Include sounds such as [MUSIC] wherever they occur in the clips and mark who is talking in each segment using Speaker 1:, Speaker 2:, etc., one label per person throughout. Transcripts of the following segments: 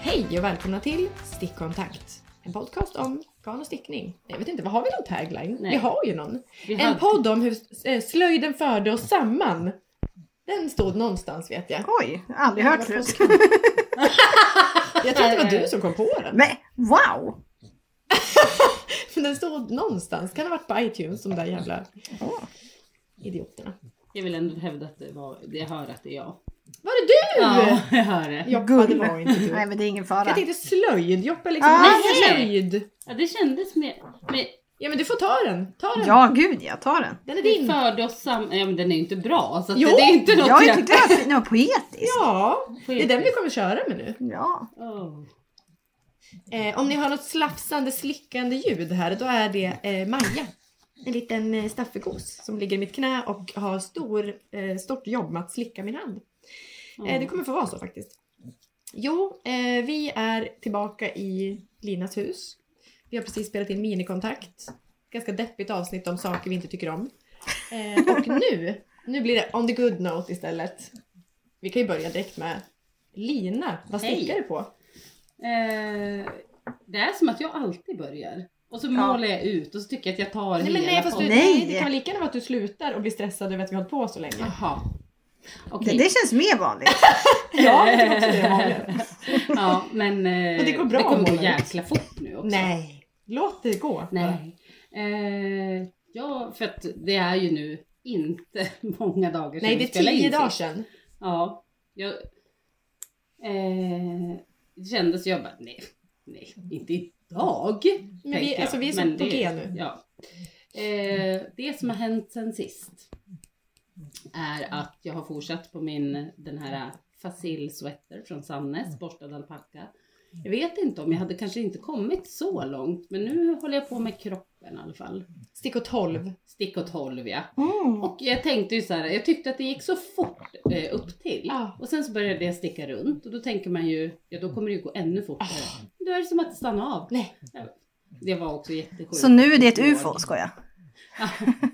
Speaker 1: Hej och välkomna till Stickkontakt. En podcast om garn och stickning. Jag vet inte, vad har vi någon tagline?
Speaker 2: Nej.
Speaker 1: Vi har ju någon.
Speaker 2: Vi
Speaker 1: En
Speaker 2: hade-
Speaker 1: podd om hur eh, slöjden förde oss samman. Den stod någonstans vet jag.
Speaker 3: Oj, aldrig hört
Speaker 1: Vad
Speaker 3: förut.
Speaker 2: [LAUGHS]
Speaker 1: Jag tror att det var du som kom på den.
Speaker 3: Nej, wow!
Speaker 1: Men den stod någonstans. Kan ha varit på iTunes, de där jävla
Speaker 3: Åh.
Speaker 1: idioterna.
Speaker 2: Jag vill ändå hävda att det var, jag hör att det är jag.
Speaker 1: Var det du?
Speaker 2: Ja, [LAUGHS] jag hör det.
Speaker 1: Ja,
Speaker 3: Gull.
Speaker 1: det var inte du.
Speaker 3: Nej men det är ingen fara.
Speaker 1: Mm. Jag tänkte slöjd. Joppa liksom,
Speaker 3: Ah,
Speaker 1: nej,
Speaker 2: nej.
Speaker 1: slöjd.
Speaker 2: Ja, det kändes mer, men
Speaker 1: Ja men du får ta den. Ta den.
Speaker 3: Ja gud jag tar den.
Speaker 1: Den är
Speaker 2: det
Speaker 1: din.
Speaker 2: förde oss samman. Ja men den är ju inte bra så att
Speaker 1: Jo,
Speaker 2: det är inte något
Speaker 3: Ja, jag tyckte att den var poetisk.
Speaker 1: Ja, det är den vi kommer köra med nu.
Speaker 3: Ja.
Speaker 2: Åh.
Speaker 1: Eh, om ni har något slafsande, slickande ljud här, då är det eh, Maja. En liten eh, staffegos som ligger i mitt knä och har stor, eh, stort jobb med att slicka min hand. Eh, det kommer få vara så faktiskt. Jo, eh, vi är tillbaka i Linas hus. Vi har precis spelat in minikontakt. Ganska deppigt avsnitt om saker vi inte tycker om. Eh, och nu, nu blir det on the good note istället. Vi kan ju börja direkt med Lina, vad
Speaker 2: Hej.
Speaker 1: stickar du på?
Speaker 2: Eh, det är som att jag alltid börjar. Och så målar jag ut och så tycker jag att jag tar
Speaker 1: Nej
Speaker 2: hela
Speaker 1: men nej fast du,
Speaker 2: podden.
Speaker 1: nej.
Speaker 3: Nej.
Speaker 1: det kan väl lika gärna vara att du slutar och blir stressad över att vi har hållit på så länge.
Speaker 2: Jaha. Okej.
Speaker 3: Det, det känns mer vanligt.
Speaker 1: Ja, jag tror också det är vanligare.
Speaker 2: [LAUGHS] Ja men eh,
Speaker 1: Men det går bra
Speaker 2: det kommer
Speaker 1: att
Speaker 2: gå
Speaker 1: måla ut.
Speaker 2: jäkla fort nu också.
Speaker 1: Nej, låt det gå.
Speaker 2: Nej. Eh, ja, för att det är ju nu inte [LAUGHS] många dagar sedan
Speaker 1: Nej,
Speaker 2: vi
Speaker 1: det är
Speaker 2: spelade
Speaker 1: tio
Speaker 2: in
Speaker 1: dagar
Speaker 2: sist.
Speaker 1: sedan.
Speaker 2: Ja. Jag, eh, det kändes, jag bara nej, nej, inte idag.
Speaker 1: Men
Speaker 2: tänker
Speaker 1: vi,
Speaker 2: jag.
Speaker 1: alltså, vi är så
Speaker 2: Men
Speaker 1: på
Speaker 2: det-
Speaker 1: G nu.
Speaker 2: Ja. Eh, det som har hänt sen sist är att jag har fortsatt på min, den här Fasil Sweater från Sannes, borstad alpacka. Jag vet inte om jag hade kanske inte kommit så långt, men nu håller jag på med kroppen i alla fall.
Speaker 1: Stick och tolv.
Speaker 2: Stick och tolv ja.
Speaker 3: Mm.
Speaker 2: Och jag tänkte ju så här, jag tyckte att det gick så fort eh, upp till.
Speaker 1: Ja.
Speaker 2: Och sen så började jag sticka runt och då tänker man ju, ja då kommer det ju gå ännu fortare. Då är det som att stanna av.
Speaker 1: Ah. Nej,
Speaker 2: Det var också jättesjukt.
Speaker 3: Så nu är det ett
Speaker 2: Låg.
Speaker 3: ufo, skoja.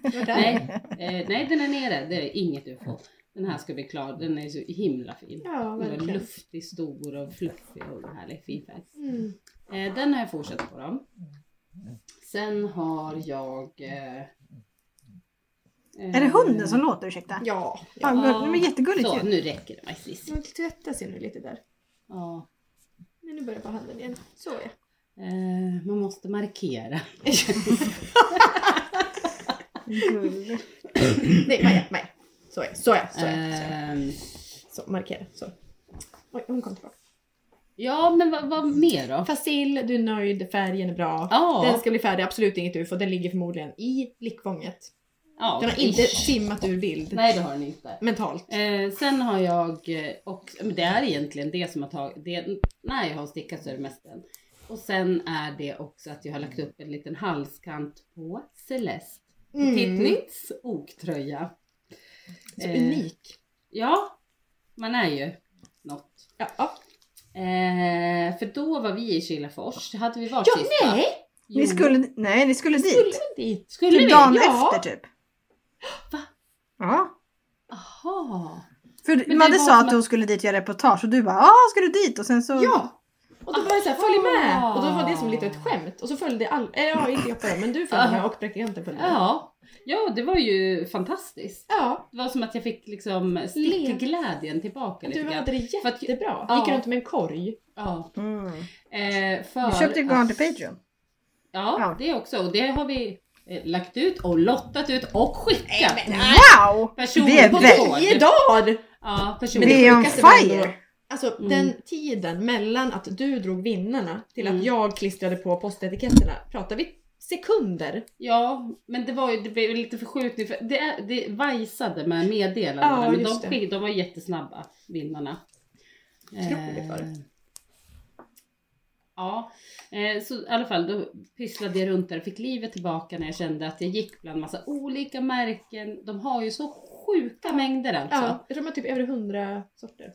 Speaker 1: det var där.
Speaker 2: Nej, eh, nej, den är nere. Det är inget ufo. Den här ska bli klar. Den är så himla fin.
Speaker 1: Ja,
Speaker 2: Den är
Speaker 1: verkligen.
Speaker 2: luftig, stor och fluffig och härlig fin färg.
Speaker 1: Mm.
Speaker 2: Eh, den har jag fortsatt på då. Sen har jag... Eh,
Speaker 3: Är det hunden som låter? Ursäkta.
Speaker 1: Ja.
Speaker 3: Fan, gull- nej, men jättegulligt
Speaker 2: Så,
Speaker 3: ju.
Speaker 2: nu räcker det faktiskt.
Speaker 1: Nu tvättas jag nu lite där.
Speaker 2: Ja.
Speaker 1: Men nu börjar jag på handen igen. Så ja. [LAUGHS]
Speaker 2: Eh, man måste markera.
Speaker 3: Gull.
Speaker 1: Nej, Maja, Maja. Så ja, så ja, så ja. Så, ja.
Speaker 2: Ehm,
Speaker 1: så markera. Så. Oj, hon kom tillbaka.
Speaker 2: ja, men vad, vad mer då?
Speaker 1: Fasil, du är nöjd, färgen är bra. Den
Speaker 2: Ja,
Speaker 1: ska bli färdig, absolut inget ufo. Den ligger förmodligen i blickfånget.
Speaker 2: ja,
Speaker 1: Den har inte
Speaker 2: ish.
Speaker 1: simmat ur bild.
Speaker 2: Nej, det har den inte.
Speaker 1: Mentalt.
Speaker 2: Eh, sen har jag, eh, och men det är egentligen det som har tagit, det, när jag har stickat så är det mest den. Och sen är det också att jag har lagt upp en liten halskant på Celeste.
Speaker 1: Mm.
Speaker 2: Tittnitts oktröja.
Speaker 1: Så
Speaker 2: Eh,
Speaker 1: unik.
Speaker 2: Ja, man är ju något.
Speaker 1: Ja. ja.
Speaker 2: Eh, för då var vi i Kilafors, hade vi varit
Speaker 1: Ja,
Speaker 2: sista?
Speaker 1: nej!
Speaker 2: Jo.
Speaker 3: Ni skulle, nej, ni skulle
Speaker 1: Skulle
Speaker 3: dit.
Speaker 1: man dit?
Speaker 2: Skulle
Speaker 3: Typ
Speaker 2: vi?
Speaker 3: dagen
Speaker 1: Ja.
Speaker 3: efter typ.
Speaker 2: Va?
Speaker 3: Ja.
Speaker 2: Aha.
Speaker 3: För
Speaker 2: det
Speaker 3: Madde
Speaker 2: var
Speaker 3: sa
Speaker 2: som
Speaker 3: att hon skulle dit och göra reportage och du bara ja, ska du dit? Och sen så...
Speaker 1: Ja! Och då var jag såhär, följ med!
Speaker 2: Mm. Ah.
Speaker 1: Och då var det som lite ett skämt. Och så följde all... eh, ja inte jag bara, men du följde med och praktikanten följde med.
Speaker 2: Ah. Ja. ja, det var ju fantastiskt.
Speaker 1: Ja,
Speaker 2: Det var som att jag fick liksom stickglädjen tillbaka lite
Speaker 1: du
Speaker 2: grann.
Speaker 1: hade det
Speaker 2: För att-
Speaker 1: jättebra.
Speaker 2: Ja.
Speaker 1: Gick runt med en korg.
Speaker 2: Ja.
Speaker 3: Mm.
Speaker 2: Eh, för
Speaker 3: Du köpte ju
Speaker 2: att-
Speaker 3: garn till Patreon.
Speaker 2: Ja,
Speaker 3: Ja.
Speaker 2: det också. Och det har vi eh, lagt ut och lottat ut och skickat.
Speaker 3: Wow!
Speaker 2: Personer
Speaker 3: Vi är
Speaker 2: på
Speaker 3: väl-
Speaker 2: tåg.
Speaker 1: Tio dagar!
Speaker 2: Ja, personer.
Speaker 3: Vi är on
Speaker 1: sjukaste var ändå-
Speaker 3: fire!
Speaker 1: Alltså
Speaker 2: Mm.
Speaker 1: den tiden mellan att du drog vinnarna till att
Speaker 2: Mm.
Speaker 1: jag klistrade på postetiketterna. Pratar vi sekunder?
Speaker 2: Ja, men det var ju det blev ju lite förskjutning. För det, är- det vajsade med meddelandena.
Speaker 1: Ja,
Speaker 2: men de,
Speaker 1: just det.
Speaker 2: skick- de var jättesnabba, vinnarna. Eh,
Speaker 1: Otroligt var det.
Speaker 2: Ja, eh, så i alla fall då pysslade jag runt där och fick livet tillbaka när jag kände att jag gick bland massa olika märken. De har ju så sjuka mängder alltså.
Speaker 1: Ja, jag tror man typ över hundra sorter.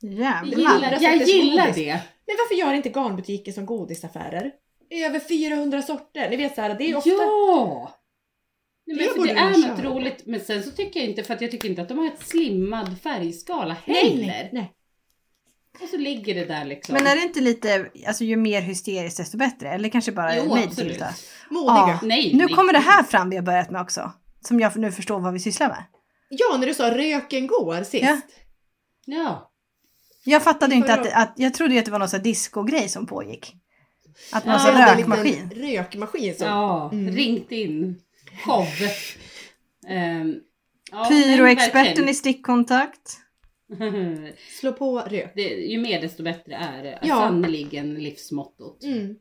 Speaker 2: Jag
Speaker 3: Jävlar.
Speaker 2: gillar, jag gillar det.
Speaker 1: Men varför gör inte garnbutiker som godisaffärer? Över 400 sorter! Ni vet såhär, det är ofta...
Speaker 2: Ja! Nej, men
Speaker 1: Det
Speaker 2: det, för
Speaker 1: borde
Speaker 2: det
Speaker 1: de
Speaker 2: är något
Speaker 1: köra.
Speaker 2: roligt. Men sen så tycker jag inte, för att jag tycker inte att de har ett slimmad färgskala
Speaker 1: Nej,
Speaker 2: heller.
Speaker 1: nej, nej.
Speaker 2: Och så ligger det där liksom.
Speaker 3: Men är det inte lite, alltså ju mer hysteriskt desto bättre? Eller kanske bara
Speaker 2: Jo,
Speaker 3: mig
Speaker 2: absolut.
Speaker 3: Tilda?
Speaker 1: Modiga.
Speaker 3: Ja.
Speaker 2: Nej,
Speaker 3: Nu
Speaker 2: nej.
Speaker 3: kommer det här fram vi har börjat med också. Som jag nu förstår vad vi sysslar med.
Speaker 1: Ja, när du sa röken går sist.
Speaker 3: Ja.
Speaker 2: Ja.
Speaker 3: Jag fattade ju inte
Speaker 1: Förra-
Speaker 3: att, att, jag trodde ju att det var någon sån här discogrej som pågick. Att man
Speaker 2: Ja,
Speaker 3: ja,
Speaker 1: Jag hade en liten
Speaker 3: rökmaskin.
Speaker 1: Rökmaskin som...
Speaker 2: Alltså, ja.
Speaker 1: Mm.
Speaker 2: Ringt in. Show. Ehm, ja,
Speaker 3: Pyroexperten i stickkontakt.
Speaker 2: verkligen. [LAUGHS]
Speaker 1: Slå på rök.
Speaker 2: det, ju mer desto bättre är det.
Speaker 1: Ja.
Speaker 2: Sannerligen livsmottot
Speaker 1: Mm.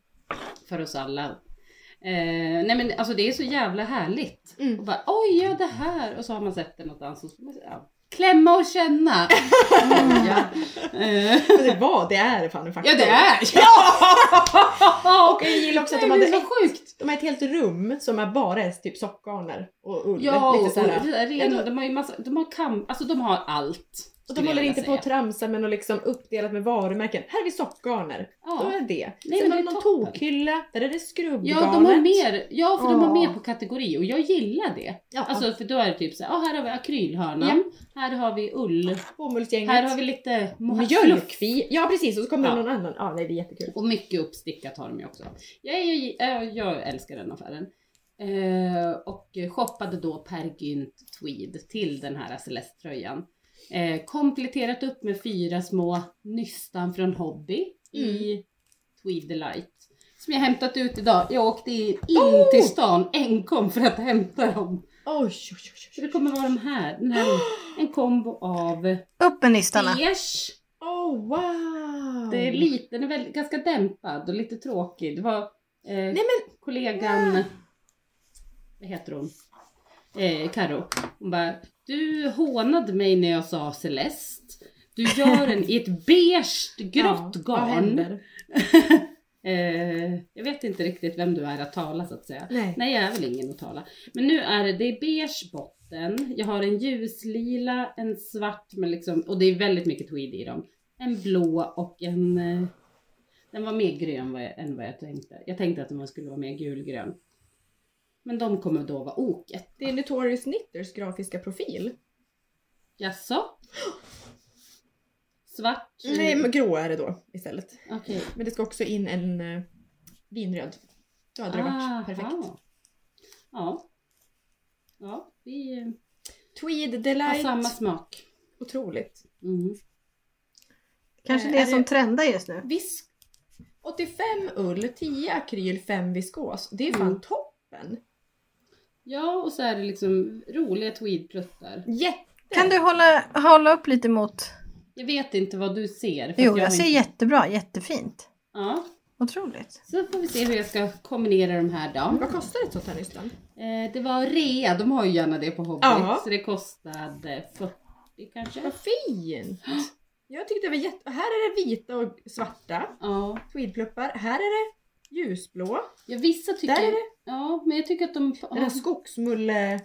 Speaker 2: för oss alla. Eh, nej men alltså det är så jävla härligt.
Speaker 1: Mm.
Speaker 2: Och bara oj ja det här och så har man sett det någonstans och så, ja. Klämma och känna.
Speaker 1: Mm.
Speaker 2: ja. Eh,
Speaker 1: Men det var, det är fan en faktor.
Speaker 2: ja det är ja!
Speaker 1: [LAUGHS] Och jag gillar också att de
Speaker 2: Nej,
Speaker 1: hade
Speaker 2: det är
Speaker 1: ett,
Speaker 2: så sjukt.
Speaker 1: de har ett helt rum som är bara är typ sockgarner och ull.
Speaker 2: Ja, och
Speaker 1: lite så här.
Speaker 2: arenor, de har ju massa, de har kamp, alltså de har allt.
Speaker 1: Och
Speaker 2: skulle
Speaker 1: de
Speaker 2: jag
Speaker 1: håller
Speaker 2: vilja
Speaker 1: inte på att
Speaker 2: säga.
Speaker 1: tramsa men har liksom uppdelat med varumärken. Här har vi sockgarner. Då
Speaker 2: ja.
Speaker 1: är det.
Speaker 2: Nej,
Speaker 1: Sen
Speaker 2: men
Speaker 1: har
Speaker 2: det
Speaker 1: de
Speaker 2: är
Speaker 1: någon
Speaker 2: toppen.
Speaker 1: tokhylla, där är det skrubbgarnet.
Speaker 2: Ja, de har mer, ja för de har
Speaker 3: Ja.
Speaker 2: mer på kategori och jag gillar det.
Speaker 1: Ja,
Speaker 2: Alltså för då är det typ så här, ah, här har vi akrylhörnan, här har vi ull,
Speaker 1: bomullsgänget.
Speaker 2: här har vi lite fluff.
Speaker 1: Mjölkfi. Ja precis, och så kommer
Speaker 2: Ja.
Speaker 1: det någon annan. Ja, nej det är jättekul.
Speaker 2: Och mycket uppstickat har de ju också. Jag, jag, jag, jag älskar den affären. Eh, och shoppade då Per Gynt Tweed till den här Celeste-tröjan. Eh, kompletterat upp med fyra små nystan från Hobby i Tweed Delight. Som jag hämtat ut idag. Jag åkte in
Speaker 1: Oh!
Speaker 2: till stan enkom för att hämta dem.
Speaker 1: Oj, oj, oj,
Speaker 2: Så
Speaker 1: oj.
Speaker 2: det kommer vara de här. Den här en kombo av
Speaker 3: [LAUGHS] Upp med nystarna.
Speaker 2: beige
Speaker 1: Oh, wow!
Speaker 2: Det är lite, den är väldigt, ganska dämpad och lite tråkig. Det var eh, kollegan, vad heter hon? Eh, Karo. Hon bara, du hånade mig när jag sa Celeste. Du gör den i ett beige grått
Speaker 1: Ja, vad
Speaker 2: garn.
Speaker 1: händer?
Speaker 2: [LAUGHS] eh, jag vet inte riktigt vem du är att tala så att säga.
Speaker 1: Nej.
Speaker 2: Nej jag är väl ingen att tala. Men nu är det, det är beige botten, jag har en ljuslila, en svart men liksom, och det är väldigt mycket tweed i dem. En blå och en, eh, den var mer grön vad jag, än vad jag tänkte. Jag tänkte att den skulle vara mer gulgrön. Men de kommer då vara oket.
Speaker 1: Det är Notorious Knitters grafiska profil.
Speaker 2: Jaså? Svart?
Speaker 1: Nej, men grå är det då istället.
Speaker 2: Okej.
Speaker 1: Men det ska också in en eh, vinröd. Då hade det
Speaker 2: Aha.
Speaker 1: varit perfekt.
Speaker 2: Ja. Ja, vi eh,
Speaker 1: Tweed
Speaker 2: har
Speaker 1: Delight.
Speaker 2: samma smak.
Speaker 1: Otroligt.
Speaker 2: Mm.
Speaker 3: Kanske
Speaker 1: Eh,
Speaker 3: det
Speaker 1: är
Speaker 3: som
Speaker 1: det-
Speaker 3: trendar just nu.
Speaker 1: Visk... 85 ull, 10 akryl, 5 viskos. Det är fan
Speaker 2: Mm.
Speaker 1: toppen!
Speaker 2: Ja, och så är det liksom roliga tweedpluttar.
Speaker 1: Jätte!
Speaker 3: Kan du hålla, hålla upp lite mot...
Speaker 2: Jag vet inte vad du ser. för att
Speaker 3: Jo,
Speaker 2: har
Speaker 3: jag ser
Speaker 2: inte-
Speaker 3: jättebra. Jättefint.
Speaker 2: Ja,
Speaker 3: Otroligt.
Speaker 2: så får vi se hur jag ska kombinera de här då.
Speaker 1: Vad kostar ett sånt här nystan?
Speaker 2: Eh, det var rea, de har ju gärna det på hobby.
Speaker 1: Ja.
Speaker 2: Så det kostade 40 kanske.
Speaker 1: Vad fint! Jag tyckte det var jätte... Här är det vita och svarta
Speaker 2: Ja,
Speaker 1: tweedpluppar. Här är det ljusblå.
Speaker 2: ja vissa tycker...
Speaker 1: Där är
Speaker 2: Ja, men jag tycker att de...
Speaker 1: Den här
Speaker 2: Ja,
Speaker 1: skogsmulle...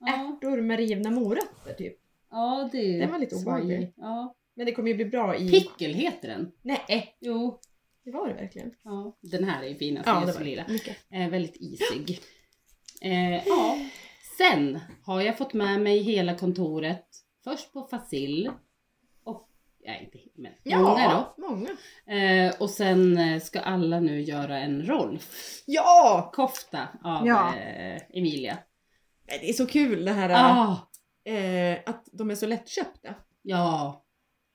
Speaker 2: ja,
Speaker 1: Ärtor med rivna morötter typ.
Speaker 2: ja det är
Speaker 1: Den var lite
Speaker 2: svajigt.
Speaker 1: obehaglig.
Speaker 2: Ja.
Speaker 1: Men det kommer ju bli bra i...
Speaker 2: Pickel heter den.
Speaker 1: Nej,
Speaker 2: Jo.
Speaker 1: det var det verkligen.
Speaker 2: Ja, den här är ju finast.
Speaker 1: Ja,
Speaker 2: Ja,
Speaker 1: det var det. Mycket.
Speaker 2: Eh, väldigt isig. Eh, ja. Sen har jag fått med mig hela kontoret. Först på Fasil. Och, nej inte he- men
Speaker 1: Ja,
Speaker 2: många då.
Speaker 1: Många.
Speaker 2: Eh, och sen eh, ska alla nu göra en Rolf
Speaker 1: Ja!
Speaker 2: kofta av
Speaker 3: Ja.
Speaker 2: eh, Emilia.
Speaker 1: Nej, Det är så kul det här
Speaker 2: Ah,
Speaker 1: eh, att de är så lättköpta.
Speaker 2: ja.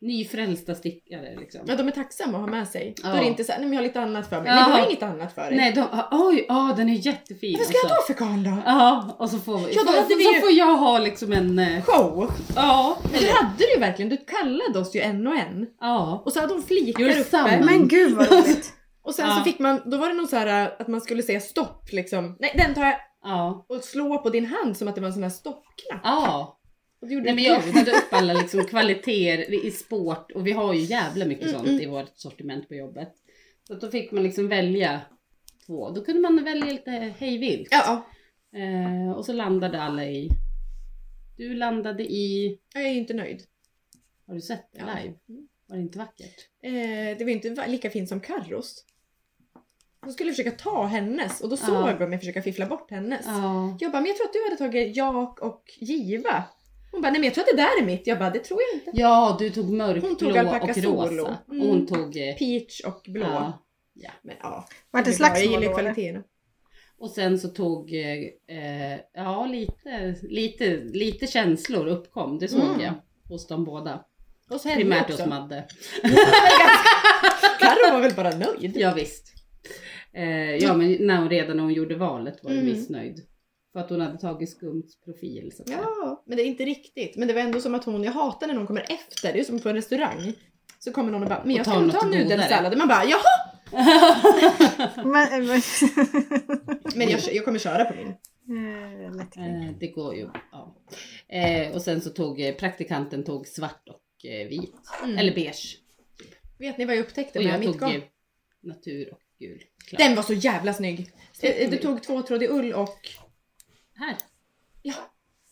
Speaker 2: Nyfrälsta stickare liksom.
Speaker 1: Ja, de är tacksamma att ha med sig. Då
Speaker 2: Ja.
Speaker 1: är det inte såhär, nej men jag har lite annat för mig.
Speaker 2: Ja.
Speaker 1: Nej, jag har inget annat för dig.
Speaker 2: Nej, de, ah, oj, ah, den är jättefin.
Speaker 1: Vad ska jag
Speaker 2: alltså.
Speaker 1: ha för garn då?
Speaker 2: Ja, och så får, vi,
Speaker 1: Ja, då
Speaker 2: så,
Speaker 1: hade vi
Speaker 2: så
Speaker 1: ju-
Speaker 2: får jag ha liksom en... eh,
Speaker 1: Show!
Speaker 2: Ja,
Speaker 1: Men det hade du ju verkligen, du kallade oss ju en och en.
Speaker 2: ja.
Speaker 1: Och så hade hon flikar
Speaker 2: Gjorde
Speaker 1: uppe.
Speaker 2: samma. Mm.
Speaker 3: Men gud vad roligt.
Speaker 1: Och sen
Speaker 2: Ja.
Speaker 1: så fick man, då var det nog så här äh, att man skulle säga stopp liksom. Nej den tar jag!
Speaker 2: ja.
Speaker 1: Och slå på din hand som att det var en sån här stoppknapp.
Speaker 2: Ja,
Speaker 1: Och det gjorde
Speaker 2: nej men jag öppnade upp alla liksom kvaliteter i sport och vi har ju jävla mycket
Speaker 1: Mm,
Speaker 2: sånt i vårt sortiment på jobbet. Så att då fick man liksom välja två, då kunde man välja lite hejvilt.
Speaker 1: Ja,
Speaker 2: Eh, och så landade alla i, du landade i,
Speaker 1: ja, jag är ju inte nöjd.
Speaker 2: har du sett det
Speaker 1: Ja.
Speaker 2: live? Var det inte vackert?
Speaker 1: Eh, det var ju inte va- lika fint som Carros. Hon skulle försöka ta hennes och då såg
Speaker 2: Ja.
Speaker 1: jag mig försöka fiffla bort hennes.
Speaker 2: Ja.
Speaker 1: Jag bara, men jag tror att du hade tagit Jak och Giva. Hon bara, nej men jag tror att det där är mitt. Jag bara, det tror jag inte.
Speaker 2: Ja, du tog mörkblå
Speaker 1: Hon tog alpaka
Speaker 2: och
Speaker 1: solo.
Speaker 2: rosa.
Speaker 1: Mm.
Speaker 2: Och hon tog... eh,
Speaker 1: Peach och blå.
Speaker 2: Ja.
Speaker 1: Men ja.
Speaker 3: Var det
Speaker 1: jag
Speaker 3: slagsmål
Speaker 1: gillar ju
Speaker 3: då, eller?
Speaker 1: kvaliteterna.
Speaker 2: Och sen så tog, eh, eh, ja lite, lite, lite känslor uppkom, det såg
Speaker 1: Mm.
Speaker 2: jag hos dem båda.
Speaker 1: Och så henne
Speaker 2: Primärt
Speaker 1: också.
Speaker 2: hos Madde.
Speaker 1: Carro var väl bara nöjd.
Speaker 2: Ja, visst. Eh, ja men när hon, redan när hon gjorde valet var hon
Speaker 1: Mm.
Speaker 2: missnöjd. För att hon hade tagit skumt profil så att säga.
Speaker 1: Ja, men det är inte riktigt. Men det var ändå som att hon, jag hatar när någon kommer efter. Det är ju som på en restaurang. Så kommer någon och bara, men
Speaker 2: Och
Speaker 1: jag
Speaker 2: tar
Speaker 1: ska nog ta
Speaker 2: något godare.
Speaker 1: nudelsallad. Man bara, jaha!
Speaker 3: Men, [LAUGHS] men,
Speaker 1: Men jag, jag kommer köra på min.
Speaker 3: Eh, lätt.
Speaker 2: Eh, det går ju. Ja. Eh, och sen så tog eh, praktikanten tog svart och eh, vit.
Speaker 1: Mm.
Speaker 2: Eller beige.
Speaker 1: Vet ni vad jag upptäckte
Speaker 2: Och
Speaker 1: med
Speaker 2: jag
Speaker 1: mitt
Speaker 2: tog
Speaker 1: garn?
Speaker 2: eh, natur och gul. Klart.
Speaker 1: Den var så jävla snygg! Eh, Du
Speaker 2: snygg.
Speaker 1: tog tvåtrådig ull och...
Speaker 2: Här.
Speaker 1: Ja.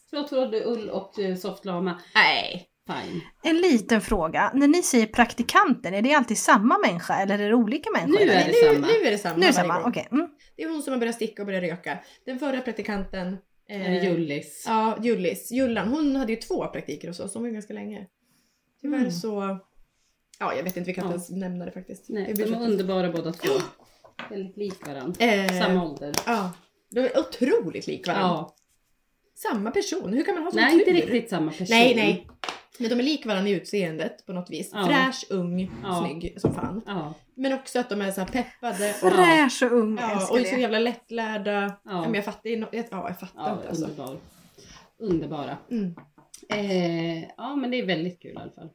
Speaker 2: Två trådar ull och eh, soft lama.
Speaker 1: Nej!
Speaker 2: Fine.
Speaker 3: En liten fråga. När ni säger praktikanten, är det alltid samma människa eller är det olika människor?
Speaker 2: Nu är
Speaker 3: eller?
Speaker 2: det
Speaker 1: Nu,
Speaker 2: samma.
Speaker 1: nu är det samma.
Speaker 3: nu är det
Speaker 1: varje
Speaker 3: samma,
Speaker 1: gång.
Speaker 3: okej. Mm.
Speaker 1: Det är hon som har börjat sticka och börjat röka. Den förra praktikanten...
Speaker 2: Eh, Jullis.
Speaker 1: Ja, Jullis. Jullan. Hon hade ju två praktiker hos oss. Hon var ju ganska länge. Tyvärr
Speaker 3: Mm.
Speaker 1: så... Ja, jag vet inte. Vi kan inte
Speaker 2: Ja.
Speaker 1: ens nämna det faktiskt.
Speaker 2: Nej,
Speaker 1: Jag
Speaker 2: de
Speaker 1: ber
Speaker 2: är
Speaker 1: om ursäkt.
Speaker 2: underbara båda två. Väldigt lika varandra.
Speaker 1: Eh,
Speaker 2: Samma ålder.
Speaker 1: Ja. De är otroligt lika varandra.
Speaker 2: Ja.
Speaker 1: Samma person. Hur kan man ha sån
Speaker 2: Nej, inte
Speaker 1: Alltså, tur?
Speaker 2: riktigt samma person.
Speaker 1: Nej, nej. Men de är lika varandra i utseendet på något vis.
Speaker 2: Ja.
Speaker 1: Fräsch, ung,
Speaker 2: Ja.
Speaker 1: snygg som fan.
Speaker 2: Ja,
Speaker 1: Men också att de är så här peppade och,
Speaker 3: Fräsch och ung, jag
Speaker 1: ja,
Speaker 3: älskar
Speaker 1: och så
Speaker 3: det.
Speaker 1: jävla lättlärda. Ja.
Speaker 2: Ja.
Speaker 1: Men jag fattar, ju no- jag, ja, jag fattar
Speaker 2: ja
Speaker 1: inte alltså.
Speaker 2: underbar. Underbara.
Speaker 1: Mm.
Speaker 2: Eh, ja, men det är väldigt kul i alla fall.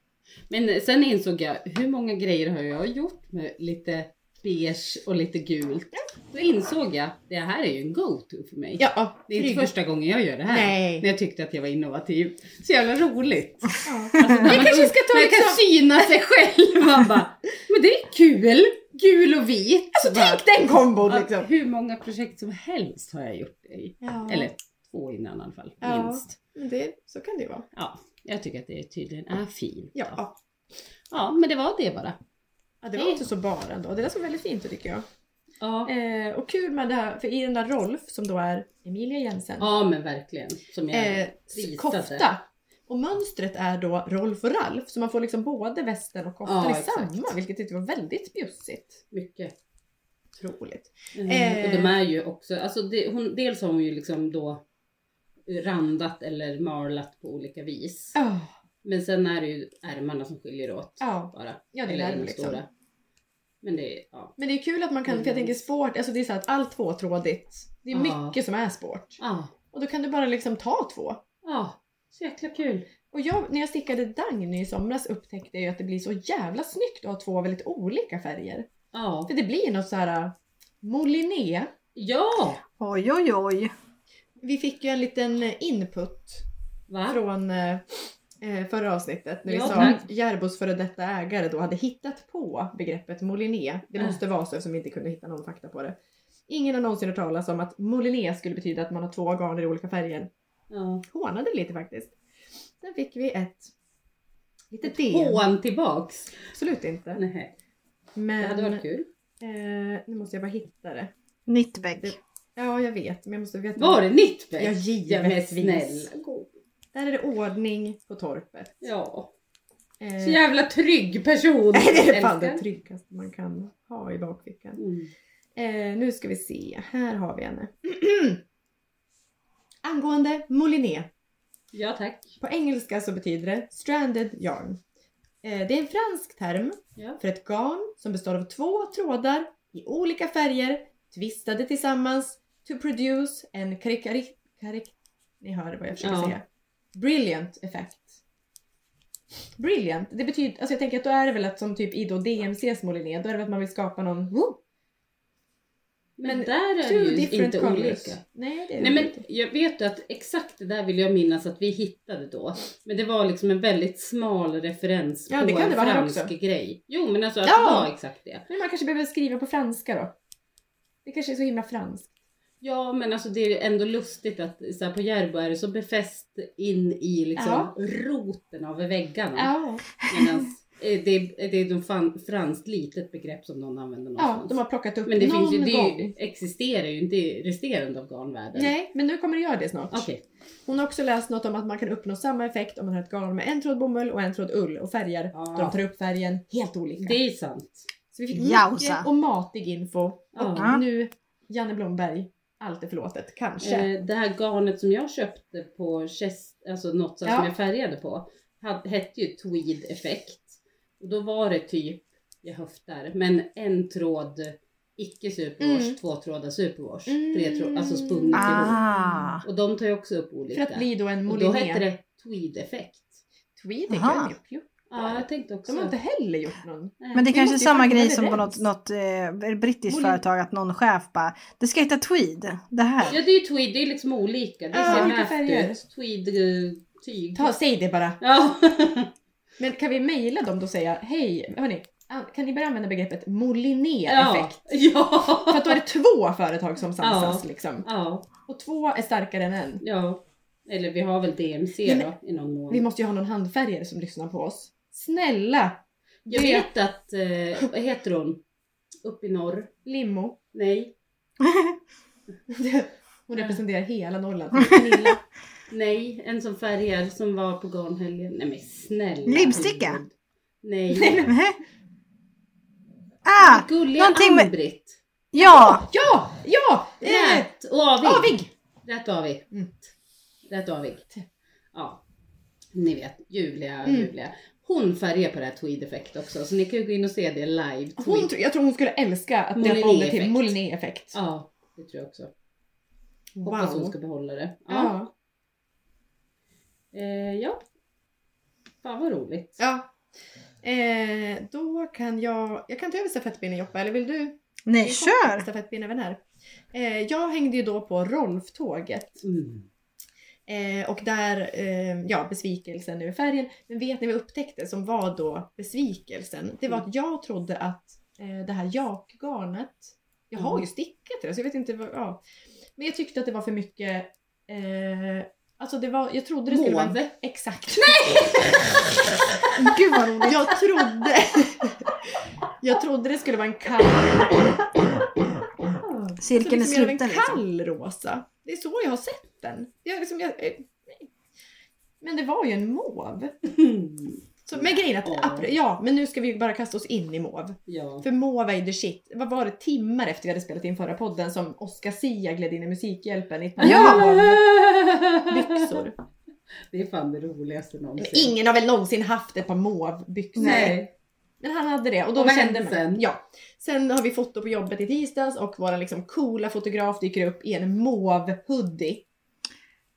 Speaker 2: Men sen insåg jag, hur många grejer har jag gjort med lite beige och lite gult? Då insåg jag, det här är ju en go-to för mig.
Speaker 1: Ja,
Speaker 2: Det är inte
Speaker 1: trygg.
Speaker 2: första gången jag gör det här.
Speaker 1: Nej.
Speaker 2: När jag tyckte att jag var innovativ. Så jävla
Speaker 1: [LAUGHS]
Speaker 2: roligt.
Speaker 1: Ja.
Speaker 2: Alltså, när
Speaker 1: Jag
Speaker 2: man-
Speaker 1: kanske ska ta
Speaker 2: när man kan
Speaker 1: liksom-
Speaker 2: syna sig själv. Man bara, men det är kul. Gul och vit.
Speaker 1: Alltså
Speaker 2: Bara,
Speaker 1: tänk den kombon
Speaker 2: ja,
Speaker 1: liksom.
Speaker 2: Hur många projekt som helst har jag gjort i.
Speaker 1: Ja.
Speaker 2: Eller två innan i alla fall.
Speaker 1: Ja.
Speaker 2: Minst.
Speaker 1: Men det, så kan det ju vara.
Speaker 2: Ja, jag tycker att det tydligen är fint.
Speaker 1: Ja,
Speaker 2: då.
Speaker 1: ja.
Speaker 2: ja men det var det bara.
Speaker 1: ja det var
Speaker 2: Hej.
Speaker 1: inte så bara ändå. Det där såg väldigt fint ut tycker jag.
Speaker 2: Ja,
Speaker 1: Eh, och kul med det här, för i den där Rolf som då är Emilia Jensen.
Speaker 2: ja men verkligen. Som jag,
Speaker 1: eh,
Speaker 2: visade.
Speaker 1: kofta. Och mönstret är då Rolf och Ralf så man får liksom både västen och koftan
Speaker 2: Ja,
Speaker 1: i
Speaker 2: exakt.
Speaker 1: samma vilket tyckte jag var väldigt bjussigt.
Speaker 2: Mycket.
Speaker 1: Otroligt.
Speaker 2: Eh, och
Speaker 1: Eh.
Speaker 2: de är ju också, alltså det, hon, dels har hon ju liksom då randat eller marlat på olika vis.
Speaker 1: Ja,
Speaker 2: Men sen är det ju ärmarna som skiljer åt
Speaker 1: ja.
Speaker 2: bara.
Speaker 1: Ja, det är
Speaker 2: Eller
Speaker 1: där
Speaker 2: den
Speaker 1: liksom.
Speaker 2: stora. Men det är, ja.
Speaker 1: Men det är kul att man kan, för jag tänker sport, alltså det är så här att allt tvåtrådigt, det är
Speaker 2: Ja.
Speaker 1: mycket som är sport.
Speaker 2: Ja,
Speaker 1: Och då kan du bara liksom ta två.
Speaker 2: ja. Så jäkla kul.
Speaker 1: Och jag, när jag stickade Dagny i somras upptäckte jag ju att det blir så jävla snyggt att ha två väldigt olika färger.
Speaker 2: Ja.
Speaker 1: För det blir något så här äh, moliné.
Speaker 2: Ja!
Speaker 3: Oj, oj, oj.
Speaker 1: Vi fick ju en liten äh, input
Speaker 2: Va?
Speaker 1: från eh, eh, förra avsnittet när vi
Speaker 2: Ja,
Speaker 1: sa
Speaker 2: tack.
Speaker 1: att Järbos före detta ägare då hade hittat på begreppet Moliné. Det
Speaker 2: Äh.
Speaker 1: måste vara så eftersom vi inte kunde hitta någon fakta på det. Ingen har någonsin hört talas om att Moliné skulle betyda att man har två garner i olika färger.
Speaker 2: Ja.
Speaker 1: Hånade lite faktiskt. Sen fick vi ett litet DM.
Speaker 2: Hån tillbaks.
Speaker 1: Absolut inte.
Speaker 2: Nej. Det
Speaker 1: Men
Speaker 2: hade varit kul.
Speaker 1: eh, nu måste jag bara hitta det.
Speaker 3: Nittbäck.
Speaker 1: Det- Ja, jag vet, men jag måste veta.
Speaker 2: Var det Nittbäck?
Speaker 1: Ja,
Speaker 2: men
Speaker 1: givetvis.
Speaker 2: snälla.
Speaker 1: Där är det ordning på torpet.
Speaker 2: Ja.
Speaker 1: Eh, [LAUGHS]
Speaker 2: Så jävla trygg person.
Speaker 1: det är fan
Speaker 2: Älskar.
Speaker 1: det tryggaste man kan ha i bakfickan.
Speaker 2: Mm.
Speaker 1: Eh, nu ska vi se, här har vi henne. [CLEARS THROAT] Angående Moliné.
Speaker 2: Ja tack.
Speaker 1: På engelska så betyder det stranded yarn. Eh, det är en fransk term
Speaker 2: Ja.
Speaker 1: för ett garn som består av två trådar i olika färger tvistade tillsammans to produce en karikari... karik... Ni hör vad jag försöker
Speaker 2: Ja.
Speaker 1: säga. Brilliant effect. Brilliant, det betyder, alltså jag tänker att då är det väl att som typ i då DMCs Moliné, då är det väl att man vill skapa någon woo,
Speaker 2: Men,
Speaker 1: Men
Speaker 2: där är
Speaker 1: two
Speaker 2: det ju
Speaker 1: different
Speaker 2: inte
Speaker 1: colors.
Speaker 2: olika.
Speaker 1: Nej, det är det
Speaker 2: Nej men
Speaker 1: inte.
Speaker 2: jag vet ju att exakt det där vill jag minnas att vi hittade då. Men det var liksom en väldigt smal referens
Speaker 1: Ja,
Speaker 2: på
Speaker 1: det kan
Speaker 2: en
Speaker 1: det vara här
Speaker 2: fransk
Speaker 1: också.
Speaker 2: grej. Jo men alltså att
Speaker 1: Ja.
Speaker 2: det var exakt det.
Speaker 1: Men man kanske behöver skriva på franska då. Det kanske är så himla franskt.
Speaker 2: Ja men alltså det är ju ändå lustigt att så här, på Järbo är det så befäst in i liksom
Speaker 1: Ja.
Speaker 2: roten av väggarna.
Speaker 1: Ja.
Speaker 2: Medans Eh, Det är, det är de fan, franskt litet begrepp som någon använder
Speaker 1: Ja,
Speaker 2: någonstans.
Speaker 1: de har plockat upp
Speaker 2: Men det,
Speaker 1: någon
Speaker 2: finns ju, det
Speaker 1: gång.
Speaker 2: är ju, existerar ju inte i resterande organvärlden.
Speaker 1: Nej, men nu kommer det göra det snart.
Speaker 2: Okej.
Speaker 1: Hon har också läst något om att man kan uppnå samma effekt om man har ett garn med en tråd bomull och en tråd ull och färger.
Speaker 2: Ja.
Speaker 1: De tar upp färgen helt olika.
Speaker 2: Det är sant.
Speaker 1: Så vi fick
Speaker 3: Jausa.
Speaker 1: mycket och matig info. Och
Speaker 2: Ja.
Speaker 1: nu, Janne Blomberg, allt är förlåtet. Kanske.
Speaker 2: Eh, det här garnet som jag köpte på chest, alltså något som
Speaker 1: Ja.
Speaker 2: jag färgade på, hade, hette ju tweed effekt. Och då var det typ, jag höftar, men en tråd icke superwash,
Speaker 1: Mm.
Speaker 2: två trådar superwash,
Speaker 1: Mm.
Speaker 2: tre trådar, alltså spunnet ihop.
Speaker 3: Ah.
Speaker 2: Och de tar ju också upp olika.
Speaker 1: För att bli då en
Speaker 2: och då hette
Speaker 1: Moliné.
Speaker 2: det tweed effekt.
Speaker 1: Tweed är
Speaker 3: Aha.
Speaker 1: ju- ju-
Speaker 2: Ja, jag tänkte också.
Speaker 1: De har inte heller gjort någon.
Speaker 2: Nej.
Speaker 3: Men det
Speaker 1: Vi
Speaker 3: kanske är
Speaker 1: måste ju
Speaker 3: samma
Speaker 1: fan
Speaker 3: grej
Speaker 1: komma
Speaker 3: som på något,
Speaker 1: överens.
Speaker 3: något eh, brittiskt
Speaker 1: Volym.
Speaker 3: företag att någon chef bara Det ska heta tweed, det
Speaker 2: Ja
Speaker 3: här.
Speaker 2: det är ju tweed, det är liksom olika. Det
Speaker 1: Ja,
Speaker 2: ser
Speaker 1: olika färger.
Speaker 2: nätt ut. Tweed, eh, tyg.
Speaker 1: Ta, säg det bara.
Speaker 2: Ja.
Speaker 1: Men kan vi mejla dem då och säga hej, hörni, an- kan ni börja använda begreppet
Speaker 2: [LAUGHS] ja.
Speaker 1: Moliné-effekt?
Speaker 2: Ja.
Speaker 1: För att då är det två företag som samsas
Speaker 2: Ja.
Speaker 1: liksom.
Speaker 2: ja.
Speaker 1: Och två är starkare än en.
Speaker 2: Ja. Eller vi har väl DMC
Speaker 1: Nej,
Speaker 2: då i någon mån.
Speaker 1: Vi måste ju ha någon handfärgare som lyssnar på oss. Snälla!
Speaker 2: Jag
Speaker 1: det-
Speaker 2: vet att, eh, vad heter hon? Upp i norr?
Speaker 1: Limo.
Speaker 2: Nej.
Speaker 1: Hon representerar hela Norrland. Pernilla.
Speaker 2: [LAUGHS] Nej, en som färgar som var på garnhelgen. Nej men snälla.
Speaker 3: Lipsticka?
Speaker 2: Hollywood. Nej.
Speaker 1: Nej,
Speaker 3: Mhm. ah,
Speaker 2: Gulliga
Speaker 3: någonting med-
Speaker 2: Ann-Britt.
Speaker 3: ja!
Speaker 1: Ja! Ja! Eh,
Speaker 2: Rät och avig.
Speaker 1: Avig!
Speaker 2: Rätt avig.
Speaker 1: Mm.
Speaker 2: Rätt avig. Ja. Ni vet, Julia,
Speaker 1: Mm.
Speaker 2: Julia. Hon färgar på det här Tweed Effect också, så ni kan ju gå in och se det live.
Speaker 1: Hon,
Speaker 2: Tweed.
Speaker 1: tro- jag tror hon skulle älska att döpa om det till
Speaker 2: Moliné-effekt.
Speaker 1: Moliné-effekt.
Speaker 2: Ja, det tror jag också. Hoppas hon
Speaker 1: Wow.
Speaker 2: ska behålla det. Ja.
Speaker 1: Ja.
Speaker 2: Eh, ja. Fan vad roligt.
Speaker 1: ja. Eh, då kan jag, jag kan ta över stafettpinnen Joppa, eller vill du?
Speaker 3: Nej,
Speaker 1: Vi kommer till
Speaker 3: kör!
Speaker 1: Stafettpinnen även här. Eh, jag hängde ju då på Rolf-tåget.
Speaker 2: Mm.
Speaker 1: Eh, och där, eh, ja besvikelsen över färgen. Men vet ni vad jag upptäckte som var då besvikelsen? Det var att jag trodde att eh, det här jakgarnet, jag har ju stickat det så jag vet inte vad, ja. Men jag tyckte att det var för mycket, eh, alltså det var, jag trodde det skulle vara
Speaker 2: Mauve.
Speaker 1: Exakt.
Speaker 3: Gud vad roligt.
Speaker 1: Jag trodde, [LAUGHS] jag trodde det skulle vara en kall
Speaker 3: Cirkeln är
Speaker 1: så liksom gör
Speaker 3: sluten
Speaker 1: den
Speaker 3: liksom.
Speaker 1: kall rosa. Det är så jag har sett den. Jag liksom, jag, eh, nej. men det var ju en mauve. Så, men grejen är att,
Speaker 2: Ja.
Speaker 1: apre- ja men nu ska vi bara kasta oss in i mauve.
Speaker 2: Ja.
Speaker 1: För mauve är the shit. Vad var det timmar efter vi hade spelat in förra podden som Oscar Sia gled in i Musikhjälpen i ett par
Speaker 3: Ja!
Speaker 1: mauve byxor.
Speaker 2: [LAUGHS] Det är fan det roligaste
Speaker 1: Men
Speaker 2: någonsin.
Speaker 1: ingen har väl någonsin haft ett par mauve byxor.
Speaker 2: Nej.
Speaker 1: Men han hade det och då
Speaker 2: Och vad
Speaker 1: kände
Speaker 2: hände
Speaker 1: man.
Speaker 2: sen?
Speaker 1: Ja. Sen har vi foto på jobbet i tisdags och vår liksom coola fotograf dyker upp i en mauve hoodie.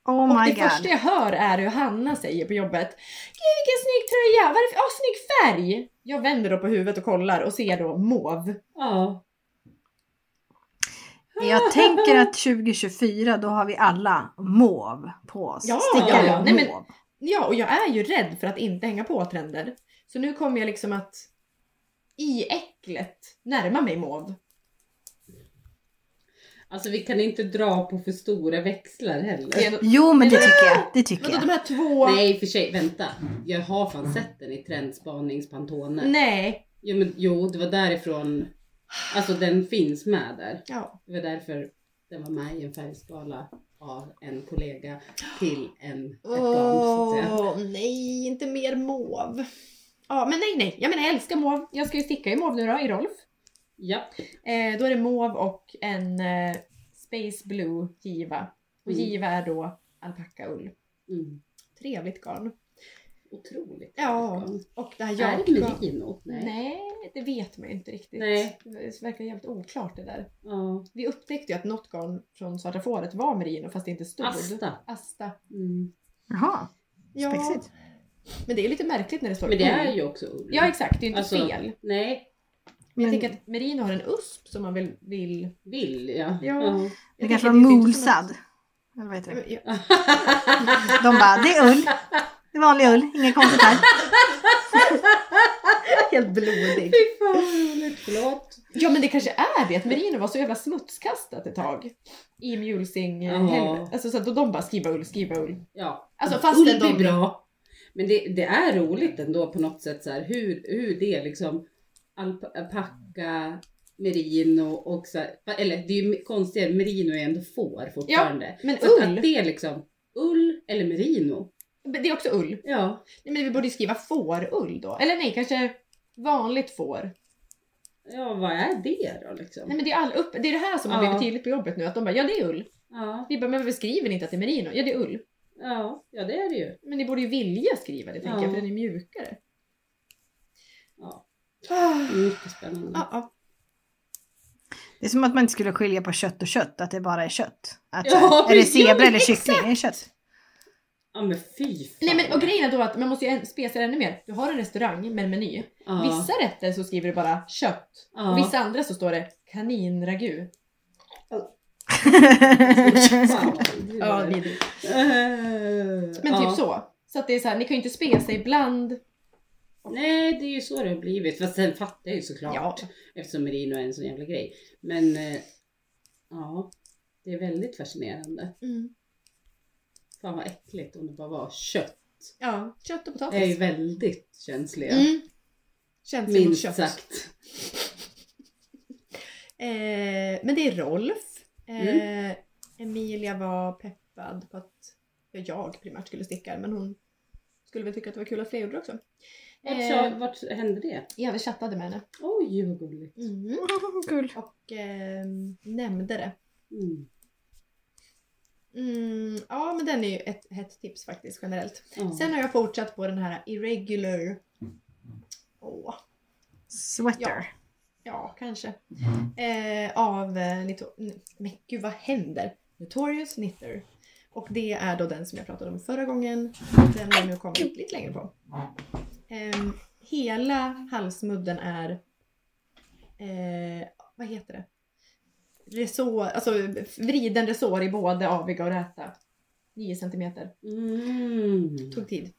Speaker 3: Oh
Speaker 1: och
Speaker 3: my
Speaker 1: det
Speaker 3: god.
Speaker 1: första jag hör är hur Hanna säger på jobbet Gud vilken snygg tröja! Vad är det för, åh, snygg färg! Jag vänder då på huvudet och kollar och ser då mauve.
Speaker 2: Ja.
Speaker 3: Jag tänker att 2024 då har vi alla mauve på oss.
Speaker 1: Ja,
Speaker 2: ja,
Speaker 3: Stickade
Speaker 2: ja.
Speaker 1: Nej, men-
Speaker 3: mauve.
Speaker 1: Ja, och jag är ju rädd för att inte hänga på trender. Så nu kommer jag liksom att i äcklet närma mig mauve.
Speaker 2: Alltså vi kan inte dra på för stora växlar heller.
Speaker 1: Det är ändå-
Speaker 3: Jo men det tycker jag. Det tycker
Speaker 1: Vadå
Speaker 3: jag.
Speaker 1: de här två? Nej.
Speaker 2: Nej för sig, vänta. Jag har fan sett den i Trendspaningspantone. Jo, men, jo, det var därifrån. Alltså den finns med där.
Speaker 1: Ja.
Speaker 2: Det var därför den var med i en färgskala av en kollega till en, ett barn så att säga.
Speaker 1: Åh, nej, inte mer mauve. Ja, men nej, nej. Jag menar jag älskar mauve. Jag ska ju sticka i mauve nu då, i Rolf.
Speaker 2: Ja.
Speaker 1: Eh, då är det mauve och en eh, Space Blue giva. Och
Speaker 2: Mm.
Speaker 1: giva är då alpackaull.
Speaker 2: Mm.
Speaker 1: Trevligt garn.
Speaker 2: Otroligt.
Speaker 1: Ja. Och det här
Speaker 2: Är det
Speaker 1: jakgarn-
Speaker 2: merino?
Speaker 1: Nej. det vet man ju inte riktigt.
Speaker 2: Nej.
Speaker 1: Det verkar jävligt oklart det där.
Speaker 2: Ja.
Speaker 1: Vi upptäckte ju att något garn från svarta fåret var merino fast det inte stod.
Speaker 2: Asta.
Speaker 1: Asta.
Speaker 2: Mm.
Speaker 3: Jaha,
Speaker 1: Ja.
Speaker 3: spexigt.
Speaker 1: Men det är ju lite märkligt när det står
Speaker 2: Men det är
Speaker 1: ull.
Speaker 2: ju också ull.
Speaker 1: Ja exakt, det är ju inte
Speaker 2: Alltså,
Speaker 1: fel.
Speaker 2: Nej,
Speaker 1: Men jag
Speaker 3: Men-
Speaker 1: tänker att merino har en usp som man vill... vill
Speaker 2: vill ja.
Speaker 1: Ja.
Speaker 3: Det
Speaker 1: jag
Speaker 3: kanske
Speaker 1: tänker
Speaker 3: var
Speaker 1: att finns
Speaker 3: molsad. Eller vad heter
Speaker 1: något-
Speaker 3: det?
Speaker 1: Ja, men-
Speaker 2: ja.
Speaker 3: De bara, det är ull. Det är vanlig ull, inget konstigt här.
Speaker 1: jag- Helt blodig.
Speaker 2: Fy fan vad roligt. Förlåt.
Speaker 1: Ja men det kanske är det, att merino var så jävla smutskastat ett tag. I eh, mjulsing
Speaker 2: Ja.
Speaker 1: oh. Alltså så att de bara skriva ull, skriva ull.
Speaker 2: Ja.
Speaker 1: Alltså, fastän
Speaker 2: ull blir
Speaker 1: de-
Speaker 2: bra. Men det, det är roligt ändå på något sätt så här, hur, hur det är liksom alpacka, merino och så här, eller det är ju konstigare, merino är ändå får fortfarande.
Speaker 1: men
Speaker 2: så att,
Speaker 1: ull.
Speaker 2: att det är liksom ull eller merino.
Speaker 1: Men Det är också ull.
Speaker 2: Ja,
Speaker 1: Nej, men vi borde ju skriva fårull då. Eller nej, kanske vanligt får.
Speaker 2: ja vad är det då
Speaker 1: Nej,
Speaker 2: liksom?
Speaker 1: men det, är all upp, det är det här som har
Speaker 2: Ja.
Speaker 1: blivit tydligt på jobbet nu. Att de bara, ja det är ull.
Speaker 2: Ja,
Speaker 1: Vi bara, men varför skriver ni inte att det är merino? Ja det är ull.
Speaker 2: ja, ja det är det ju.
Speaker 1: Men ni borde ju vilja skriva det tänker
Speaker 2: Ja.
Speaker 1: jag, för den är mjukare.
Speaker 2: Ja.
Speaker 1: Ah.
Speaker 2: Mycket spännande.
Speaker 1: Ja, ja.
Speaker 3: Det är som att man inte skulle skilja på kött och kött, att det bara är kött. Att,
Speaker 2: Ja,
Speaker 3: så här, är det
Speaker 2: precis,
Speaker 3: zebra eller kyckling? Det
Speaker 1: [LAUGHS]
Speaker 3: är kött.
Speaker 2: Ja men fy fan.
Speaker 1: Nej men och grejen är då att man måste ju än- spesa det ännu mer. Du har en restaurang med en meny.
Speaker 2: ja.
Speaker 1: Vissa rätter så skriver du bara kött.
Speaker 2: Ja.
Speaker 1: Och vissa andra så står det kaninragu.
Speaker 2: Fan,
Speaker 1: Ja,
Speaker 2: det-
Speaker 1: vidrigt.
Speaker 2: Eh,
Speaker 1: men
Speaker 2: ja.
Speaker 1: typ så. Så att det är så här, ni kan ju inte spesa ibland.
Speaker 2: Nej, det är ju så det har blivit. Fast sen fattar jag ju såklart.
Speaker 1: Ja.
Speaker 2: Eftersom merino är en sån jävla grej. Men eh, ja, det är väldigt fascinerande.
Speaker 1: Mm.
Speaker 2: Fan vad äckligt om det bara var kött.
Speaker 1: Ja, kött och
Speaker 2: Jag är ju
Speaker 1: potatis.
Speaker 2: väldigt känslig.
Speaker 1: Mm. Känslig mot
Speaker 2: Minst
Speaker 1: kött. [LAUGHS]
Speaker 2: sagt.
Speaker 1: Eh, men det är Rolf. Eh, Emilia var peppad på att ja, jag primärt skulle sticka men hon skulle väl tycka att det var kul att fler gjorde det också.
Speaker 2: Vart,
Speaker 1: Eh,
Speaker 2: så- vart hände det?
Speaker 1: jag chattade med henne
Speaker 2: Oj, vad gulligt.
Speaker 1: Mm.
Speaker 3: Mm. Kul.
Speaker 1: och eh, nämnde det.
Speaker 2: Mm.
Speaker 1: Mm, ja men den är ju ett hett tips faktiskt generellt.
Speaker 2: Ja.
Speaker 1: Sen har jag fortsatt på den här irregular. Åh,
Speaker 3: Sweater.
Speaker 1: ja kanske. Eh, av, eh, Nito- n- men gud vad händer? Notorious Knitter. Och det är då den som jag pratade om förra gången. Den har jag nu kommit lite längre på. Ehm, hela halsmudden är, eh, vad heter det? Resår, alltså vriden resår i både aviga och räta. 9 centimeter. [LAUGHS]
Speaker 2: Mm.
Speaker 1: Tog tid.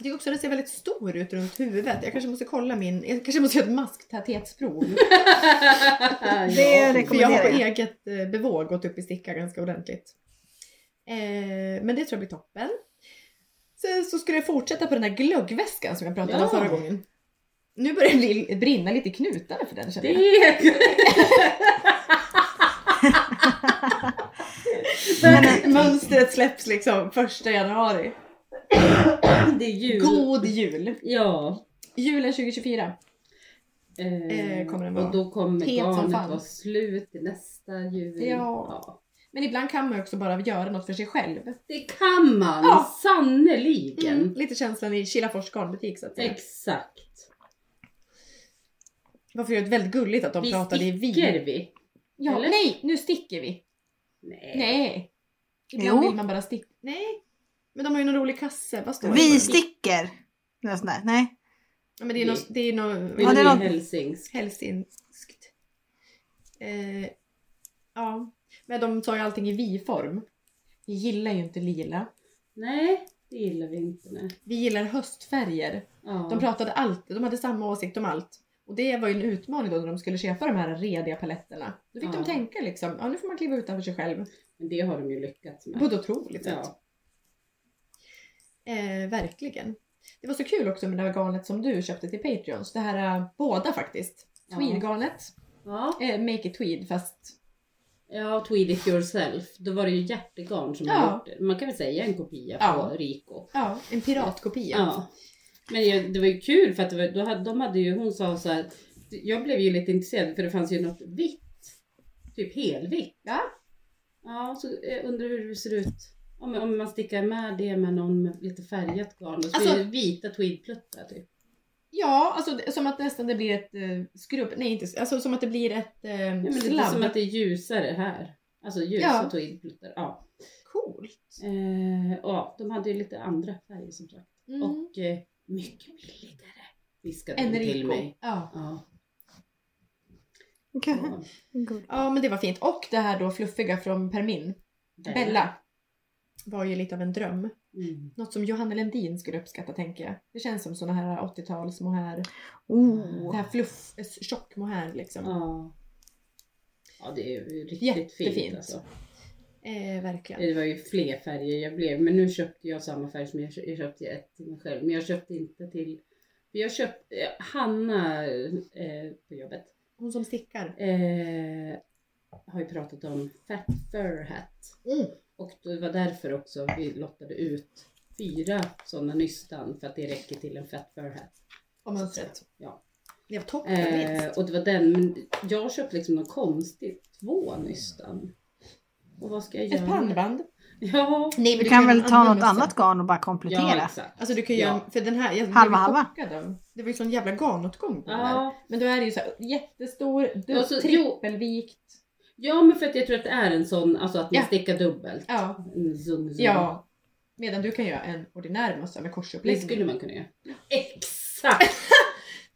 Speaker 1: Jag tycker också den ser väldigt stor ut runt huvudet. Jag kanske måste kolla min, jag kanske måste göra ett masktäthetsprov.
Speaker 3: Det
Speaker 2: Ja.
Speaker 1: För jag har på
Speaker 3: rekommenderar jag.
Speaker 1: eget eh, bevåg gått upp i sticka ganska ordentligt. Eh, men det tror jag blir toppen. Sen så skulle jag fortsätta på den där glöggväskan som jag pratade om
Speaker 2: Ja.
Speaker 1: förra gången. Nu börjar det bli, brinna lite i knutarna för den känner jag.
Speaker 2: Det är
Speaker 1: eh, Mönstret släpps liksom första januari.
Speaker 2: Det är jul.
Speaker 1: God jul!
Speaker 2: Ja.
Speaker 1: Julen 2024. Eh, kommer den
Speaker 2: och
Speaker 1: vara.
Speaker 2: då kommer
Speaker 1: Het som
Speaker 2: garnet
Speaker 1: fan.
Speaker 2: vara slut i nästa jul.
Speaker 1: Ja. Men ibland kan man ju också bara göra något för sig själv.
Speaker 2: Det kan man
Speaker 1: Ja.
Speaker 2: sannerligen.
Speaker 1: Mm. Lite känslan i Kilafors garnbutik så att säga.
Speaker 2: Exakt.
Speaker 1: Varför är det väldigt gulligt att de
Speaker 2: vi
Speaker 1: pratade i vi.
Speaker 2: sticker vi.
Speaker 1: Ja,
Speaker 2: eller?
Speaker 1: nej, nu sticker vi.
Speaker 2: Nej.
Speaker 1: Nej. Eh, Ibland
Speaker 3: Jo.
Speaker 1: vill man bara sticka. Nej. Men de har ju någon rolig kasse. Vad står det?
Speaker 3: Vi sticker. Något sånt där. Nej.
Speaker 1: Ja, men det är något... Det är något...
Speaker 2: Vi
Speaker 3: Ja, det är
Speaker 2: är
Speaker 3: något-
Speaker 2: Helsings.
Speaker 1: Helsinskt. Eh, ja. Men de tar ju allting i vi-form. Vi gillar ju inte lila.
Speaker 2: Nej, det gillar vi inte. Nej.
Speaker 1: Vi gillar höstfärger.
Speaker 2: Ja.
Speaker 1: De pratade alltid, de hade samma åsikt om allt. Och det var ju en utmaning då när de skulle köpa de här rediga paletterna. Då fick
Speaker 2: Ja.
Speaker 1: de tänka liksom, ja nu får man kliva utanför sig själv.
Speaker 2: Men det har de ju lyckats
Speaker 1: På
Speaker 2: med.
Speaker 1: ett otroligt sätt.
Speaker 2: Ja.
Speaker 1: Eh, verkligen. Det var så kul också med det här garnet som du köpte till Patreons. Det här, eh, båda faktiskt.
Speaker 2: Ja.
Speaker 1: Tweedgarnet.
Speaker 2: Ja.
Speaker 1: Eh, make it tweed fast...
Speaker 2: ja, tweed it yourself. Då var det ju hjärtegarn som
Speaker 1: Ja.
Speaker 2: har gjort det. Man kan väl säga en kopia
Speaker 1: Ja.
Speaker 2: på Rico.
Speaker 1: Ja, en piratkopia.
Speaker 2: Ja. Men jag, det var ju kul för att det var, då hade, de hade ju, hon sa så här, jag blev ju lite intresserad för det fanns ju något vitt. Typ helvitt.
Speaker 1: Ja.
Speaker 2: Ja, så jag undrar hur det ser ut. Om, om man stickar med det med någon med lite färgat garn. Och så
Speaker 1: Alltså-
Speaker 2: blir det vita tweedpluttar typ.
Speaker 1: Ja, alltså det- som att nästan det blir ett eh, skrubb... Nej, inte Alltså som att det blir ett eh,
Speaker 2: Ja, men det är
Speaker 1: slabb.
Speaker 2: som att det är ljusare här. Alltså ljusa
Speaker 1: Ja.
Speaker 2: tweedpluttar. Ja.
Speaker 1: Coolt.
Speaker 2: Eh, och ja, de hade ju lite andra färger som sagt.
Speaker 1: Mm.
Speaker 2: Och eh, mycket billigare. Viskade hon till
Speaker 1: Enrico.
Speaker 2: mig.
Speaker 1: Ja.
Speaker 2: Ja.
Speaker 1: [LAUGHS]
Speaker 3: Okej. Gud.
Speaker 1: ja, men det var fint. Och det här då fluffiga från Permin. Bella. Var ju lite av en dröm.
Speaker 2: Mm.
Speaker 1: Något som Johanna Lendin skulle uppskatta tänker jag. Det känns som såna här 80-tals mohair. Det
Speaker 3: Oh.
Speaker 1: här fluff, eh, tjock mohair liksom.
Speaker 2: Ja. Ja det är ju riktigt
Speaker 1: Jättefint.
Speaker 2: fint alltså.
Speaker 1: Eh, verkligen.
Speaker 2: Det var ju fler färger jag blev, men nu köpte jag samma färg som jag, kö- jag köpte ett till mig själv. Men jag köpte inte till... för Jag köpte... eh, Hanna eh, på jobbet
Speaker 1: Hon som stickar.
Speaker 2: eh, har ju pratat om Fat Fur Hat.
Speaker 1: Mm.
Speaker 2: Och det var därför också vi lottade ut fyra sådana nystan för att det räcker till en Fat Fur Hat.
Speaker 1: Om man sett.
Speaker 2: Ja.
Speaker 1: Det var toppen
Speaker 2: Eh, och det var den, men jag köpte liksom någon konstig två nystan. Och vad ska jag göra?
Speaker 1: Ett pannband.
Speaker 2: Eh, [LAUGHS] Ja.
Speaker 1: Nej, men
Speaker 3: Du kan väl ta något
Speaker 1: använda så-
Speaker 3: annat garn och bara komplettera?
Speaker 2: exakt.
Speaker 1: Alltså du kan göra, för den här, jag blev
Speaker 3: Halva, halva.
Speaker 1: chockad av. Det var ju sån jävla garnåtgång på den där.
Speaker 2: Ja.
Speaker 1: Men då är det ju så här jättestor, du,
Speaker 2: Och så-
Speaker 1: trippelvikt.
Speaker 2: ja, men för att jag tror att det är en sån, alltså att man
Speaker 1: Ja.
Speaker 2: stickar dubbelt.
Speaker 1: Ja.
Speaker 2: En zoom, zoom.
Speaker 1: ja. Medan du kan göra en ordinär mössa med
Speaker 2: Det
Speaker 1: korsuppläggning.
Speaker 2: skulle man kunna göra. Exakt!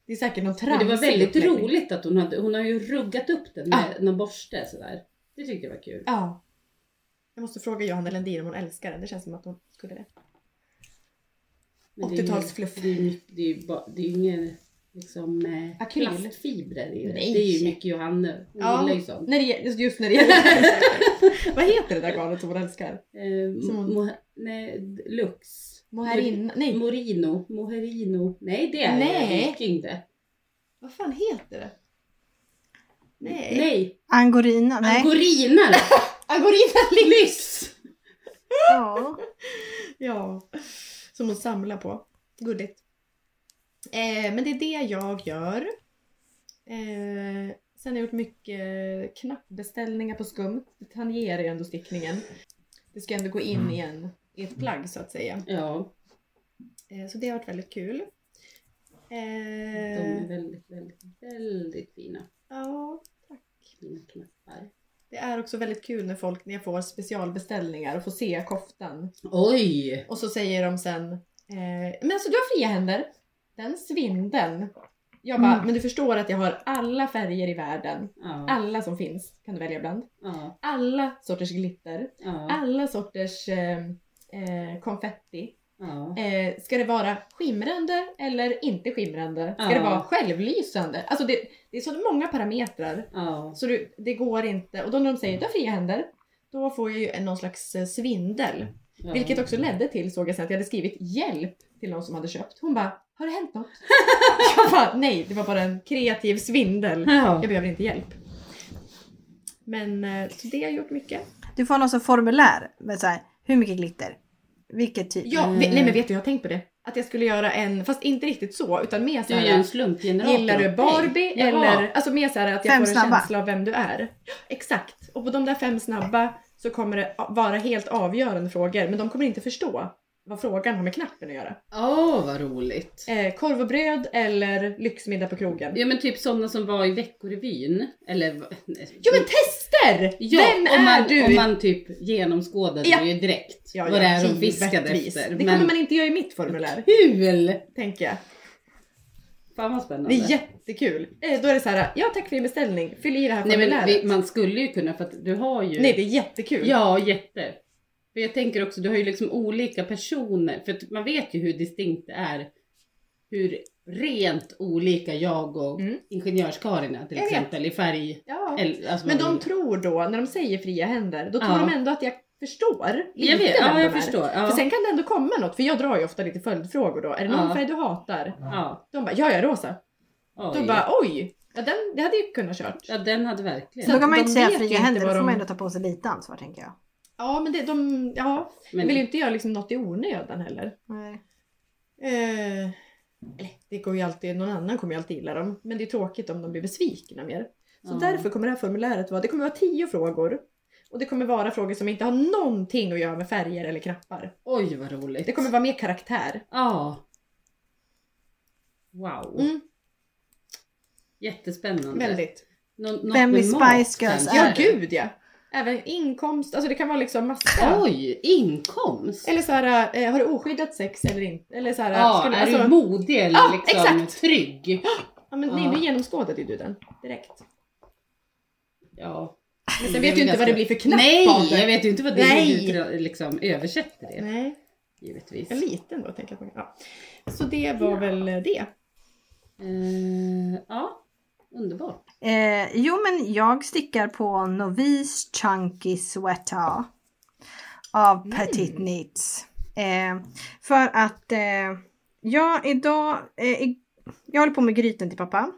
Speaker 1: Det är säkert någon
Speaker 2: Men
Speaker 1: tramsig
Speaker 2: det var väldigt
Speaker 1: uppläggning.
Speaker 2: roligt att hon hade, hon har ju ruggat upp den med någon borste sådär. Det tyckte jag var kul.
Speaker 1: Ja. Jag måste fråga Johanna Lendin om hon älskar den. Det känns som att hon skulle det.
Speaker 2: Men det är ju-
Speaker 1: 80-talsfluff.
Speaker 2: Det är ju mycket- det är ju ba- det är ju ingen liksom eh,
Speaker 1: Akryl.
Speaker 2: plastfibrer i det.
Speaker 1: Nej.
Speaker 2: Det är ju mycket Johanna, hon
Speaker 1: Ja.
Speaker 2: gillar ju sånt.
Speaker 1: När det, gäller- just när det gäller... [LAUGHS] Vad heter det där garnet som hon älskar?
Speaker 2: Eh,
Speaker 1: Som hon-
Speaker 2: mo, nej, lux.
Speaker 1: Moharin...
Speaker 2: Mor-
Speaker 1: Nej,
Speaker 2: Morino. Moherino. Nej det är
Speaker 1: Nej.
Speaker 2: viking det.
Speaker 1: vad fan heter det? Nej. Ah,
Speaker 2: Nej.
Speaker 3: Angorina?
Speaker 1: [LAUGHS]
Speaker 3: Nej.
Speaker 2: Angorinare.
Speaker 1: Agorina
Speaker 2: Lyx!
Speaker 3: Ja.
Speaker 1: [LAUGHS] Ja, som hon samlar på. Gulligt. Eh, men det är det jag gör. Eh, sen har jag gjort mycket knappbeställningar på skumt. Det tangerar ju ändå stickningen. Det ska ändå gå in i, en, i ett plagg så att säga.
Speaker 2: Ja,
Speaker 1: Eh, så det har varit väldigt kul.
Speaker 2: de
Speaker 1: Eh,
Speaker 2: är väldigt, väldigt, väldigt fina.
Speaker 1: ja, tack.
Speaker 2: Fina knappar.
Speaker 1: Det är också väldigt kul när folk, när jag får specialbeställningar och får se koftan.
Speaker 2: Oj!
Speaker 1: Och så säger de sen, eh, men alltså du har fria händer. Den svindeln. Jag bara,
Speaker 3: Mm.
Speaker 1: men du förstår att jag har alla färger i världen.
Speaker 2: Ja,
Speaker 1: Alla som finns kan du välja bland.
Speaker 2: ja,
Speaker 1: Alla sorters glitter.
Speaker 2: ja,
Speaker 1: Alla sorters eh, eh, konfetti.
Speaker 2: ja.
Speaker 1: Eh, ska det vara skimrande eller inte skimrande? Ska
Speaker 2: Ja.
Speaker 1: det vara självlysande? Alltså det, det är så många parametrar.
Speaker 2: ja.
Speaker 1: Så du, det går inte. Och då när de säger du har fria händer. Då får jag ju en- någon slags eh, svindel.
Speaker 2: ja.
Speaker 1: Vilket också ledde till, såg jag sen, att jag hade skrivit hjälp till någon som hade köpt. Hon bara, har det hänt något? [LAUGHS] jag bara, nej, det var bara en kreativ svindel. Jag
Speaker 2: Ja.
Speaker 1: behöver inte hjälp. Men eh, så det har jag gjort mycket.
Speaker 3: Du får någon sån formulär med så här, hur mycket glitter? Vilket typ?
Speaker 1: Ja,
Speaker 2: Mm.
Speaker 1: ve- nej men vet du, jag har tänkt på det. Att jag skulle göra en, fast inte riktigt så, utan mer
Speaker 2: Du är ju en
Speaker 1: såhär,
Speaker 2: slumpgenerator.
Speaker 1: gillar du Barbie
Speaker 2: Ja.
Speaker 1: eller, alltså mer såhär att jag
Speaker 3: Fem
Speaker 1: får en
Speaker 3: snabba.
Speaker 1: känsla av vem du är. Exakt. Och på de där fem snabba så kommer det a- vara helt avgörande frågor, men de kommer inte förstå vad frågan har med knappen att göra.
Speaker 2: Åh, vad roligt.
Speaker 1: Eh, korv och bröd eller lyxmiddag på krogen.
Speaker 2: Ja men typ sådana som var i Veckorevyn. Eller... va- nej.
Speaker 1: Ja men tester!
Speaker 2: Ja,
Speaker 1: Vem
Speaker 2: om man,
Speaker 1: är du?
Speaker 2: Om man typ genomskådade
Speaker 1: Ja.
Speaker 2: det ju direkt.
Speaker 1: ja,
Speaker 2: vad det är de
Speaker 1: givetvis.
Speaker 2: fiskade efter.
Speaker 1: Det kommer man inte göra i mitt formulär,
Speaker 2: Kul!
Speaker 1: tänker jag.
Speaker 2: Fan vad spännande.
Speaker 1: Det är jättekul. Eh, då är det så här, ja tack för din beställning, fyll i det här
Speaker 2: Nej men
Speaker 1: formuläret.
Speaker 2: vi, man skulle ju kunna för att du har ju...
Speaker 1: Nej det är jättekul.
Speaker 2: Ja, jätte. För jag tänker också, du har ju liksom olika personer. För att man vet ju hur distinkt det är. Hur rent olika jag och
Speaker 1: Mm.
Speaker 2: ingenjörskarin är till
Speaker 1: Jag vet.
Speaker 2: exempel i färg.
Speaker 1: Ja.
Speaker 2: Eller, alltså
Speaker 1: Men
Speaker 2: vad
Speaker 1: de
Speaker 2: det-
Speaker 1: tror då, när de säger fria händer, då tror
Speaker 2: Ja.
Speaker 1: de ändå att jag förstår lite
Speaker 2: Jag vet,
Speaker 1: vem
Speaker 2: ja
Speaker 1: de
Speaker 2: jag
Speaker 1: är.
Speaker 2: förstår. Ja.
Speaker 1: För sen kan det ändå komma något, för jag drar ju ofta lite följdfrågor då. Är det någon
Speaker 2: Ja.
Speaker 1: färg du hatar?
Speaker 2: ja.
Speaker 1: De bara, ja jag är rosa.
Speaker 2: Oj.
Speaker 1: Då bara, oj! Ja, den, det hade jag ju kunnat kört.
Speaker 2: ja, den hade verkligen.
Speaker 3: Då kan man ju
Speaker 1: de
Speaker 3: inte säga
Speaker 1: vet ju
Speaker 3: fria
Speaker 1: inte
Speaker 3: händer, då
Speaker 1: vad
Speaker 3: får man
Speaker 1: de-
Speaker 3: ändå ta på sig lite ansvar tänker jag.
Speaker 1: Ja, men det, de, ja,
Speaker 2: Men-
Speaker 1: Jag vill ju inte göra liksom något i onödan heller.
Speaker 3: Nej.
Speaker 1: Eh, eller, det går ju alltid, någon annan kommer ju alltid gilla dem. Men det är tråkigt om de blir besvikna mer. Så
Speaker 2: Ja.
Speaker 1: därför kommer det här formuläret vara, det kommer vara tio frågor. Och det kommer vara frågor som inte har någonting att göra med färger eller knappar.
Speaker 2: Oj vad roligt.
Speaker 1: Det kommer vara mer karaktär.
Speaker 2: Ja. Wow.
Speaker 1: Mm,
Speaker 2: Jättespännande.
Speaker 1: väldigt.
Speaker 2: Nå- något
Speaker 3: Vem
Speaker 2: med
Speaker 3: i
Speaker 2: mat
Speaker 3: Spice Girls
Speaker 2: kanske.
Speaker 1: Ja, gud ja! Även inkomst, alltså det kan vara liksom massa.
Speaker 2: Oj, inkomst.
Speaker 1: Eller såhär, eh, har du oskyddat sex eller inte? Eller såhär,
Speaker 2: Ja,
Speaker 1: ska du-
Speaker 2: är
Speaker 1: alltså-
Speaker 2: du modig eller
Speaker 1: Ja,
Speaker 2: liksom
Speaker 1: exakt.
Speaker 2: trygg?
Speaker 1: ja men nej,
Speaker 2: Ja.
Speaker 1: nu genomskådade ju du den direkt.
Speaker 2: Ja.
Speaker 1: Men
Speaker 2: Det
Speaker 1: sen
Speaker 2: är
Speaker 1: vet
Speaker 2: väl
Speaker 1: du inte
Speaker 2: ganska-
Speaker 1: vad det blir för knapp av
Speaker 2: Nej,
Speaker 1: det.
Speaker 2: jag vet ju inte vad det
Speaker 1: Nej.
Speaker 2: är du tra- liksom översätter det
Speaker 1: Nej.
Speaker 2: givetvis.
Speaker 1: Jag är liten då tänkte jag på. Ja. Så det var väl det.
Speaker 2: Eh, ja, underbart.
Speaker 3: Eh, jo men jag stickar på Novice Chunky Sweater. av Petit Needs. Eh, för att eh, jag idag, eh, i- jag håller på med gryten till pappa.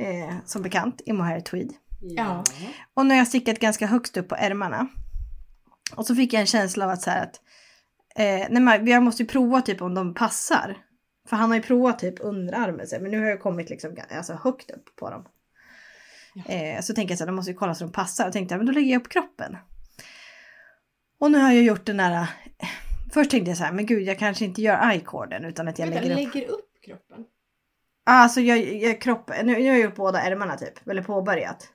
Speaker 3: Eh, som bekant i mohair tweed.
Speaker 1: Ja.
Speaker 3: Och nu har jag stickat ganska högst upp på ärmarna. Och så fick jag en känsla av att så här att eh, nej, men jag måste ju prova typ om de passar. För han har ju provat typ underarmen så här, men nu har jag kommit liksom ga- alltså, högt upp på dem.
Speaker 1: Ja.
Speaker 3: Eh, så tänker jag så här, de måste ju kolla så de passar. Och tänkte jag, men då lägger jag upp kroppen. Och nu har jag gjort den där... eh, Först tänkte jag så här, men gud jag kanske inte gör i-corden utan att jag
Speaker 1: Vänta,
Speaker 3: lägger upp...
Speaker 1: lägger upp kroppen.
Speaker 3: Alltså jag, jag kroppen, nu, nu har jag gjort båda ärmarna typ, eller påbörjat.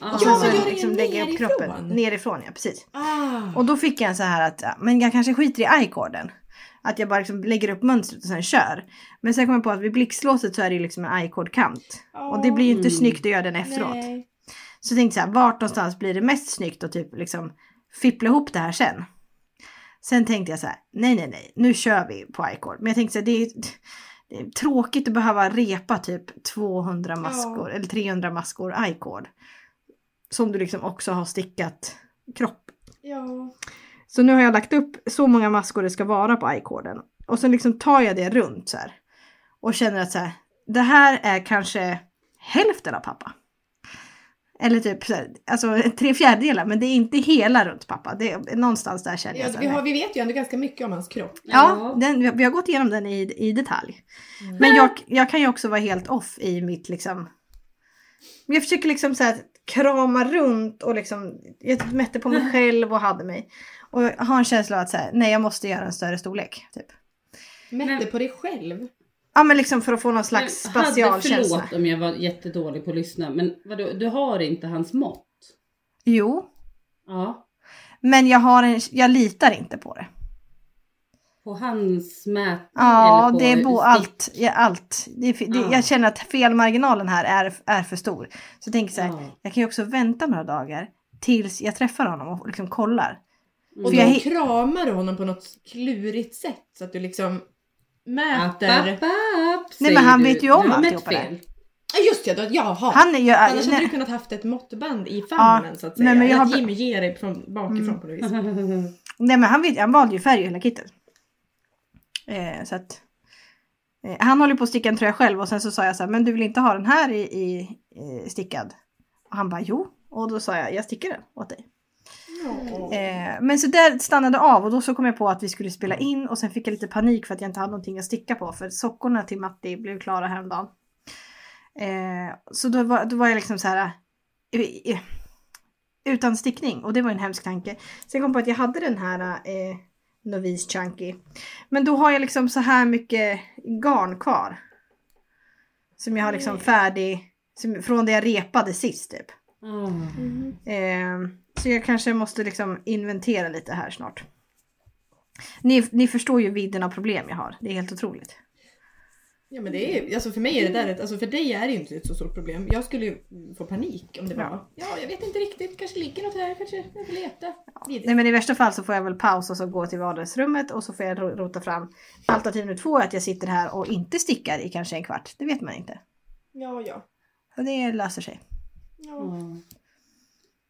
Speaker 2: Ah.
Speaker 3: Och
Speaker 1: Ja, men
Speaker 3: sen så
Speaker 1: gör det
Speaker 3: liksom lägger jag upp kroppen
Speaker 1: nerifrån.
Speaker 3: nerifrån, ja precis.
Speaker 1: Ah.
Speaker 3: Och då fick jag en så här att, ja, men jag kanske skiter i i-corden. Att jag bara liksom lägger upp mönstret och sen kör. Men sen kom jag på att vid blixtlåset så är det ju liksom en i-cord-kant. Och det blir ju inte
Speaker 2: Mm.
Speaker 3: snyggt att göra den efteråt.
Speaker 1: Nej.
Speaker 3: Så jag tänkte så här, vart någonstans blir det mest snyggt att typ liksom fippla ihop det här sen? Sen tänkte jag så här, nej nej nej, nu kör vi på i-cord. Men jag tänkte så här, det är, det är tråkigt att behöva repa typ 200 maskor eller 300 maskor i-cord. Som du liksom också har stickat kropp
Speaker 1: Ja.
Speaker 3: så nu har jag lagt upp så många maskor det ska vara på i-koden. Och sen liksom tar jag det runt så här. Och känner att så här, det här är kanske hälften av pappa. Eller typ så här, alltså tre fjärdedelar men det är inte hela runt pappa. Det är någonstans där känner jag.
Speaker 1: Ja,
Speaker 3: så här,
Speaker 1: vi, har, vi vet ju ändå ganska mycket om hans kropp.
Speaker 3: Ja, den, vi har- vi har gått igenom den i, i detalj.
Speaker 2: Mm.
Speaker 3: Men jag, jag kan ju också vara helt off i mitt liksom... Men jag försöker liksom så här krama runt och liksom... Jag typ mätte
Speaker 2: [LAUGHS]
Speaker 3: på mig själv och hade mig. Och jag har en känsla av att så här, nej jag måste göra en större storlek. Typ.
Speaker 1: Mätte
Speaker 2: Men-
Speaker 1: på dig själv.
Speaker 3: Ja men liksom för att få någon
Speaker 2: Men
Speaker 3: slags
Speaker 2: hade-
Speaker 3: spatialkänsla.
Speaker 2: Förlåt om jag var jättedålig på att lyssna, men vadå, du har inte hans mått?
Speaker 3: Jo,
Speaker 2: Ja.
Speaker 3: men jag, har en, jag litar inte på det.
Speaker 2: På hans mätning?
Speaker 3: Ja,
Speaker 2: eller på
Speaker 3: det är bo,
Speaker 2: stick-
Speaker 3: allt. Ja, allt. Det är, fi- det,
Speaker 2: Ja.
Speaker 3: Jag känner att felmarginalen här är, är för stor. Så jag tänker så här,
Speaker 2: Ja.
Speaker 3: Jag kan ju också vänta några dagar tills jag träffar honom och liksom kollar.
Speaker 1: Och
Speaker 3: För
Speaker 1: då
Speaker 3: jag hi-
Speaker 1: kramar du honom på något klurigt sätt så att du liksom
Speaker 2: App,
Speaker 1: mäter.
Speaker 2: app, app,
Speaker 3: men
Speaker 2: säger
Speaker 3: han
Speaker 2: du.
Speaker 3: vet ju om
Speaker 2: Du har mätt
Speaker 3: alltihopa det.
Speaker 2: fel.
Speaker 1: Ja just det, då, jaha.
Speaker 3: Han är ju...
Speaker 1: Annars hade du
Speaker 3: nej,
Speaker 1: kunnat haft ett måttband i famnen så att säga.
Speaker 3: nej, men jag
Speaker 1: Eller
Speaker 3: har- Mm.
Speaker 1: att Jimmy ger dig från, bakifrån på något vis.
Speaker 3: nej men han, vet, han valde ju färg i hela kittet. Eh, så att, eh, han håller på att sticka en tröja själv och sen så sa jag så här, men du vill inte ha den här i, i, i stickad? Och han bara jo. Och då sa jag, jag stickar den åt dig. Eh, men så där stannade det av och då så kom jag på att vi skulle spela in och sen fick jag lite panik för att jag inte hade någonting att sticka på för sockorna till Matti blev klara häromdagen. Eh, så då var, då var jag liksom så här eh, eh, utan stickning och det var en hemsk tanke. Sen kom jag på att jag hade den här eh, Novice Chunky. Men då har jag liksom så här mycket garn kvar. Som jag har liksom färdig, som, från det jag repade sist typ.
Speaker 2: [LAUGHS] Ah.
Speaker 1: Mm.
Speaker 3: Eh, så jag kanske måste liksom inventera lite här snart. Ni, ni förstår ju vidden av problem jag har. Det är helt otroligt.
Speaker 1: Ja men det är alltså för mig är det där ett, alltså för dig är det ju inte ett så stort problem. Jag skulle ju få panik om det var.
Speaker 3: Ja.
Speaker 1: Ja, jag vet inte riktigt, kanske ligger något här, kanske jag får leta. Vidrigt.
Speaker 3: Nej men i värsta fall så får jag väl pausa och så gå till vardagsrummet och så får jag ro- rota fram. Alternativ nummer två är att jag sitter här och inte stickar i kanske en kvart. Det vet man inte.
Speaker 1: Ja, ja.
Speaker 3: Och det löser sig.
Speaker 1: Ja.
Speaker 3: Mm.
Speaker 2: Ja. ah.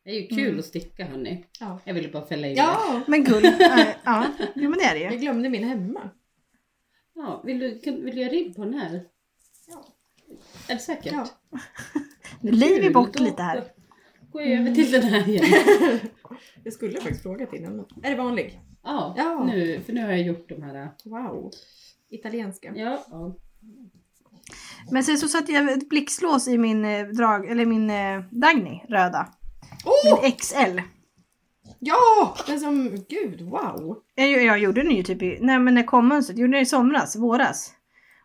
Speaker 2: Det är ju kul att sticka hörni.
Speaker 1: ja.
Speaker 2: Jag ville bara fälla in det.
Speaker 1: ja.
Speaker 3: Men guld, eh, ja, jo, men det är det ju.
Speaker 1: Jag glömde min hemma.
Speaker 2: Ja, vill, du, kan, vill du göra ribb på den här?
Speaker 1: Ja.
Speaker 2: Är det säkert?
Speaker 1: Ja.
Speaker 3: Nu liv vi
Speaker 2: Kul,
Speaker 3: bort
Speaker 2: då-
Speaker 3: lite här. Mm.
Speaker 2: då Går jag över till den här igen.
Speaker 1: Jag skulle faktiskt frågat innan. Är det vanlig?
Speaker 2: Ja,
Speaker 1: Ja.
Speaker 2: Nu, för nu har jag gjort de här.
Speaker 1: Wow. Italienska.
Speaker 2: Ja, ja.
Speaker 3: Men sen så satte jag ett blixtlås i min eh, drag, eller min eh, Dagny röda.
Speaker 1: Åh!
Speaker 3: Min XL.
Speaker 1: Ja! Den som, gud wow.
Speaker 3: Jag, jag gjorde den ju typ i, nej men när kom mönstret? Gjorde den i somras, våras.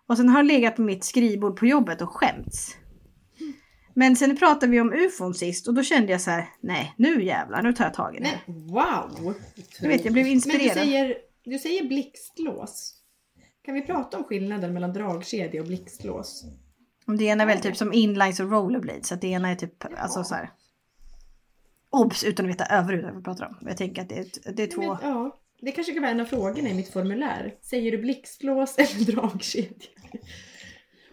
Speaker 3: Och sen har den legat på mitt skrivbord på jobbet och skämts. Men sen pratade vi om ufon sist och då kände jag så här: nej nu jävlar, nu tar jag tag i det här.
Speaker 1: Men wow.
Speaker 3: Du vet, jag blev
Speaker 1: Men du
Speaker 3: inspirerad.
Speaker 1: säger, du säger blixtlås. Kan vi prata om skillnaden mellan dragkedja och blixtlås?
Speaker 3: Om det ena är väl typ som inlines och rollerblades, så att det ena är typ, alltså så här. Obs! Utan att veta överhuvudtaget vad vi pratar om. Jag tänker att det är, ett- det är två...
Speaker 1: Men, ja. Det kanske kan vara en av frågorna i mitt formulär. Säger du blixtlås eller [LAUGHS] dragkedja?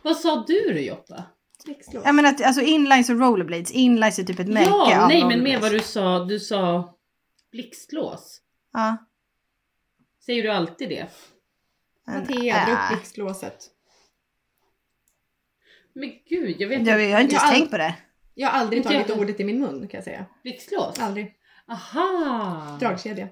Speaker 2: Vad sa du då Joppa?
Speaker 1: Blixtlås.
Speaker 3: Ja men att, alltså inlines och rollerblades, inlines är typ ett märke
Speaker 2: ja,
Speaker 3: av
Speaker 2: nej men med
Speaker 3: rollerblades.
Speaker 2: vad du sa. Du sa blixtlås.
Speaker 3: Ja.
Speaker 2: Säger du alltid det?
Speaker 3: En-
Speaker 1: Mattea, dra
Speaker 3: Äh.
Speaker 1: upp blixtlåset.
Speaker 2: Men gud, jag vet
Speaker 3: äh, Jag, jag har inte
Speaker 1: Jag
Speaker 3: ens
Speaker 1: har-
Speaker 3: tänkt på det.
Speaker 1: Jag har aldrig
Speaker 2: Inte
Speaker 1: tagit
Speaker 2: jag-
Speaker 1: ordet i min mun kan jag säga.
Speaker 2: Blixtlås?
Speaker 1: Aldrig.
Speaker 2: Aha!
Speaker 1: Dragkedja.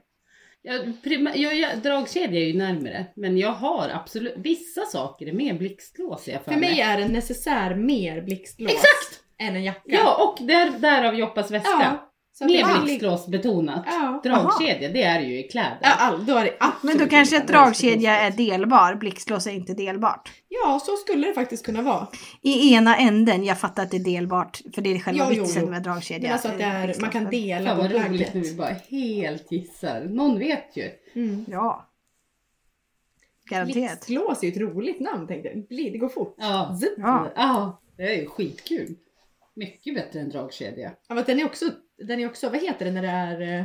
Speaker 2: Jag, prima, jag, jag, dragkedja är ju närmare, men jag har absolut, vissa saker är med blixtlås jag
Speaker 1: För mig är en necessär mer blixtlås
Speaker 2: Exakt!
Speaker 1: än en jacka.
Speaker 2: Ja, och där, därav Joppas väska.
Speaker 1: Ja, så att det
Speaker 2: Mer
Speaker 1: är-
Speaker 2: blixtlås betonat.
Speaker 1: Ja.
Speaker 2: Dragkedja, det är det ju i kläder.
Speaker 1: Ja, all, då är det absolut
Speaker 3: Ah, Men då kanske ett
Speaker 1: inte
Speaker 3: dragkedja är
Speaker 1: blixtlås.
Speaker 3: delbar, blixtlås är inte delbart.
Speaker 1: Ja, så skulle det faktiskt kunna vara.
Speaker 3: I ena änden, jag fattar att det är delbart, för det är själva
Speaker 1: Jo, jo,
Speaker 3: vitsen
Speaker 1: jo.
Speaker 3: med
Speaker 1: Men
Speaker 3: dragkedja.
Speaker 1: alltså att det är, man kan dela
Speaker 2: Fan
Speaker 1: på
Speaker 2: vad roligt
Speaker 1: plagget.
Speaker 2: när vi bara helt gissar. Någon vet ju.
Speaker 1: Mm.
Speaker 3: Ja. Garanterat.
Speaker 1: Blixtlås är ju ett roligt namn tänkte jag. Bli- Det går fort.
Speaker 2: Ja.
Speaker 1: Zup.
Speaker 3: Ja.
Speaker 2: ja. Det är ju skitkul. Mycket bättre än dragkedja.
Speaker 1: Ja, men den är också, den är också, vad heter det när det är eh,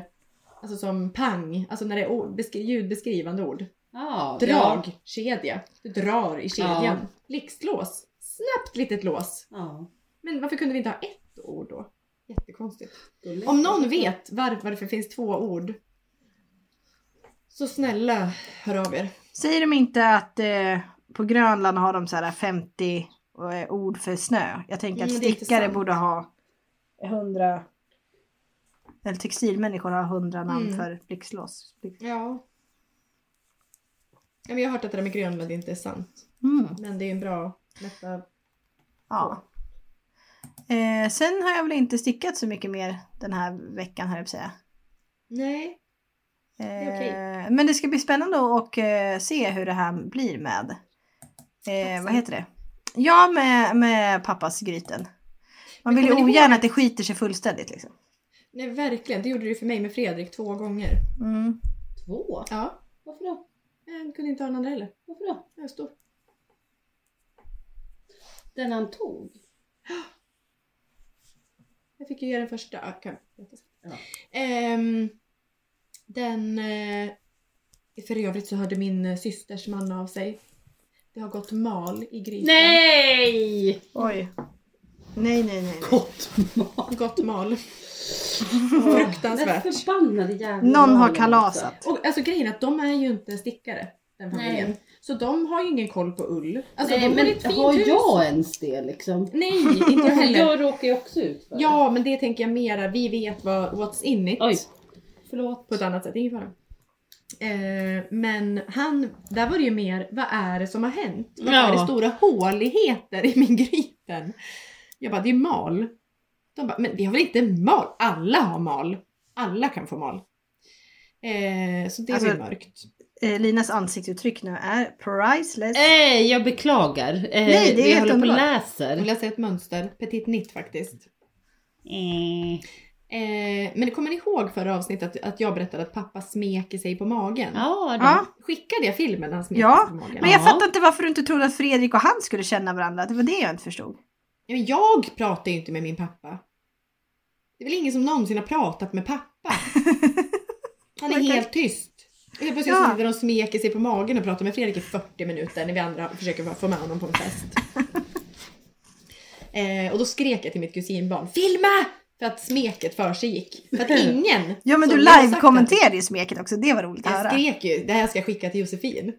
Speaker 1: alltså som pang, alltså när det är ord, beskri- ljudbeskrivande ord.
Speaker 2: Ja, Ja.
Speaker 1: Dragkedja. Du drar i kedjan.
Speaker 2: Ja.
Speaker 1: Blixtlås. Snabbt litet lås.
Speaker 2: ja.
Speaker 1: Men varför kunde vi inte ha ett ord då? Jättekonstigt.
Speaker 2: Gulligt.
Speaker 1: Om någon vet varför, varför det finns två ord så snälla hör av er.
Speaker 3: Säger de inte att eh, på Grönland har de så här 50 eh, ord för snö? Jag tänker att
Speaker 1: Mm, det är inte
Speaker 3: stickare
Speaker 1: sant.
Speaker 3: borde ha 100... Eller textilmänniskor har 100 namn
Speaker 1: Mm.
Speaker 3: för blixtlås. Blix-
Speaker 1: Ja. ja men jag har hört att det där med Grönland inte är sant.
Speaker 3: Mm.
Speaker 1: Men det är ju en bra lätta...
Speaker 3: Ja. Eh, sen har jag väl inte stickat så mycket mer den här veckan, här jag på att säga.
Speaker 1: Nej. är okej.
Speaker 3: Eh, Men det ska bli spännande att eh, se hur det här blir med, eh, vad heter det? Ja, med, med pappas gryten. Man
Speaker 1: Men
Speaker 3: vill ju
Speaker 1: kommer ni ihåg
Speaker 3: ogärna
Speaker 1: att-
Speaker 3: att det skiter sig fullständigt liksom.
Speaker 1: Nej verkligen, det gjorde du för mig med Fredrik två gånger.
Speaker 3: Mm.
Speaker 2: Två?
Speaker 1: Ja.
Speaker 2: Varför då?
Speaker 1: Eh, Jag kunde inte ha den andra heller.
Speaker 2: Varför då?
Speaker 1: Jag är stor.
Speaker 2: Den han tog?
Speaker 1: Jag fick ju ge den första. Ja, kan jag berätta sen.
Speaker 2: Ja.
Speaker 1: Ehm, den... eh, För övrigt så hörde min eh, systers man av sig. Det har gått mal i grytan.
Speaker 2: Nej!
Speaker 3: Oj. Nej, nej, nej. nej.
Speaker 2: Gott mat.
Speaker 1: Gått [LAUGHS] mal.
Speaker 2: Den
Speaker 1: Fruktansvärt.
Speaker 2: förbannade jävla
Speaker 3: Någon har
Speaker 2: malen
Speaker 3: kalasat.
Speaker 2: också.
Speaker 1: Och alltså grejen är att de är ju inte stickare. Den familjen.
Speaker 2: Nej.
Speaker 1: Så de har ju ingen koll på ull. Alltså
Speaker 2: Nej
Speaker 1: de har ett
Speaker 2: men
Speaker 1: fint
Speaker 2: har
Speaker 1: hus.
Speaker 2: jag ens det liksom?
Speaker 1: Nej, inte
Speaker 2: [LAUGHS]
Speaker 1: jag heller.
Speaker 2: Jag råkar ju också ut för
Speaker 1: Ja, men det tänker jag mera. Vi vet vad what's in it.
Speaker 2: det. Oj, förlåt.
Speaker 1: På ett annat sätt, ingen fara. Eh, men han, där var det ju mer, vad är det som har hänt? Vad
Speaker 2: Ja.
Speaker 1: är det stora håligheter i min gryten? Jag bara, det är mal. De bara, men vi har väl inte mal? Alla har mal. Alla kan få mal. Eh, så det
Speaker 3: Alltså-
Speaker 1: blir mörkt.
Speaker 3: Eh, Linas ansiktsuttryck nu är priceless.
Speaker 2: Nej, jag beklagar. Eh,
Speaker 3: Nej, det är
Speaker 2: vi
Speaker 3: helt
Speaker 2: håller på och
Speaker 3: underbart.
Speaker 1: Jag
Speaker 2: läser.
Speaker 1: vill se ett mönster, petit nitt faktiskt.
Speaker 2: Mm.
Speaker 1: Eh, men kommer ni ihåg förra avsnittet att, att jag berättade att pappa smeker sig på magen?
Speaker 2: Ja, det.
Speaker 3: Ja,
Speaker 1: Skickade jag filmen när han smeker
Speaker 3: Ja,
Speaker 1: sig på magen?
Speaker 3: men jag
Speaker 2: Ja.
Speaker 3: fattar inte varför du inte trodde att Fredrik och han skulle känna varandra. Det var det jag inte förstod.
Speaker 1: Nej, men jag pratar ju inte med min pappa. Det är väl ingen som någonsin har pratat med pappa. Han är
Speaker 3: Men tack.
Speaker 1: helt tyst. Helt plötsligt
Speaker 3: Ja.
Speaker 1: så sitter de och smeker sig på magen och pratar med Fredrik i 40 minuter när vi andra försöker få med honom på en
Speaker 3: [LAUGHS]
Speaker 1: fest. eh, och då skrek jag till mitt kusinbarn, filma! För att smeket för sig gick. För att ingen...
Speaker 3: [LAUGHS] Ja men
Speaker 1: som
Speaker 3: du
Speaker 1: jag har sagt
Speaker 3: live-kommenterade ju smeket också, det var roligt att
Speaker 1: jag
Speaker 3: höra.
Speaker 1: skrek ju, det här ska jag skicka till
Speaker 2: [LAUGHS]
Speaker 1: Josefin.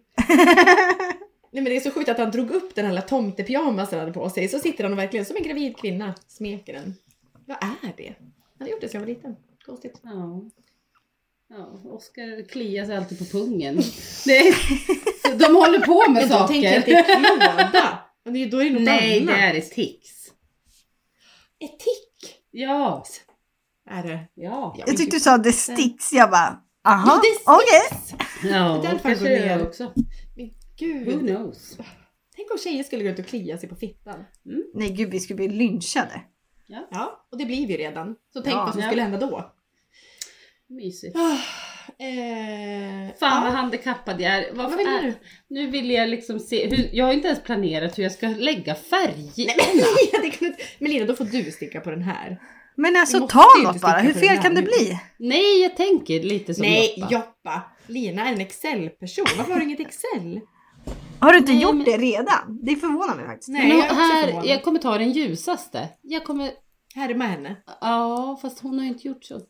Speaker 1: Nej men det är så sjukt att han drog upp den här lilla tomtepyjamasen han hade på sig. Så sitter han och verkligen som en gravid kvinna smeker den. Vad är det? Han har gjort det sedan jag var liten. Konstigt.
Speaker 2: Ja. Ja, Oskar kliar sig alltid på
Speaker 1: [LAUGHS]
Speaker 2: pungen. Det är, de håller på med
Speaker 1: Men då tänker jag att det
Speaker 2: saker.
Speaker 1: är klåda. Men det är ju- då är det något
Speaker 2: Nej, det
Speaker 1: annat.
Speaker 2: här är tics.
Speaker 1: Ett tick
Speaker 2: Ja.
Speaker 1: är det.
Speaker 2: Ja.
Speaker 3: Jag tyckte du sa det sticks, jag bara
Speaker 1: Ja,
Speaker 3: aha,
Speaker 1: det sticks.
Speaker 3: okej.
Speaker 2: Ja,
Speaker 1: Den får
Speaker 2: kanske
Speaker 1: gå
Speaker 2: det
Speaker 1: ner.
Speaker 2: är också.
Speaker 1: Men
Speaker 2: Who
Speaker 1: gud.
Speaker 2: knows?
Speaker 1: Tänk om tjejer skulle gå ut och klia sig på fittan.
Speaker 3: Nej gud, vi skulle bli lynchade.
Speaker 1: Ja, och det blir vi redan. Så tänk
Speaker 3: Ja.
Speaker 1: vad som
Speaker 2: Ja.
Speaker 1: skulle hända då.
Speaker 2: Mysigt.
Speaker 1: Ah, eh, ja.
Speaker 2: Fan vad handikappad jag är. Varför
Speaker 1: Vad vill
Speaker 2: är-
Speaker 1: du?
Speaker 2: Nu vill jag liksom se, hur, jag har inte ens planerat hur jag ska lägga färgerna.
Speaker 1: [LAUGHS] Ja, det kan du inte- Men Lina, då får du sticka på den här.
Speaker 3: Men
Speaker 1: Vi
Speaker 3: alltså
Speaker 1: måste
Speaker 3: ta
Speaker 1: ju inte
Speaker 3: något bara,
Speaker 1: sticka
Speaker 3: hur
Speaker 1: på det
Speaker 3: fel kan det
Speaker 1: här
Speaker 3: bli?
Speaker 2: Nej, jag tänker lite som
Speaker 1: Nej,
Speaker 2: Joppa.
Speaker 1: Joppa! Lina är en Excel-person. Varför har du inget Excel?
Speaker 3: Har du inte
Speaker 2: Nej,
Speaker 3: gjort
Speaker 2: men-
Speaker 3: det redan? Det förvånar mig faktiskt.
Speaker 1: Nej,
Speaker 2: Men
Speaker 1: jag är också
Speaker 2: här,
Speaker 1: förvånad.
Speaker 2: jag kommer ta den ljusaste. Jag kommer
Speaker 1: Härma henne.
Speaker 2: Ja, fast hon har ju inte gjort sådär.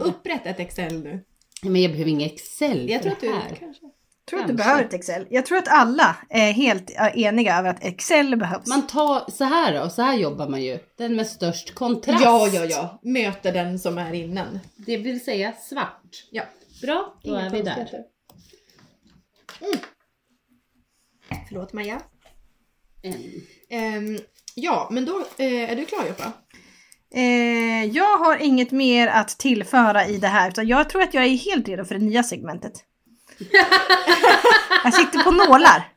Speaker 1: Upprätta ett Excel nu.
Speaker 2: Men jag behöver inga Excel
Speaker 1: Jag
Speaker 2: för
Speaker 1: tror att
Speaker 2: det här.
Speaker 1: du kanske...
Speaker 3: tror att
Speaker 2: Kanske.
Speaker 3: du behöver ett Excel. Jag tror att alla är helt eh, eniga över att Excel behövs.
Speaker 2: Man tar, så här då, så här jobbar man ju. Den med störst kontrast.
Speaker 1: Ja, ja, ja. Möta den som är innan.
Speaker 2: Det vill säga svart.
Speaker 1: Ja.
Speaker 2: Bra, då är vi där.
Speaker 1: konstigheter. Mm. Förlåt Maja.
Speaker 2: En.
Speaker 1: Ehm, ja, men då eh, är du klar Joppa?
Speaker 3: Eh, jag har inget mer att tillföra i det här utan jag tror att jag är helt redo för det
Speaker 1: [LAUGHS]
Speaker 3: nya segmentet. jag sitter på nålar.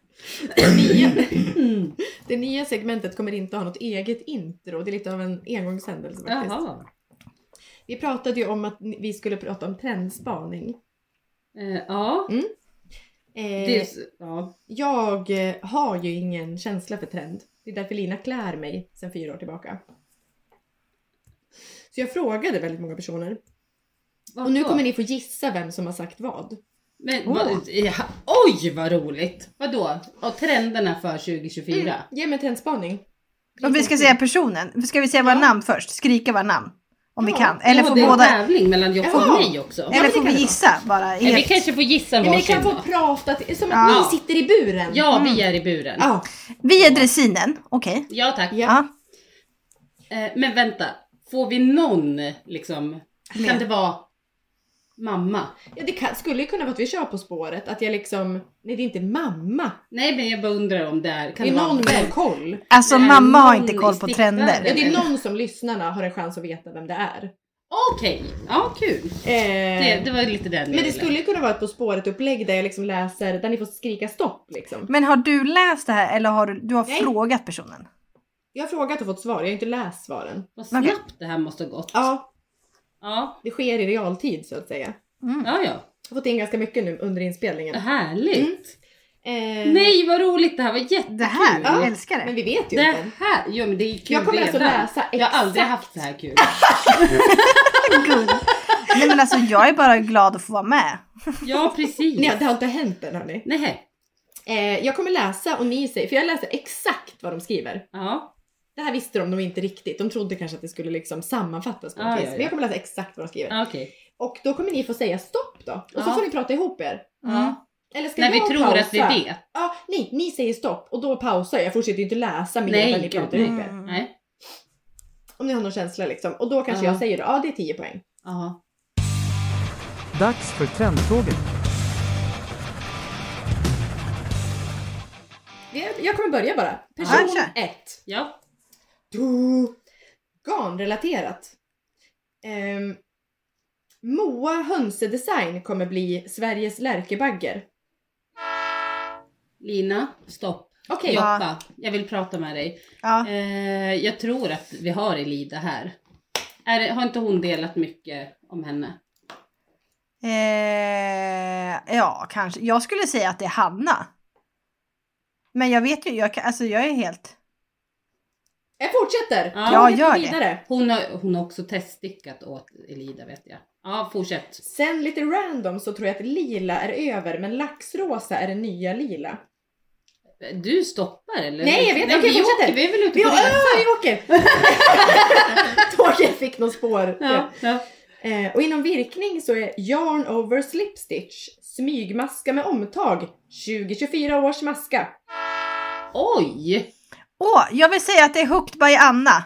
Speaker 1: Det nya,
Speaker 2: [CLEARS THROAT] Mm,
Speaker 1: det nya segmentet kommer inte ha något eget intro. Det är lite av en engångshändelse faktiskt.
Speaker 2: Jaha.
Speaker 1: Vi pratade ju om att ni- vi skulle prata om trendspaning.
Speaker 2: Eh, ja.
Speaker 1: Eh,
Speaker 2: Det är, s- ja.
Speaker 1: Jag eh, har ju ingen känsla för trend. Det är därför Lina klär mig sedan fyra år tillbaka. Så jag frågade väldigt många personer. Och nu
Speaker 2: Vadå?
Speaker 1: kommer ni få gissa vem som har sagt vad.
Speaker 2: Men,
Speaker 3: Åh.
Speaker 2: vad- ja, oj vad roligt! Vadå? Och trenderna för 2024?
Speaker 1: Ge mig trendspaning.
Speaker 3: Om vi ska säga personen, ska vi säga våra namn först? Skrika våra namn. Om vi
Speaker 1: Ja.
Speaker 3: kan. Eller
Speaker 2: ja,
Speaker 3: får
Speaker 2: det är en
Speaker 3: båda...
Speaker 2: tävling mellan Jocke och
Speaker 1: Jaha.
Speaker 2: mig också.
Speaker 1: men
Speaker 3: Eller
Speaker 1: det
Speaker 3: får
Speaker 1: kan
Speaker 3: vi
Speaker 1: vi
Speaker 3: gissa bara?
Speaker 2: Nej, vi
Speaker 3: Helt.
Speaker 2: kanske får gissa
Speaker 1: Nej, men ni
Speaker 2: varsin.
Speaker 1: kan få
Speaker 2: då.
Speaker 1: prata, till, som att
Speaker 3: Ja.
Speaker 1: ni sitter i buren.
Speaker 2: Ja, vi är i buren. Ja,
Speaker 1: Ja.
Speaker 3: Vi är dressinen, okej.
Speaker 1: Ja.
Speaker 2: tack.
Speaker 3: Ja.
Speaker 2: Eh, men vänta, får vi någon liksom? Kan det vara mamma?
Speaker 1: Ja, det kan, skulle ju kunna vara att vi kör På spåret, att jag liksom, nej det är inte mamma.
Speaker 2: Nej, men jag bara undrar om det är. Kan
Speaker 1: det är
Speaker 2: det
Speaker 1: någon
Speaker 2: vara
Speaker 1: med koll.
Speaker 3: Alltså
Speaker 2: Nej,
Speaker 3: mamma har
Speaker 2: någon
Speaker 3: inte koll
Speaker 2: i
Speaker 3: på
Speaker 2: stickvärlden.
Speaker 1: Ja,
Speaker 3: trender.
Speaker 1: det är någon som lyssnarna har en chans att veta vem det är.
Speaker 2: Okej, ja kul.
Speaker 1: Eh,
Speaker 2: Det, det var ju lite den
Speaker 1: men det
Speaker 2: delen.
Speaker 1: skulle ju kunna vara ett På spåret-upplägg där jag liksom läser, där ni får skrika stopp liksom.
Speaker 3: Men har du läst det här eller har du, du har
Speaker 1: Nej.
Speaker 3: frågat personen?
Speaker 1: Jag har frågat och fått svar, jag har inte läst svaren.
Speaker 2: Vad
Speaker 3: Okej.
Speaker 2: snabbt det här måste ha gått.
Speaker 1: Ja,
Speaker 2: Ja,
Speaker 1: det sker i realtid så att säga.
Speaker 3: Mm.
Speaker 2: ja. ja.
Speaker 1: Jag har fått in ganska mycket nu under inspelningen.
Speaker 2: Härligt.
Speaker 1: Eh,
Speaker 2: Nej vad roligt, det här var jättekul.
Speaker 3: Det här,
Speaker 1: Ja.
Speaker 3: jag älskar det.
Speaker 1: Men vi vet ju
Speaker 2: Det
Speaker 1: inte.
Speaker 2: här, jo men det är kul
Speaker 1: Jag kommer
Speaker 2: redan.
Speaker 1: alltså läsa
Speaker 2: Jag har aldrig
Speaker 1: exakt-
Speaker 2: haft så här kul.
Speaker 3: Gull. Nej men alltså jag är bara glad att få vara med.
Speaker 1: [LAUGHS]
Speaker 2: Ja precis.
Speaker 1: Nej, det har inte hänt än hörni.
Speaker 2: Nej.
Speaker 1: Eh, jag kommer läsa och ni säger, för jag läser exakt vad de skriver.
Speaker 2: Ja.
Speaker 1: Det här visste de nog inte riktigt. De trodde kanske att det skulle liksom sammanfattas på något
Speaker 2: Ah,
Speaker 1: vis.
Speaker 2: ja, Ah. ja.
Speaker 1: Men jag kommer läsa exakt vad de skriver.
Speaker 2: ja, okej.
Speaker 1: Och då kommer ni få säga stopp då. Och så
Speaker 2: Ja.
Speaker 1: får ni prata ihop er.
Speaker 3: Mm.
Speaker 2: Ja.
Speaker 1: Eller ska
Speaker 2: När Ah. vi
Speaker 1: jag
Speaker 2: tror
Speaker 1: pausa?
Speaker 2: att vi vet.
Speaker 1: Ja, nej, ni säger stopp och då pausar jag. Jag fortsätter ju inte läsa mer
Speaker 2: Nej,
Speaker 1: än ni
Speaker 2: gud,
Speaker 1: pratar ihop er.
Speaker 3: Mm.
Speaker 2: Nej.
Speaker 1: Om ni har någon känsla liksom. Och då kanske
Speaker 2: Ja.
Speaker 1: jag säger då, ja det är 10 poäng.
Speaker 2: Ja.
Speaker 4: Dags för trendfrågor.
Speaker 1: Det- Jag kommer börja bara.
Speaker 3: Ja,
Speaker 1: Person
Speaker 3: kör.
Speaker 1: 1.
Speaker 2: Ja.
Speaker 1: Du. Garnrelaterat. Ehm, Moa Hönsedesign kommer bli Sveriges lärkebagger.
Speaker 2: Lina, stopp.
Speaker 1: Okej,
Speaker 3: Ja.
Speaker 2: Joppa, jag vill prata med dig.
Speaker 3: Ja.
Speaker 2: Eh, jag tror att vi har Elida här. Är, det- har inte hon delat mycket om henne?
Speaker 3: Eh, ja, kanske. Jag skulle säga att det är Hanna. Men jag vet ju, jag, kan- alltså jag är helt...
Speaker 1: jag fortsätter.
Speaker 2: Ja,
Speaker 1: Jag
Speaker 3: gör
Speaker 1: går
Speaker 3: det.
Speaker 1: vidare.
Speaker 2: Hon har, hon har också teststickat åt Elida vet jag. Ja, fortsätt.
Speaker 1: Sen lite random så tror jag att lila är över men laxrosa är det nya lila.
Speaker 2: Du stoppar eller?
Speaker 1: Nej, jag vet. Okej,
Speaker 2: vi,
Speaker 1: fortsätter.
Speaker 2: åker, vi är väl ute
Speaker 1: Vi,
Speaker 2: på
Speaker 1: å-
Speaker 2: resa?
Speaker 1: Åh, vi åker! [LAUGHS] Tåget fick något spår.
Speaker 2: Ja, ja.
Speaker 1: Eh, och inom virkning så är yarn over slip stitch smygmaska med omtag 2024 års maska.
Speaker 2: Oj!
Speaker 3: Åh, jag vill säga att det är Hooked by Anna.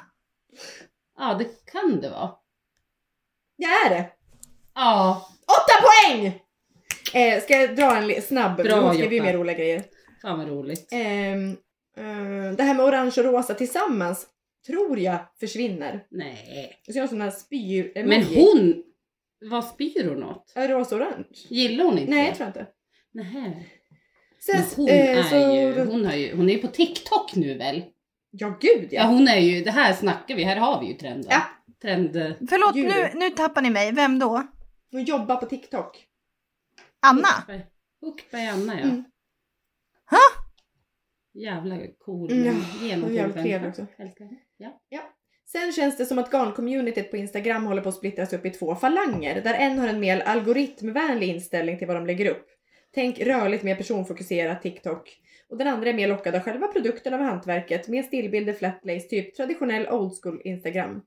Speaker 2: Ja, det kan det vara.
Speaker 1: Det är det!
Speaker 2: Ja,
Speaker 1: Åtta poäng! Eh, ska jag dra en li- snabb?
Speaker 2: Bra,
Speaker 1: Hon skriver ju
Speaker 2: Joppa.
Speaker 1: mer roliga grejer.
Speaker 2: fan vad roligt.
Speaker 1: Ehm, eh, det här med orange och rosa tillsammans tror jag försvinner.
Speaker 2: Nej.
Speaker 1: Så jag har sån här spyr eh,
Speaker 2: Men
Speaker 1: emoji.
Speaker 2: hon, vad spyr hon åt?
Speaker 1: Är rosa och orange?
Speaker 2: Gillar hon inte
Speaker 1: Nej,
Speaker 2: det?
Speaker 1: jag tror inte.
Speaker 2: Nej.
Speaker 1: Sen,
Speaker 2: Men hon,
Speaker 1: eh, så,
Speaker 2: är ju, hon, har ju, hon är ju på TikTok nu väl?
Speaker 1: Ja, gud
Speaker 2: Ja,
Speaker 1: ja.
Speaker 2: hon är ju, det här snackar vi, här har vi ju trenden.
Speaker 1: Ja.
Speaker 2: Trend,
Speaker 3: Förlåt,
Speaker 1: Julie.
Speaker 3: nu, nu tappar ni mig. Vem då?
Speaker 1: Hon jobbar på TikTok.
Speaker 3: Anna?
Speaker 2: Hookberg Anna ja.
Speaker 1: Mm.
Speaker 3: Ha?
Speaker 2: Jävla cool.
Speaker 1: Mm, ja,
Speaker 2: men genomcool
Speaker 1: jävligt
Speaker 2: människa.
Speaker 1: trevlig också.
Speaker 2: Älskar henne. Ja.
Speaker 1: Sen känns det som att garncommunityt på Instagram håller på att splittras upp i två falanger där en har en mer algoritmvänlig inställning till vad de lägger upp. Tänk rörligt mer personfokuserat TikTok. Och den andra är mer lockad av själva produkten av hantverket med stillbilder, flatlays, typ traditionell old school Instagram.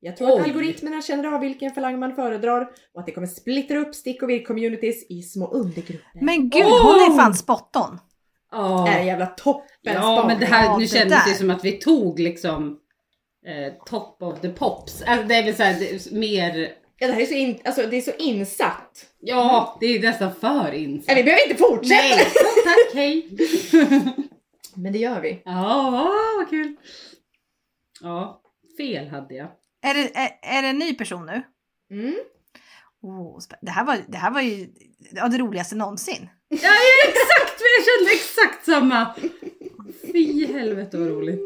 Speaker 1: Jag tror att
Speaker 2: Oj.
Speaker 1: algoritmerna känner av vilken falang man föredrar och att det kommer splittra upp stick och virr-communities i små undergrupper.
Speaker 3: Men gud, hon är fan spot on.
Speaker 2: Ja.
Speaker 1: Det är en jävla toppen
Speaker 2: Ja men det här,
Speaker 3: Ja,
Speaker 2: nu
Speaker 3: det
Speaker 2: kändes det
Speaker 3: där.
Speaker 2: som att vi tog liksom eh, top of the pops. Alltså, det är väl såhär det är mer,
Speaker 1: Ja, det här är så, in, alltså, det är så insatt.
Speaker 2: ja det är nästan för insatt.
Speaker 1: Nej, vi behöver inte fortsätta!
Speaker 2: Nej, tack hej.
Speaker 1: Men det gör vi.
Speaker 2: Ja, vad kul. Ja, fel hade jag.
Speaker 3: Är det, är, är det en ny person nu?
Speaker 1: Mm.
Speaker 3: Oh, spä- det, här var, det här var ju ja, det roligaste någonsin.
Speaker 2: Ja, ja, exakt, men jag kände exakt samma. Fy helvete vad roligt.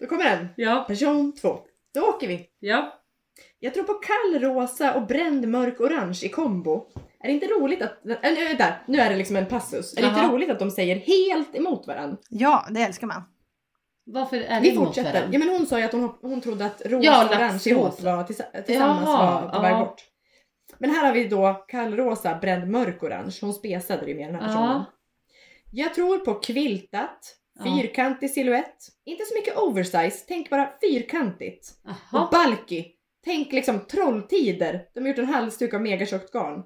Speaker 1: Då kommer den.
Speaker 2: Ja,
Speaker 1: Person två. Då åker vi.
Speaker 2: ja.
Speaker 1: Jag tror på kall rosa och bränd mörk orange i kombo. Är det inte roligt att... Äh, nu, vänta, nu är det liksom en passus. Är det inte
Speaker 2: Jaha.
Speaker 1: roligt att de säger helt emot varandra?
Speaker 3: Ja, det älskar man.
Speaker 2: Varför är det
Speaker 1: Vi
Speaker 2: emot
Speaker 1: fortsätter.
Speaker 2: varandra?
Speaker 1: Ja men hon sa ju att hon, hon trodde att rosa
Speaker 2: Ja,
Speaker 1: och orange
Speaker 2: laxrosa.
Speaker 1: ihop var tillsa- tillsammans
Speaker 2: Jaha,
Speaker 1: var på väg
Speaker 2: ja.
Speaker 1: bort. Men här har vi då kallrosa, bränd mörk orange. Hon spesade det ju med den här personen.
Speaker 2: Ja.
Speaker 1: Jag tror på kviltat,
Speaker 2: Ja.
Speaker 1: fyrkantig silhuett. Inte så mycket oversize, tänk bara fyrkantigt. Och
Speaker 2: Jaha.
Speaker 1: bulky. Tänk liksom trolltider. De har gjort en halsduk av megatjockt garn.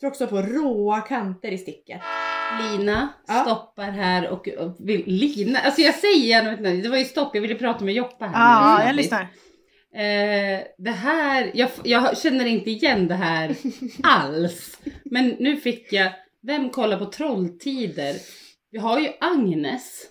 Speaker 1: Tror också på råa kanter i sticket.
Speaker 2: Lina
Speaker 1: Ja.
Speaker 2: stoppar här och, och vill, Lina, alltså jag säger gärna mitt namn. det var ju stopp, jag ville prata med Joppa här. nu.
Speaker 3: Ja,
Speaker 2: Mm.
Speaker 3: jag lyssnar.
Speaker 2: Eh, det här, jag, f- jag känner inte igen det
Speaker 3: [LAUGHS]
Speaker 2: här alls. Men nu fick jag, vem kollar på Trolltider? Vi har ju Agnes,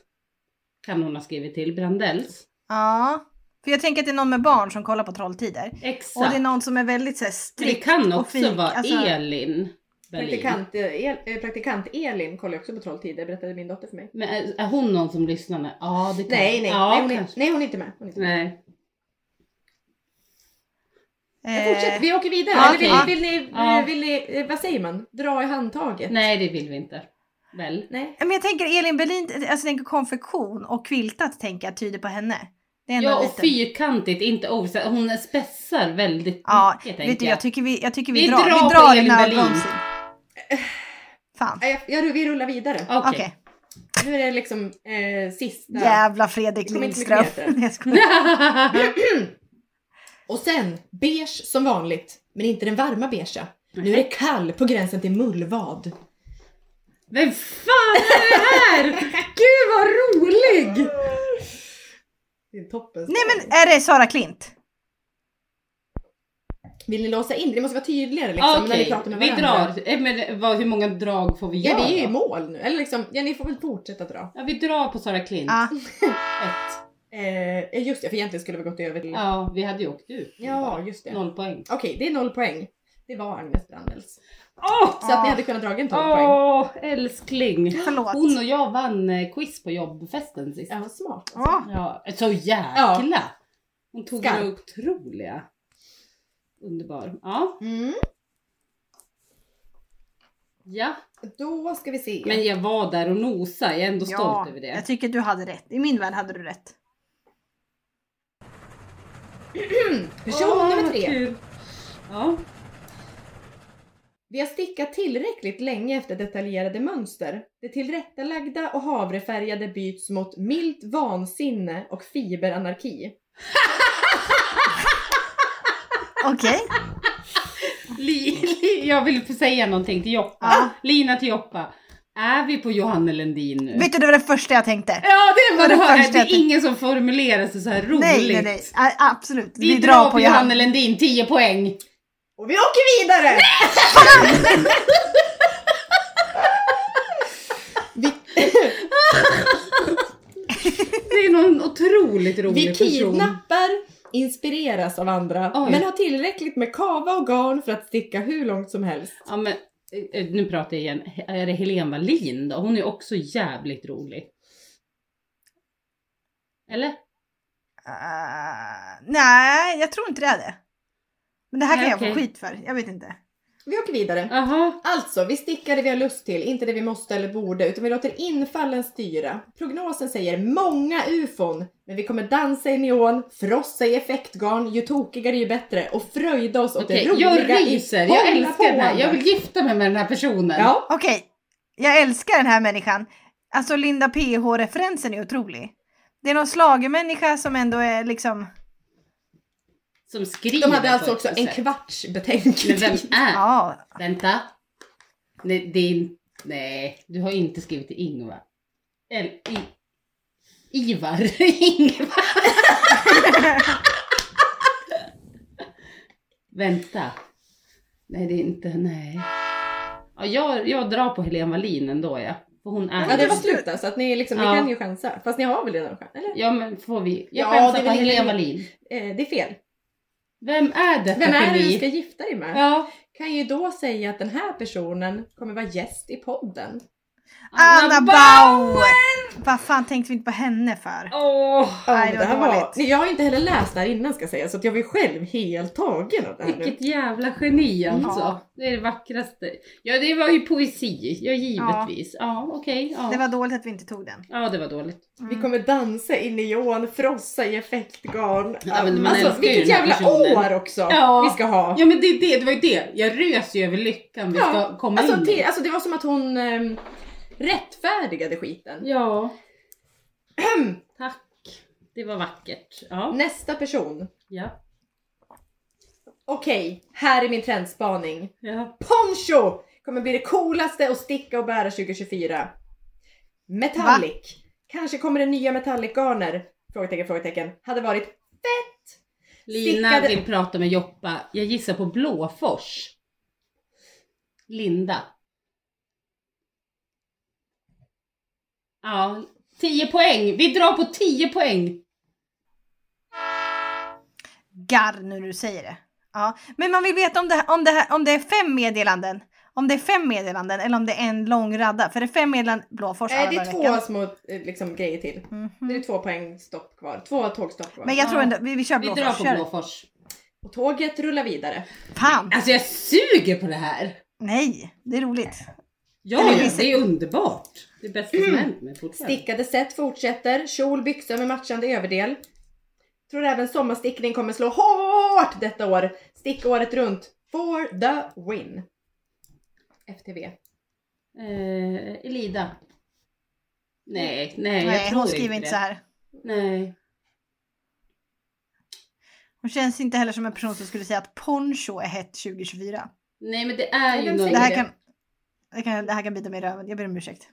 Speaker 2: kan hon ha skrivit till, Brandells.
Speaker 3: Ja. För jag tänker att det är någon med barn som kollar på Trolltider. Och
Speaker 2: Exakt.
Speaker 3: det är någon som är väldigt så här,
Speaker 2: Men det
Speaker 3: strikt
Speaker 2: kan
Speaker 3: och
Speaker 2: också
Speaker 3: fik.
Speaker 2: vara
Speaker 3: Alltså,
Speaker 2: Elin Berlin.
Speaker 1: Praktikant, eh, El, eh, praktikant Elin kollar ju också på trolltider, berättade min dotter för mig.
Speaker 2: Men är, är hon någon som lyssnar nu? Ja, det kan
Speaker 1: Nej, nej,
Speaker 2: ja,
Speaker 1: nej, hon är,
Speaker 2: kanske.
Speaker 1: nej hon är inte med. Hon är inte med.
Speaker 2: nej.
Speaker 1: Men Fortsätt,
Speaker 3: Eh,
Speaker 1: vi åker vidare.
Speaker 3: ja,
Speaker 1: Eller vill,
Speaker 2: okej.
Speaker 1: vill, ni,
Speaker 2: Ja.
Speaker 1: vill ni, eh, vad säger man? Dra i handtaget?
Speaker 2: nej, det vill vi inte. Väl?
Speaker 1: Nej.
Speaker 3: men jag tänker Elin Berlin, alltså jag tänker konfektion och kviltat tänker jag tyder på henne. Det är ändå
Speaker 2: Ja, och
Speaker 3: lite-
Speaker 2: fyrkantigt, inte oversized. Hon spetsar väldigt
Speaker 3: Ja,
Speaker 2: mycket
Speaker 3: vet
Speaker 2: tänker
Speaker 3: du,
Speaker 2: jag.
Speaker 3: jag tycker vi, jag tycker vi,
Speaker 2: Vi
Speaker 3: drar,
Speaker 2: drar
Speaker 3: vi
Speaker 2: på
Speaker 3: drar i
Speaker 2: Elin Berlin.
Speaker 3: nödbromsen. Fan.
Speaker 1: Nej, Jag, jag, vi rullar vidare.
Speaker 2: Okej.
Speaker 3: Okej.
Speaker 1: Nu är det liksom eh, sista.
Speaker 3: Jävla Fredrik
Speaker 1: Det kommer inte
Speaker 3: Lindström.
Speaker 1: mycket bättre.
Speaker 3: Nej, [LAUGHS] jag skojar.
Speaker 2: [LAUGHS]
Speaker 1: Och sen beige som vanligt, men inte den varma beigea. Nu är det kall på gränsen till mullvad.
Speaker 2: Vem fan är det här? [LAUGHS]
Speaker 1: Liksom,
Speaker 2: Gud vad rolig!
Speaker 1: Det är toppen.
Speaker 3: Nej men är det Sara Klint?
Speaker 1: Vill ni låsa in det? Det måste vara tydligare liksom, när ni
Speaker 2: Ah, Okej,
Speaker 1: pratar med
Speaker 2: vi
Speaker 1: varandra.
Speaker 2: drar. Eh, Men, vad, hur många drag får vi
Speaker 1: Ja,
Speaker 2: göra?
Speaker 1: vi är ju i
Speaker 2: då?
Speaker 1: mål nu. Eller liksom, ja, ni får väl fortsätta dra.
Speaker 2: ja, vi drar på Sara Klint.
Speaker 3: Ja.
Speaker 2: Ett.
Speaker 1: Eh, just det, för egentligen skulle vi gått över till...
Speaker 2: Ja, vi hade ju åkt ut.
Speaker 1: Ja, just det.
Speaker 2: Noll poäng.
Speaker 1: Okej, det är noll poäng. Det var Agnes Brandels.
Speaker 2: Åh!
Speaker 1: Så att ni
Speaker 3: Ah.
Speaker 1: hade kunnat dra en 12 poäng.
Speaker 2: Åh, älskling!
Speaker 3: Förlåt.
Speaker 2: Hon och jag vann eh, quiz på jobbfesten sist.
Speaker 1: Ja, smart.
Speaker 3: Ja.
Speaker 2: Ja, så jäkla! Hon tog
Speaker 1: Skarp.
Speaker 2: några otroliga. Underbar. Ja.
Speaker 1: Mm.
Speaker 2: ja.
Speaker 1: Då ska vi se.
Speaker 2: Men jag var där och nosa. Jag är ändå
Speaker 3: Ja,
Speaker 2: stolt över det.
Speaker 3: jag tycker du hade rätt. I min värld hade
Speaker 1: [LAUGHS]
Speaker 3: du rätt.
Speaker 1: Person
Speaker 2: Åh,
Speaker 1: nummer
Speaker 2: vad
Speaker 1: tre.
Speaker 2: kul. Ja.
Speaker 1: Vi har stickat tillräckligt länge efter detaljerade mönster. Det tillrättalagda och havrefärgade byts mot milt vansinne och fiberanarki.
Speaker 3: Okej.
Speaker 2: Li, li, jag vill säga någonting till Joppa.
Speaker 3: Ja.
Speaker 2: Lina till Joppa. Är vi på Johanne Lundin nu?
Speaker 3: Vet du det var det första jag tänkte?
Speaker 2: ja, det var
Speaker 3: Det
Speaker 2: det.
Speaker 3: var det
Speaker 2: Det,
Speaker 3: första jag
Speaker 2: är ingen som formulerar sig så här roligt.
Speaker 3: Nej, nej, nej. A- Absolut.
Speaker 2: Vi, drar på Johanne Lundin, 10 poäng.
Speaker 1: Och vi åker
Speaker 2: [LAUGHS]
Speaker 1: vidare! vi,
Speaker 2: Det är någon otroligt rolig
Speaker 1: vi
Speaker 2: person.
Speaker 1: kidnappar, inspireras av andra,
Speaker 2: Oj.
Speaker 1: men har tillräckligt med kava och garn för att sticka hur långt som helst.
Speaker 2: Ja, men, eh, eh, nu pratar jag igen. He- Är det Helene Wallin då? Hon är också jävligt rolig. Eller?
Speaker 3: Ah, nej, jag tror inte det är det. Men det här kan
Speaker 2: Nej,
Speaker 3: jag få
Speaker 2: okej.
Speaker 3: skit för. Jag vet inte.
Speaker 1: Vi åker vidare.
Speaker 2: Jaha.
Speaker 1: Alltså, vi stickar det vi har lust till, inte det vi måste eller borde, utan vi låter infallen styra. Prognosen säger många ufon, men vi kommer dansa i neon, frossa i effektgarn, ju tokigare ju bättre och fröjda oss åt
Speaker 2: Okej,
Speaker 1: det roliga
Speaker 2: jag ryser. Jag
Speaker 1: hålla
Speaker 2: älskar den här.
Speaker 1: pågående.
Speaker 2: Jag vill gifta mig med den här personen.
Speaker 1: Ja,
Speaker 3: Okej, jag älskar den här människan. Alltså Linda PH-referensen är otrolig. Det är någon slagermänniska som ändå är liksom...
Speaker 2: Som skriver
Speaker 1: De hade alltså
Speaker 2: på
Speaker 1: också
Speaker 2: ett
Speaker 1: en
Speaker 2: sätt.
Speaker 1: kvarts
Speaker 2: Men vem
Speaker 1: betänketid.
Speaker 2: är
Speaker 3: Ja,
Speaker 2: Vänta. Nej, det är, in- nej, du har inte skrivit till Ingvar. Eller i, Ivar. [LAUGHS] Ingvar. Vänta. Nej, det är inte, nej. Ja, jag, jag drar på Helene Wallin ändå ja. För hon är...
Speaker 1: Ja det var slut där, så att ni, liksom,
Speaker 2: Ja.
Speaker 1: ni kan ju chansa. Fast ni har väl redan chans? Eller?
Speaker 2: Ja men får vi? Jag
Speaker 1: Ja, det är
Speaker 2: chansar på
Speaker 1: väl ingen-
Speaker 2: Helene Wallin.
Speaker 1: Eh, det är fel.
Speaker 2: Vem är detta
Speaker 1: Vem är det du
Speaker 2: geni?
Speaker 1: ska gifta dig med?
Speaker 2: Ja.
Speaker 1: Kan ju då säga att den här personen kommer vara gäst i podden.
Speaker 3: Anna Bauer! Vad fan tänkte vi inte på henne för?
Speaker 2: Åh!
Speaker 3: Nej, det var dåligt.
Speaker 1: Nej, jag har inte heller läst det här innan ska jag säga så att jag var själv helt tagen av det här nu.
Speaker 2: Vilket jävla geni alltså.
Speaker 3: Ja.
Speaker 2: Det är det vackraste. Ja det var ju poesi, ja givetvis. Ja, okej. ja.
Speaker 3: Det var dåligt att vi inte tog den.
Speaker 2: ja det var dåligt.
Speaker 3: Mm.
Speaker 1: Vi kommer dansa i neon, frossa i effektgarn.
Speaker 2: Ja, men man
Speaker 1: alltså,
Speaker 2: älskar ju
Speaker 1: vilket
Speaker 2: den här
Speaker 1: jävla
Speaker 2: personen.
Speaker 1: år också
Speaker 2: Ja.
Speaker 1: vi ska ha.
Speaker 2: Ja men det, det, det var ju det. Jag rös ju över lyckan vi
Speaker 1: Ja,
Speaker 2: ska komma
Speaker 1: Alltså,
Speaker 2: in
Speaker 1: det,
Speaker 2: i.
Speaker 1: alltså det var som att hon ehm, rättfärdigade skiten.
Speaker 2: Ja. Tack. Det var vackert. Ja.
Speaker 1: Nästa person.
Speaker 2: Ja.
Speaker 1: Okej, här är min trendspaning.
Speaker 2: ja.
Speaker 1: Poncho kommer bli det coolaste att sticka och bära 2024. Metallic. Kanske kommer det nya metallic-garner? Frågetecken, frågetecken. Hade varit fett!
Speaker 2: Lina
Speaker 1: Stickade-
Speaker 2: vill prata med Joppa. Jag gissar på Blåfors. Linda. Ja, 10 poäng. Vi drar på 10 poäng.
Speaker 3: Garr nu när du säger det. Ja. Men man vill veta om det, här, om, det här, om det är fem meddelanden. Om det är fem meddelanden eller om det är en lång radda. För det är fem meddelanden, Blåfors
Speaker 1: Nej, det
Speaker 3: alla
Speaker 1: är två
Speaker 3: veckan.
Speaker 1: små eh, liksom, grejer till. Det
Speaker 3: Mhm.
Speaker 1: är två poäng stopp kvar. Två tågstopp kvar.
Speaker 3: Men jag tror
Speaker 2: Ja.
Speaker 3: ändå, vi, vi kör
Speaker 2: Vi
Speaker 3: Blåfors.
Speaker 2: drar på
Speaker 3: kör.
Speaker 2: Blåfors.
Speaker 1: Och tåget rullar vidare.
Speaker 3: Fan!
Speaker 2: Alltså jag suger på det här.
Speaker 3: Nej, det är roligt.
Speaker 2: Ja, ja, det är underbart. Det är bästa
Speaker 3: Mm.
Speaker 2: som hänt mig fortfarande.
Speaker 1: Stickade set fortsätter. Kjol, byxor med matchande överdel. Tror även sommarstickning kommer slå hårt detta år. Sticka året runt. For the win. FTV.
Speaker 2: Eh, Elida. Nej, nej, jag
Speaker 3: Nej,
Speaker 2: tror
Speaker 3: hon skriver inte
Speaker 2: det.
Speaker 3: så här.
Speaker 2: Nej.
Speaker 3: Hon känns inte heller som en person som skulle säga att poncho är hett 2024.
Speaker 2: nej, men det är
Speaker 1: Nej,
Speaker 2: ju
Speaker 1: vem
Speaker 2: någon...
Speaker 1: säger
Speaker 3: Det här
Speaker 1: det?
Speaker 3: kan, det kan, det här kan bita mig i röven, jag ber om ursäkt.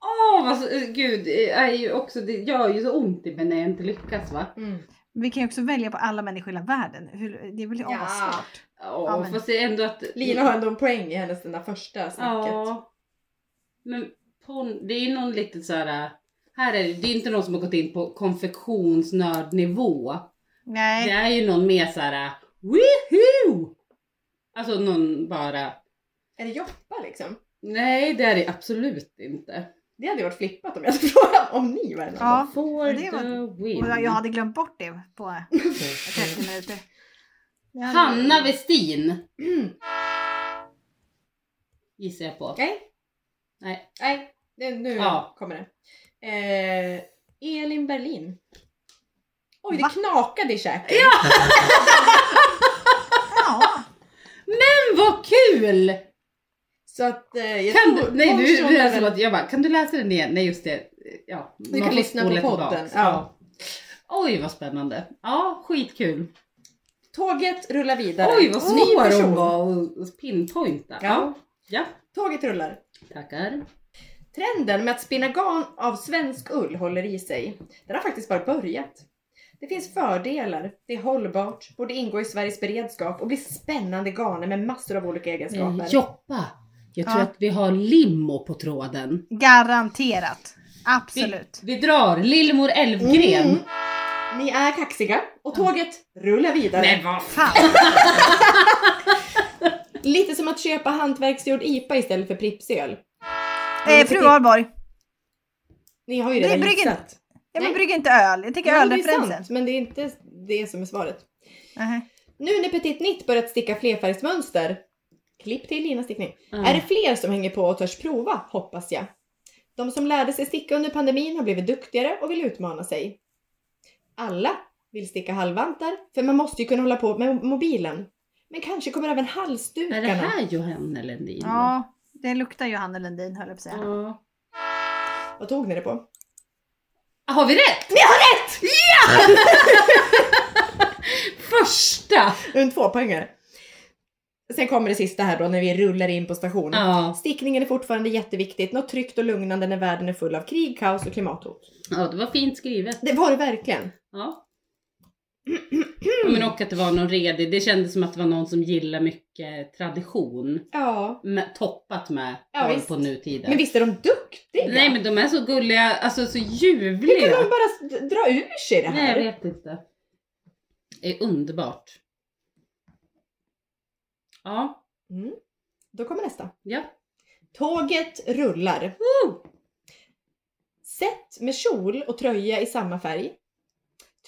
Speaker 2: Åh, vad så, gud. Det är ju också, det gör ju så ont i mig när jag inte lyckas va.
Speaker 1: Mm.
Speaker 3: Vi kan ju också välja på alla människor i hela världen. Hur, det är väl
Speaker 1: Ja.
Speaker 3: assvårt.
Speaker 2: Åh,
Speaker 3: Ja, men-
Speaker 2: fast det är ändå att...
Speaker 1: Lina har ändå en poäng i hennes den där första snacket.
Speaker 2: Ja. Men pon, det är ju någon lite så här... äh, Här är det, det är inte någon som har gått in på konfektionsnördnivå. Det
Speaker 3: Nej,
Speaker 2: är ju någon mer såhär woohoo! Alltså någon bara,
Speaker 1: Är det Joppa liksom?
Speaker 2: nej det är det absolut inte.
Speaker 1: Det hade ju varit flippat om jag hade [LAUGHS] frågat om ni var en av
Speaker 3: Ja.
Speaker 1: dem.
Speaker 2: For
Speaker 3: men det var-
Speaker 2: the win.
Speaker 3: och jag jag hade glömt bort det
Speaker 1: [LAUGHS]
Speaker 3: på 30 minuter. Jag hade-
Speaker 2: Hanna Westin
Speaker 1: Mm.
Speaker 2: [CLEARS THROAT] gissar jag på.
Speaker 1: Nej,
Speaker 2: Nej.
Speaker 1: nej. Det, nu
Speaker 2: Ja.
Speaker 1: kommer det. Eh, Elin Berlin. Oj, det
Speaker 3: Va?
Speaker 1: knakade i käken.
Speaker 3: Ja,
Speaker 2: Men vad kul!
Speaker 1: Så att eh, jag
Speaker 2: Kan
Speaker 1: tror-
Speaker 2: du, nej nu
Speaker 1: Ponchon
Speaker 2: är det
Speaker 1: är
Speaker 2: här
Speaker 1: väl-
Speaker 2: som att jag bara, kan du läsa den igen? Nej just det. Ja, man
Speaker 1: kan
Speaker 2: får
Speaker 1: lyssna på
Speaker 2: spola
Speaker 1: podden.
Speaker 2: tillbaks.
Speaker 1: Ja.
Speaker 2: Ja. Oj vad spännande. Ja, skitkul.
Speaker 1: Tåget rullar vidare.
Speaker 2: Oj vad
Speaker 1: Ny
Speaker 2: svår
Speaker 1: person.
Speaker 2: hon var att- att pinpointa.
Speaker 1: Ja.
Speaker 2: ja.
Speaker 1: Tåget rullar.
Speaker 2: Tackar.
Speaker 1: Trenden med att spinna garn av svensk ull håller i sig. Den har faktiskt bara börjat. Det finns fördelar, det är hållbart, borde ingå i Sveriges beredskap och blir spännande garner med massor av olika egenskaper.
Speaker 2: Eh, Joppa. Jag tror
Speaker 3: Ja.
Speaker 2: att vi har limo på tråden.
Speaker 3: garanterat.
Speaker 2: Vi,
Speaker 3: Absolut.
Speaker 2: vi drar Lillemor Elfgren.
Speaker 1: Mm. Ni är kaxiga och tåget rullar vidare.
Speaker 2: Men vad f-
Speaker 3: Fan.
Speaker 1: Lite som att köpa hantverksgjord IPA istället för Pripsöl.
Speaker 3: Eh, fru Ahlborg.
Speaker 1: Ni har ju
Speaker 3: Det är
Speaker 1: redan
Speaker 3: bryggen.
Speaker 1: gissat.
Speaker 3: Ja,
Speaker 1: Nej.
Speaker 3: men brygg inte öl. Jag tänker
Speaker 1: Ja, det är
Speaker 3: ölreferensen.
Speaker 1: sant, men det är inte det som är svaret.
Speaker 3: Nähä.
Speaker 1: Nu när Petit Nitt börjat sticka flerfärgsmönster, klipp till Linas stickning,
Speaker 2: Mm.
Speaker 1: är det fler som hänger på och törs prova, hoppas jag. De som lärde sig sticka under pandemin har blivit duktigare och vill utmana sig. Alla vill sticka halvvantar, för man måste ju kunna hålla på med mobilen. Men kanske kommer även
Speaker 2: Är det
Speaker 1: halsdukarna.
Speaker 2: här Johanna Lundin?
Speaker 3: Ja, det luktar Johanna Lundin höll jag på att säga.
Speaker 2: Ja.
Speaker 1: Vad tog ni det på?
Speaker 2: Ah, Har vi rätt? Ni har rätt! Ja! [LAUGHS] Första!
Speaker 1: En tvåpoängare. Sen kommer det sista här då när vi rullar in på stationen.
Speaker 2: Ja.
Speaker 1: Stickningen är fortfarande jätteviktigt. Något tryggt och lugnande när världen är full av krig, kaos och klimathot.
Speaker 2: ja, det var fint skrivet.
Speaker 1: Det var det verkligen.
Speaker 2: Ja. Ja, Men och att det var någon redig, det kändes som att det var någon som gillar mycket tradition.
Speaker 1: Ja.
Speaker 2: Med, toppat med
Speaker 1: Ja,
Speaker 2: koll
Speaker 1: visst.
Speaker 2: på nutiden.
Speaker 1: Men visst är de duktiga?
Speaker 2: Nej men de är så gulliga, alltså så
Speaker 1: Hur kan de
Speaker 2: ljuvliga.
Speaker 1: bara s- dra ur sig det
Speaker 2: Nej
Speaker 1: här?
Speaker 2: jag vet inte. Det är underbart. Ja,
Speaker 1: Mm. Då kommer nästa.
Speaker 2: ja.
Speaker 1: Tåget rullar. Sätt med kjol och tröja i samma färg.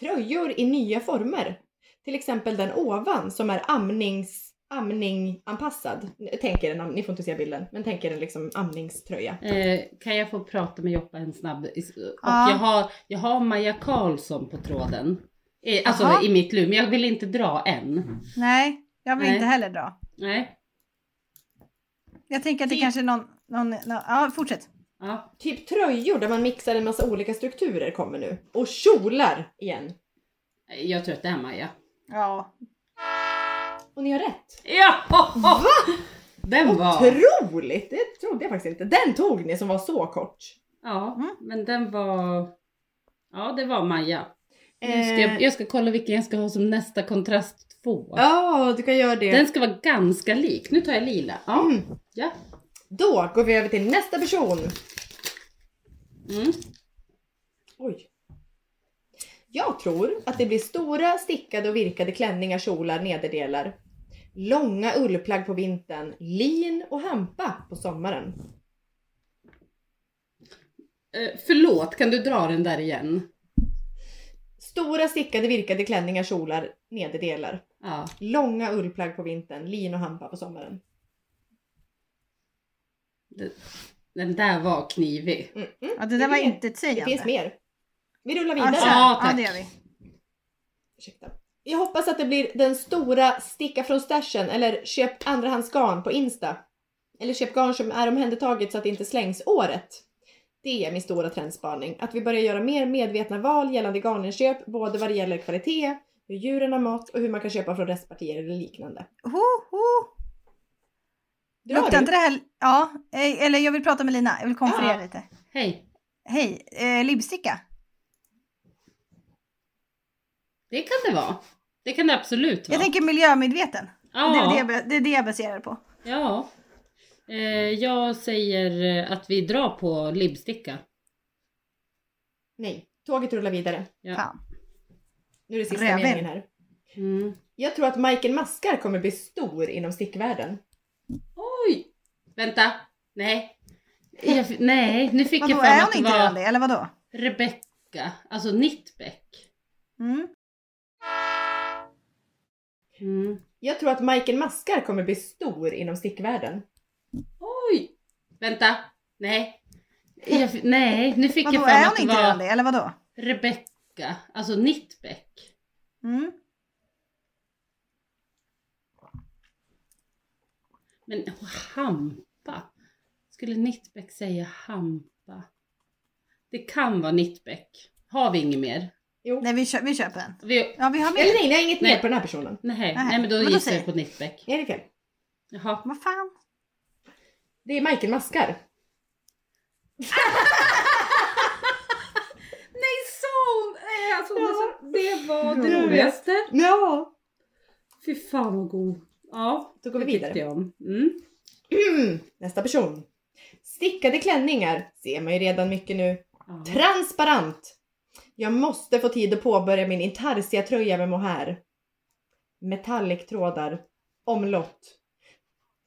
Speaker 1: Tröjor i nya former. Till exempel den ovan som är amnings, amninganpassad. Tänk er en, am- ni får inte se bilden, men tänk er en liksom amningströja.
Speaker 2: Eh, kan jag få prata med Joppa en snabb? Och
Speaker 3: Ja.
Speaker 2: jag, har, jag har Maja Karlsson på tråden. Eh, alltså
Speaker 3: Jaha.
Speaker 2: i mitt lur, men jag vill inte dra
Speaker 1: Mm.
Speaker 2: än.
Speaker 3: Nej, jag vill
Speaker 2: Nej.
Speaker 3: inte heller dra.
Speaker 2: Nej.
Speaker 3: Jag tänker att det
Speaker 2: Det-
Speaker 3: kanske är någon, någon, någon... Ja, fortsätt.
Speaker 2: Ja.
Speaker 1: Typ tröjor där man mixar en massa olika strukturer kommer nu. Och kjolar igen.
Speaker 2: Jag tror att det är Maja.
Speaker 3: Ja.
Speaker 1: Och ni har rätt.
Speaker 2: Ja!
Speaker 1: Va?
Speaker 2: Den var...
Speaker 1: Otroligt! Det trodde jag faktiskt inte. Den tog ni som var så kort.
Speaker 2: Ja,
Speaker 3: Mm.
Speaker 2: men den var... Ja, det var Maja. Nu ska
Speaker 1: Eh,
Speaker 2: jag, jag ska kolla vilken jag ska ha som nästa kontrast två.
Speaker 1: Ja, du kan göra det.
Speaker 2: Den ska vara ganska lik. Nu tar jag lila. Ja.
Speaker 1: Mm.
Speaker 2: ja.
Speaker 1: Då går vi över till nästa person.
Speaker 2: Mm.
Speaker 1: Oj. Jag tror att det blir stora stickade och virkade klänningar, kjolar, nederdelar. Långa ullplagg på vintern, lin och hampa på sommaren.
Speaker 2: Eh, förlåt, kan du dra den där igen?
Speaker 1: Stora stickade virkade klänningar, kjolar, nederdelar.
Speaker 2: Ja.
Speaker 1: Långa ullplagg på vintern, lin och hampa på sommaren.
Speaker 2: Den, den där var knivig.
Speaker 1: Mm.
Speaker 3: ja det där var
Speaker 1: Det-
Speaker 3: inte ett
Speaker 1: Det finns
Speaker 3: sägande.
Speaker 1: mer. Vi rullar
Speaker 3: Ja,
Speaker 1: vidare.
Speaker 3: kör.
Speaker 2: Ja,
Speaker 3: ja,
Speaker 2: tack.
Speaker 3: det gör vi.
Speaker 1: Ursäkta. Jag hoppas att det blir den stora sticka från stashen eller köp andrahandsgarn på Insta. Eller köp garn som är omhändertaget så att det inte slängs året. Det är min stora trendspaning. Att vi börjar göra mer medvetna val gällande garninköp, både vad det gäller kvalitet, hur djuren har mått och hur man kan köpa från restpartier eller liknande.
Speaker 3: Ho, ho.
Speaker 1: Drar
Speaker 3: Luktar
Speaker 1: du?
Speaker 3: inte det här... Ja, eh, eller jag vill prata med Lina. Jag vill konferera
Speaker 2: Ja.
Speaker 3: lite.
Speaker 2: Hej.
Speaker 3: Hej, eh, libbsticka.
Speaker 2: Det kan det vara. Det kan det absolut vara.
Speaker 3: Jag tänker miljömedveten.
Speaker 2: ja.
Speaker 3: Det, är det, jag be- det är det jag baserar det på.
Speaker 2: ja. Eh, jag säger eh, att vi drar på libbsticka.
Speaker 1: Nej, tåget rullar vidare.
Speaker 2: Ja.
Speaker 3: Fan.
Speaker 1: Nu är det sista
Speaker 3: Räven.
Speaker 1: meningen här.
Speaker 2: Mm.
Speaker 1: Jag tror att Michael Maskar kommer bli stor inom stickvärlden.
Speaker 2: Oj! Vänta. Nej. Jag, fi- nej, nu fick jag
Speaker 3: Vadå,
Speaker 2: fram
Speaker 3: är hon
Speaker 2: att det
Speaker 3: inte redan
Speaker 2: var
Speaker 3: det? Eller vadå?
Speaker 2: Rebecka. Alltså Nittbäck.
Speaker 3: Mm.
Speaker 2: Mm.
Speaker 1: Jag tror att Michael Maskar kommer bli stor inom stickvärlden.
Speaker 2: Oj! Vänta. Nej. Jag, fi- nej, nu fick
Speaker 3: Vadå,
Speaker 2: jag fram
Speaker 3: är hon
Speaker 2: att det
Speaker 3: inte redan
Speaker 2: var
Speaker 3: det? Eller vadå?
Speaker 2: Rebecka. Alltså Nittbäck.
Speaker 3: Mm.
Speaker 2: Men åh, hampa. Skulle Nittbäck säga hampa? Det kan vara Nittbäck. Har vi inget mer?
Speaker 1: Jo.
Speaker 3: Nej, vi, kö- vi köper den.
Speaker 2: Vi,
Speaker 3: Ja, vi har
Speaker 1: Eller
Speaker 3: med.
Speaker 1: nej, nej, inget
Speaker 2: Nej.
Speaker 1: mer på den här personen.
Speaker 2: nej,
Speaker 3: Nej,
Speaker 2: nej, men då
Speaker 3: men då
Speaker 2: gissar
Speaker 3: säger-
Speaker 2: jag på Nittbäck.
Speaker 1: Är det fel?
Speaker 2: Jaha.
Speaker 3: Vad fan?
Speaker 1: Det är Michael Maskar.
Speaker 2: Nej, sån! eh, Alltså,
Speaker 1: Ja.
Speaker 2: det var
Speaker 1: Ja. Ja!
Speaker 2: Fy fan vad god. Ja,
Speaker 1: Då går vi
Speaker 2: det
Speaker 1: vidare.
Speaker 2: tyckte jag om. Mm.
Speaker 1: Mm, nästa person. Stickade klänningar, ser man ju redan mycket nu.
Speaker 2: Ja.
Speaker 1: Transparent! Jag måste få tid att påbörja min intarsia-tröja med mohair. Metallic-trådar. Omlott.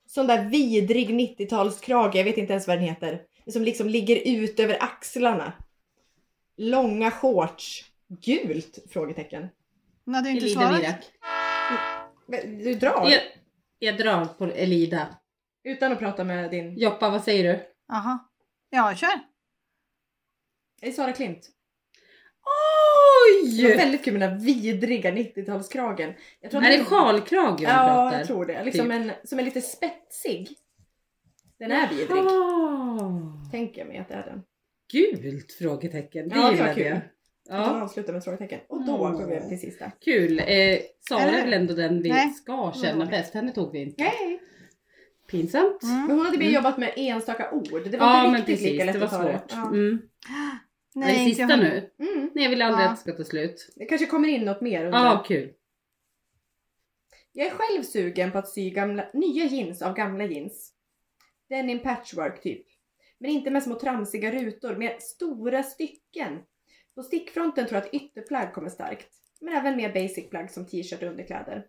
Speaker 1: Sån där vidrig 90-talskrage, jag vet inte ens vad den heter. Som liksom ligger ut över axlarna. Långa shorts. Gult? Frågetecken.
Speaker 3: Hon hade ju inte
Speaker 2: Elida
Speaker 3: svarat.
Speaker 2: Mirak.
Speaker 1: Men Du drar.
Speaker 2: Jag, jag drar på Elida.
Speaker 1: Utan att prata med din...
Speaker 2: Joppa, vad säger du?
Speaker 3: Jaha. Ja, kör.
Speaker 1: Det är eh, Sara Klint. Det var
Speaker 2: Oj!
Speaker 1: väldigt kul med den där vidriga 90-talskragen. Jag tror
Speaker 2: Är det
Speaker 1: att-
Speaker 2: sjalkrage hon
Speaker 1: Ja,
Speaker 2: pratar?
Speaker 1: jag tror det. Liksom
Speaker 2: Typ.
Speaker 1: en, som är lite spetsig. Den är vidrig.
Speaker 2: Ah.
Speaker 1: Tänker jag mig att det är den.
Speaker 2: Gult? Frågetecken. Det
Speaker 1: Ja, det var
Speaker 2: gillade
Speaker 1: kul.
Speaker 2: jag.
Speaker 1: Att de
Speaker 2: Ja,
Speaker 1: avslutar med ett frågetecken. Och då
Speaker 2: Mm.
Speaker 1: går vi över till sista.
Speaker 2: kul. Eh, Sara
Speaker 3: Eller-
Speaker 2: är väl ändå den vi
Speaker 3: Nej.
Speaker 2: ska känna bäst. Henne tog vi inte.
Speaker 1: Nej.
Speaker 2: Pinsamt.
Speaker 3: Mm.
Speaker 1: Men hon hade mer jobbat med enstaka ord. Det var
Speaker 2: Mm. Ja,
Speaker 1: inte
Speaker 2: men
Speaker 1: riktigt
Speaker 2: precis.
Speaker 1: lika lätt
Speaker 2: Det var
Speaker 1: att ta det.
Speaker 2: svårt.
Speaker 1: Ja.
Speaker 2: Mm.
Speaker 3: Nej,
Speaker 2: Nej,
Speaker 3: inte
Speaker 2: sista
Speaker 3: jag.
Speaker 2: nu.
Speaker 1: Mm.
Speaker 2: Nej, jag vill aldrig
Speaker 3: Ja.
Speaker 2: att det ska ta slut.
Speaker 1: Det kanske kommer in något mer under.
Speaker 2: Ja,
Speaker 1: [LAUGHS]
Speaker 2: kul. [LAUGHS]
Speaker 1: Jag är själv sugen på att sy gamla, nya jeans av gamla jeans. Denim patchwork typ. Men inte med små tramsiga rutor, med stora stycken. På stickfronten tror jag att ytterplagg kommer starkt. Men även mer basic plagg som t-shirt och underkläder.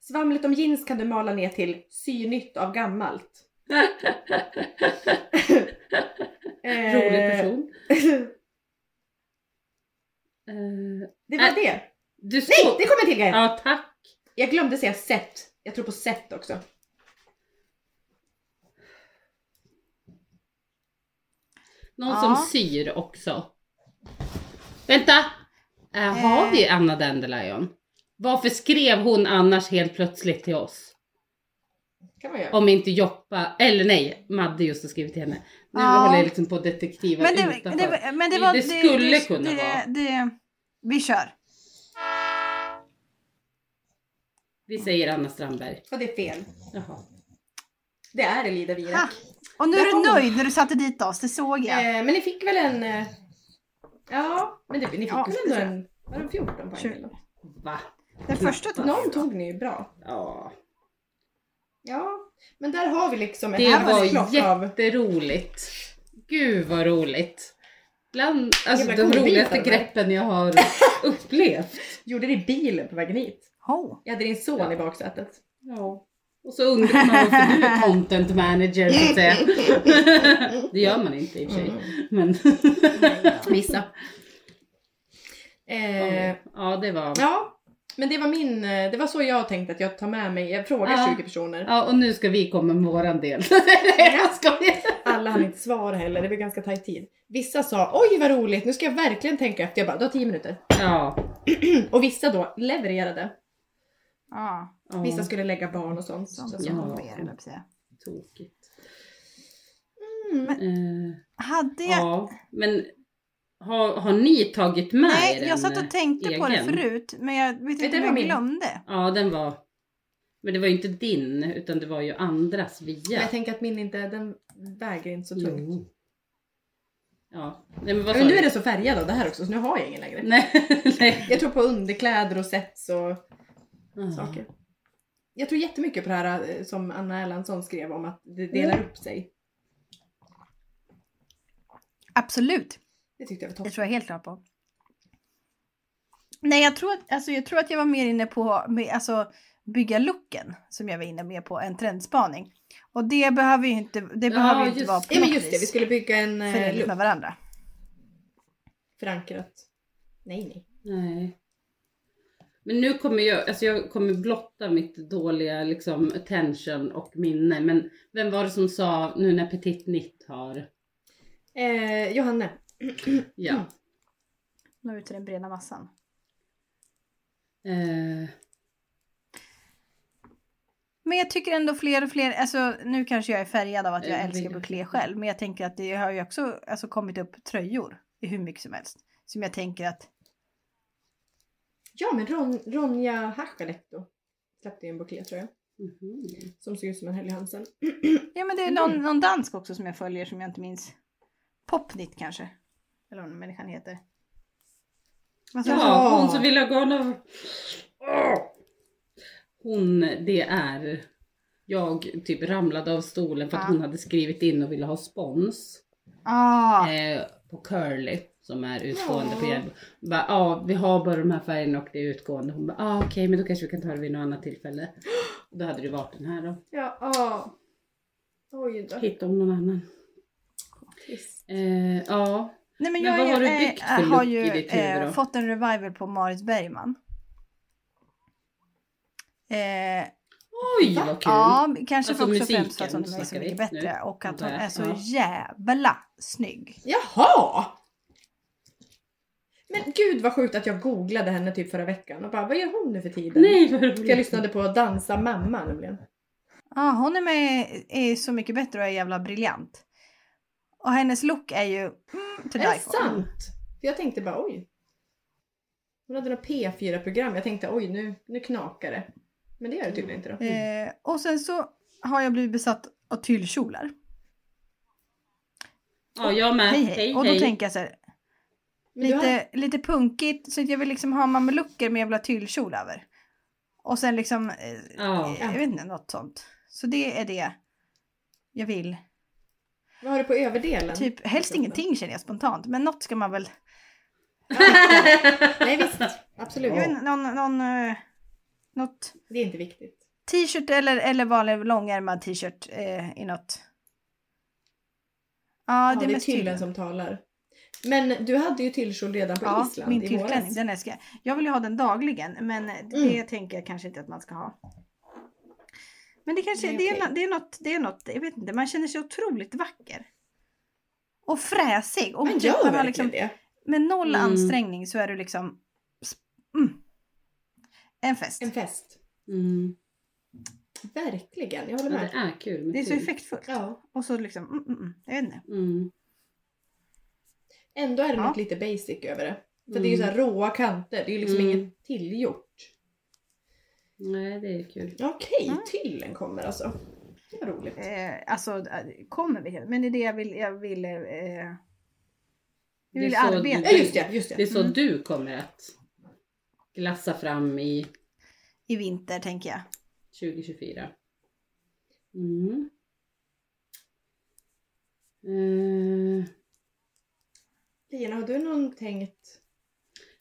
Speaker 1: Svamlet om jeans kan du mala ner till sy nytt av gammalt. Eh,
Speaker 2: [LAUGHS] Rolig person. Eh,
Speaker 1: Det var det.
Speaker 2: du
Speaker 1: Nej,
Speaker 2: sko-
Speaker 1: det kommer en till grej.
Speaker 2: Ja, tack.
Speaker 1: Jag glömde säga set. Jag tror på set också.
Speaker 2: Någon
Speaker 3: Ja.
Speaker 2: som syr också. Vänta! Eh, Har
Speaker 3: Eh.
Speaker 2: vi Anna Dandelion? Varför skrev hon annars helt plötsligt till oss?
Speaker 1: Kan man göra.
Speaker 2: Om inte Joppa, eller nej, Madde just har skrivit till henne. Nu
Speaker 3: Ja.
Speaker 2: håller jag liksom på detektiven
Speaker 3: Men det,
Speaker 2: utanför.
Speaker 3: det, men det,
Speaker 2: Det-
Speaker 3: var,
Speaker 2: det skulle kunna
Speaker 3: det,
Speaker 2: vara.
Speaker 3: Det, vi kör.
Speaker 2: Vi säger Anna Strandberg.
Speaker 1: Och det är fel.
Speaker 2: Jaha.
Speaker 1: Det är Elida Wierak.
Speaker 3: Ha. Och nu är du
Speaker 1: Jaha.
Speaker 3: nöjd när du satte dit oss, det såg jag.
Speaker 1: Eh, men ni fick väl en... eh, Ja, men det, ni fick
Speaker 3: Ja,
Speaker 1: väl ändå en... Var det 14 poäng
Speaker 3: Tjugo.
Speaker 1: eller? något?
Speaker 2: Va?
Speaker 3: Den första tog
Speaker 1: Någon tog ni ju bra.
Speaker 2: Ja.
Speaker 1: Ja, men där har vi liksom ett
Speaker 2: Det var
Speaker 1: axplock av...
Speaker 2: jätteroligt. Gud vad roligt. Bland alltså,
Speaker 1: Jävla
Speaker 2: de
Speaker 1: godbitar
Speaker 2: roligaste
Speaker 1: där.
Speaker 2: greppen jag
Speaker 3: [LAUGHS]
Speaker 2: har upplevt.
Speaker 1: Gjorde det i bilen på vägen hit.
Speaker 3: oh.
Speaker 1: Jag hade din son
Speaker 2: Ja.
Speaker 1: i [LAUGHS] baksätet.
Speaker 2: Ja. Och så undrar man varför du är content manager så att säga. Det gör man inte i och för sig. Men vissa.
Speaker 1: Eh,
Speaker 2: Ja det var.
Speaker 1: ja, men det var min... eh, Det var så jag tänkte att jag tar med mig... Jag frågar
Speaker 2: Ja.
Speaker 1: 20 personer.
Speaker 2: Ja och nu ska vi komma med våran del. [LAUGHS] Nej, jag skojar.
Speaker 1: Alla hann inte svara heller, det blev ganska tajt tid. Vissa sa oj vad roligt, nu ska jag verkligen tänka efter. Jag bara, du har 10 minuter. [CLEARS THROAT]
Speaker 2: Ja.
Speaker 1: Och vissa då levererade.
Speaker 3: Ja,
Speaker 2: ja.
Speaker 1: Vissa skulle lägga barn och sånt.
Speaker 3: sånt
Speaker 1: Så-
Speaker 3: som
Speaker 2: Ja.
Speaker 3: ja. ber, höll jag på att säga.
Speaker 2: Tokigt.
Speaker 1: Mm.
Speaker 2: Eh,
Speaker 3: Hade jag...
Speaker 2: ja men har, har ni tagit med er
Speaker 3: Nej,
Speaker 2: en,
Speaker 3: jag satt
Speaker 2: eh,
Speaker 3: och tänkte på det
Speaker 2: egen?
Speaker 3: förut, men jag vet inte
Speaker 1: det
Speaker 3: om
Speaker 1: var
Speaker 3: jag
Speaker 1: min.
Speaker 3: glömde.
Speaker 2: Ja den var. Men det var ju inte din utan det var ju andras via.
Speaker 1: Men jag tänker att min inte, den väger inte så tungt.
Speaker 2: Jo. Ja. Nej, men vad sa
Speaker 1: Men nu
Speaker 2: du?
Speaker 1: är det så färgad av det här också så nu har jag ingen längre.
Speaker 2: [LAUGHS] Nej. nej.
Speaker 1: Jag tror på underkläder och sets och
Speaker 2: Ah.
Speaker 1: saker. Jag tror jättemycket på det här eh, som Anna Erlandsson skrev om att
Speaker 2: Mm.
Speaker 1: det delar upp sig.
Speaker 3: Absolut,
Speaker 1: Det tyckte jag var
Speaker 3: det
Speaker 1: toppen.
Speaker 3: tror jag helt klart på. Nej, jag tror, att, alltså, jag tror att jag var mer inne på med, alltså, bygga looken som jag var inne mer på, en trendspaning. Och det behöver ju inte, det
Speaker 2: Ja,
Speaker 3: behöver ju inte
Speaker 2: just-
Speaker 3: vara på
Speaker 1: Ja men
Speaker 3: något
Speaker 1: just det, vi
Speaker 3: vis
Speaker 1: skulle bygga en eh,
Speaker 3: förenligt med
Speaker 1: look
Speaker 3: varandra.
Speaker 1: förankrat. Nej nej.
Speaker 2: Nej. Men nu kommer jag, alltså jag kommer blotta mitt dåliga liksom attention och minne. Men vem var det som sa nu när Petit Nitt har,
Speaker 1: Eh, Johanne.
Speaker 2: ja.
Speaker 3: Nå ut till den breda massan.
Speaker 2: Eh,
Speaker 3: Men jag tycker ändå fler och fler, alltså nu kanske jag är färgad av att jag
Speaker 2: Eh,
Speaker 3: älskar
Speaker 2: vi-
Speaker 3: Bucklé själv, men jag tänker att det har ju också alltså, kommit upp tröjor i hur mycket som helst. Som jag tänker att,
Speaker 1: Ja men Ron, Ronja Hachaletto släppte ju en buklet tror jag.
Speaker 2: mhm.
Speaker 1: Som såg ut som en Helly Hansen.
Speaker 3: ja men det är
Speaker 2: Mm.
Speaker 3: någon, någon dansk också som jag följer som jag inte minns. Popnit kanske? Eller vad den människan heter. Vad sa du?
Speaker 2: Ja, hon som vill ha galna... Åh! Hon, det är... Jag typ ramlade av stolen för att
Speaker 3: Ja.
Speaker 2: hon hade skrivit in och ville ha spons.
Speaker 3: Ah,
Speaker 2: eh, på Curly som är utgående på
Speaker 1: Ja.
Speaker 2: Hjällbo. Bara, Ja vi har bara de här färgerna och det är utgående. Hon bara ah, okej men då kanske vi kan ta det vid något annat tillfälle. Och då hade det varit den här då.
Speaker 1: Ja. ah. Oj då.
Speaker 2: Hittade hon någon annan.
Speaker 1: Trist.
Speaker 2: Eh, ja.
Speaker 3: Nej men,
Speaker 2: Men
Speaker 3: jag
Speaker 2: vad
Speaker 3: är-
Speaker 2: har du
Speaker 3: eh,
Speaker 2: byggt för look
Speaker 3: har
Speaker 2: i
Speaker 3: ju eh,
Speaker 2: ditt huvud då?
Speaker 3: fått en revival på Marit Bergman. Eh,
Speaker 2: Oj vad kul!
Speaker 3: Ja, men kanske
Speaker 2: Alltså
Speaker 3: också främst för
Speaker 2: musiken
Speaker 3: att hon är så
Speaker 2: snackar vi
Speaker 3: mycket bättre
Speaker 2: nu,
Speaker 3: och att
Speaker 2: antar
Speaker 3: hon
Speaker 2: jag.
Speaker 3: är så
Speaker 2: Ja.
Speaker 3: jävla snygg.
Speaker 1: Jaha! Men gud vad sjukt att jag googlade henne typ förra veckan och bara vad gör hon nu för tiden?
Speaker 2: Nej vad roligt!
Speaker 1: För jag lyssnade på Dansa mamma nämligen.
Speaker 3: Ja, hon är med är Så mycket bättre och är jävla briljant. Och hennes look är ju mm,
Speaker 1: Är det
Speaker 3: to die for.
Speaker 1: sant? För jag tänkte bara oj. Hon hade något P4-program. Jag tänkte oj nu, nu knakar det. Men det gör det tydligen inte då.
Speaker 3: Eh, och sen så har jag blivit besatt av tyllkjolar.
Speaker 2: Ja, jag med.
Speaker 3: Hej, hej. Och då tänker jag så här,
Speaker 1: Men du har-
Speaker 3: lite, lite punkigt, så att jag vill liksom ha mamelucker med jävla tyllkjol över. Och sen liksom, eh,
Speaker 2: Ja.
Speaker 3: eh, jag vet inte, något sånt. Så det är det jag vill.
Speaker 1: Vad har du på överdelen?
Speaker 3: Typ helst ingenting känner jag spontant, men något ska man väl,
Speaker 1: [LAUGHS] Nej visst, absolut.
Speaker 3: jag vet inte, någon, någon, eh, något
Speaker 1: Det är inte viktigt.
Speaker 3: t-shirt eller, eller vanlig långärmad t-shirt eh, i något. Ja,
Speaker 1: Ja,
Speaker 3: det är mest
Speaker 1: tyllen som talar. Men du hade ju tyllkjol redan på
Speaker 3: Ja,
Speaker 1: Island
Speaker 3: min
Speaker 1: i våras. Mm.
Speaker 3: tyllklänning, den älskar jag. Jag vill ju ha den dagligen, men det tänker jag kanske inte att man ska ha. Men det kanske,
Speaker 1: Nej,
Speaker 3: det,
Speaker 1: okej.
Speaker 3: är, nå- det är något, det är något, jag vet inte, man känner sig otroligt vacker. Och fräsig. Och
Speaker 1: Men
Speaker 3: typ
Speaker 1: gör
Speaker 3: man har
Speaker 1: verkligen
Speaker 3: liksom,
Speaker 1: det?
Speaker 3: Med noll
Speaker 2: Mm.
Speaker 3: ansträngning så är du liksom mm, en fest.
Speaker 1: En fest.
Speaker 2: Mm.
Speaker 1: Verkligen, jag håller
Speaker 2: Ja, det
Speaker 1: med.
Speaker 2: är kul med
Speaker 3: Det är så
Speaker 2: tyg.
Speaker 3: effektfullt.
Speaker 1: Ja,
Speaker 3: Och så liksom, mm, mm, mm, jag vet inte.
Speaker 2: Mm.
Speaker 1: ändå är det
Speaker 3: Ja.
Speaker 1: något lite basic över det. För det är ju så här råa kanter, det är ju liksom
Speaker 2: Mm.
Speaker 1: inget tillgjort.
Speaker 2: Nej, det är kul.
Speaker 1: Okej,
Speaker 3: Mm.
Speaker 1: tyllen kommer alltså. Det var roligt.
Speaker 3: Eh, alltså, eh, kommer vi till, men det är det jag vill, jag vill, eh, jag
Speaker 2: Det är
Speaker 3: vill
Speaker 2: så-
Speaker 3: arbeta.
Speaker 1: Ja just det, just
Speaker 2: Det är
Speaker 1: det.
Speaker 2: så
Speaker 3: Mm.
Speaker 2: du kommer att glassa fram i
Speaker 3: i vinter tänker jag.
Speaker 2: 2024. Mm. Eh,
Speaker 1: Lina, har du någon tänkt?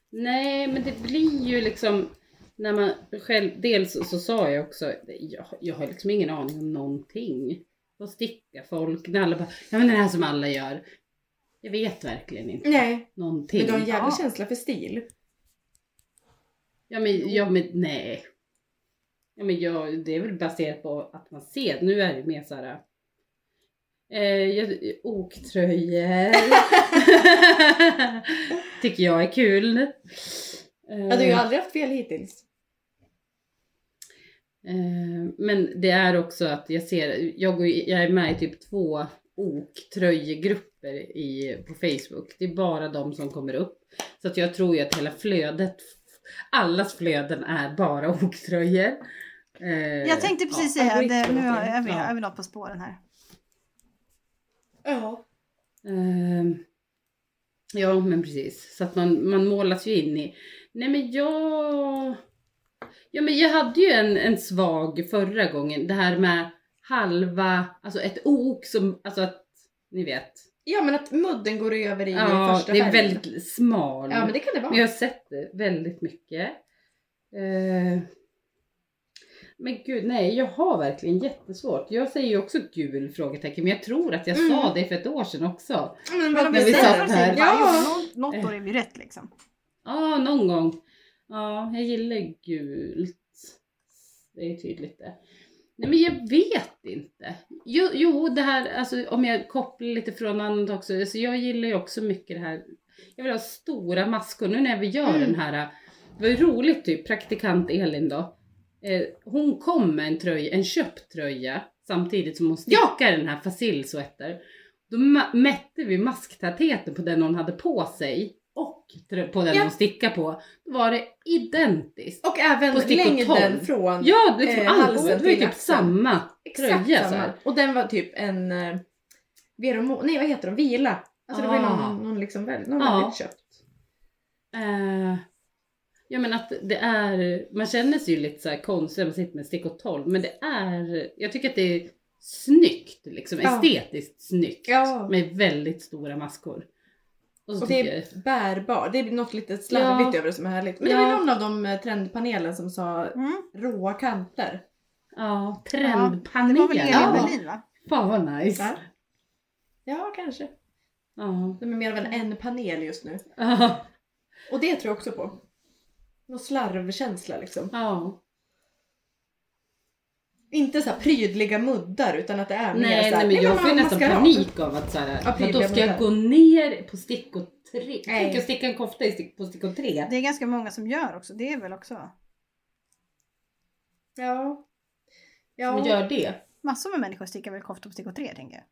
Speaker 2: nej, men det blir ju liksom när man själv, dels så, så sa jag också, jag, jag har liksom ingen aning om någonting. Vad stickar folk? När alla bara, ja men det här som alla gör. Jag vet verkligen inte
Speaker 1: Nej,
Speaker 2: någonting.
Speaker 1: Mm. men du har en jävla
Speaker 3: Ja.
Speaker 1: känsla för stil.
Speaker 2: Ja men, ja men nej. Ja men jag, det är väl baserat på att man ser. Nu är det mer såhär. Eh, jag-
Speaker 1: [LAUGHS]
Speaker 2: oktröjor. Tycker jag är kul. Eh,
Speaker 1: Ja, du har ju
Speaker 2: Mm.
Speaker 1: aldrig haft fel hittills.
Speaker 2: eh, men det är också att jag ser, jag, går, i- jag är med i typ två oktröjegrupper i, på Facebook. Det är bara de som kommer upp. Så att jag tror ju att hela flödet, allas flöden är bara oktröjor. Eh,
Speaker 3: Jag tänkte precis säga att
Speaker 1: algoritmen
Speaker 3: det- nu
Speaker 1: återigen.
Speaker 3: är vi,
Speaker 2: Ja.
Speaker 3: är vi något på spåren här.
Speaker 1: Ja.
Speaker 2: Ehm, ja, men precis. Så att man, man målas ju in i... Nej men jag... Ja men jag hade ju en, en svag förra gången. Det här med halva, alltså ett ok som, alltså att, ni vet.
Speaker 1: Ja men att mudden går över i
Speaker 2: Ja,
Speaker 1: första
Speaker 2: det är
Speaker 1: färgen.
Speaker 2: väldigt smal.
Speaker 1: Ja men det kan det vara.
Speaker 2: Men jag har sett det väldigt mycket. Eh, men gud, nej, jag har verkligen jättesvårt. Jag säger ju också gul frågetecken, men jag tror att jag sa
Speaker 1: Mm.
Speaker 2: det för ett år sedan också.
Speaker 1: Men
Speaker 3: Men
Speaker 1: vad
Speaker 3: om
Speaker 2: när
Speaker 3: vi
Speaker 2: vi
Speaker 1: precis.
Speaker 2: satt
Speaker 3: säger
Speaker 2: här.
Speaker 3: här.
Speaker 1: Ja.
Speaker 3: Ja. Något år är vi rätt liksom.
Speaker 2: Ja, någon gång. Ja, jag gillar gult. Det är ju tydligt det. Nej men jag vet inte. Jo, jo det här, alltså om jag kopplar lite från annat också. Alltså, jag gillar ju också mycket det här. Jag vill ha stora maskor. Nu när vi gör
Speaker 1: Mm.
Speaker 2: den här, det var ju roligt typ, praktikant Elin då. Eh, hon kom med en tröja, en köpt tröja samtidigt som hon stickar den här facilsweater. Då ma- mätte vi masktätheten på den hon hade på sig och trö- på den
Speaker 1: Ja.
Speaker 2: hon stickade på. Då var det identiskt.
Speaker 1: Och även
Speaker 2: På stick och
Speaker 1: längden
Speaker 2: tolv.
Speaker 1: från.
Speaker 2: Ja, liksom
Speaker 1: Eh,
Speaker 2: allt.
Speaker 1: halsen
Speaker 2: Det var ju
Speaker 1: till
Speaker 2: typ
Speaker 1: axeln.
Speaker 2: samma
Speaker 1: Exakt
Speaker 2: tröja så
Speaker 1: samma.
Speaker 2: här.
Speaker 1: Och den var typ en eh, Veromo, nej vad heter de? Vila. Alltså det var ju
Speaker 2: Ah.
Speaker 1: någon, någon liksom väldigt, någon
Speaker 2: Ja.
Speaker 1: väldigt köpt.
Speaker 2: Eh, ja men att det är, man känner sig ju lite så här konstig när man sitter med stick och tolv men det är, jag tycker att det är snyggt liksom,
Speaker 1: Ja.
Speaker 2: estetiskt snyggt
Speaker 1: Ja.
Speaker 2: med väldigt stora maskor. Och så
Speaker 1: Och
Speaker 2: tycker
Speaker 1: det
Speaker 2: jag,
Speaker 1: är bärbar, det är något lite slarvigt
Speaker 2: Ja.
Speaker 1: över det som är härligt. Men det var
Speaker 2: Ja.
Speaker 1: ju någon av de eh, trendpanelen som sa
Speaker 3: Mm.
Speaker 1: råa kanter.
Speaker 2: ja,
Speaker 3: Det
Speaker 2: trendpanel.
Speaker 3: var väl Elin
Speaker 2: Ja.
Speaker 3: Berlin va?
Speaker 2: Fan vad nice.
Speaker 1: Ja. ja kanske.
Speaker 2: Ja. [LAUGHS]
Speaker 1: De är mer av en
Speaker 2: Mm.
Speaker 1: en panel just nu.
Speaker 2: Ja.
Speaker 1: Och det tror jag också på. Någon slarvkänsla liksom.
Speaker 2: ja.
Speaker 1: Inte så här prydliga muddar utan att det är mer
Speaker 2: Nej,
Speaker 1: så här,
Speaker 2: nej men jag
Speaker 1: man-
Speaker 2: får ju
Speaker 1: man
Speaker 2: nästan
Speaker 1: ska ha-
Speaker 2: panik av att såhär,
Speaker 1: Ja,
Speaker 2: ja, då ska jag
Speaker 1: prydliga
Speaker 2: gå ner på stick och tre.
Speaker 1: Nej.
Speaker 2: Tänk att sticka en kofta i stick, på stick och tre.
Speaker 3: Det är ganska många som gör också. Det är väl också
Speaker 1: Ja.
Speaker 2: Som
Speaker 1: Ja.
Speaker 2: gör det.
Speaker 3: massor med människor stickar väl koftor på stick och tre tänker jag.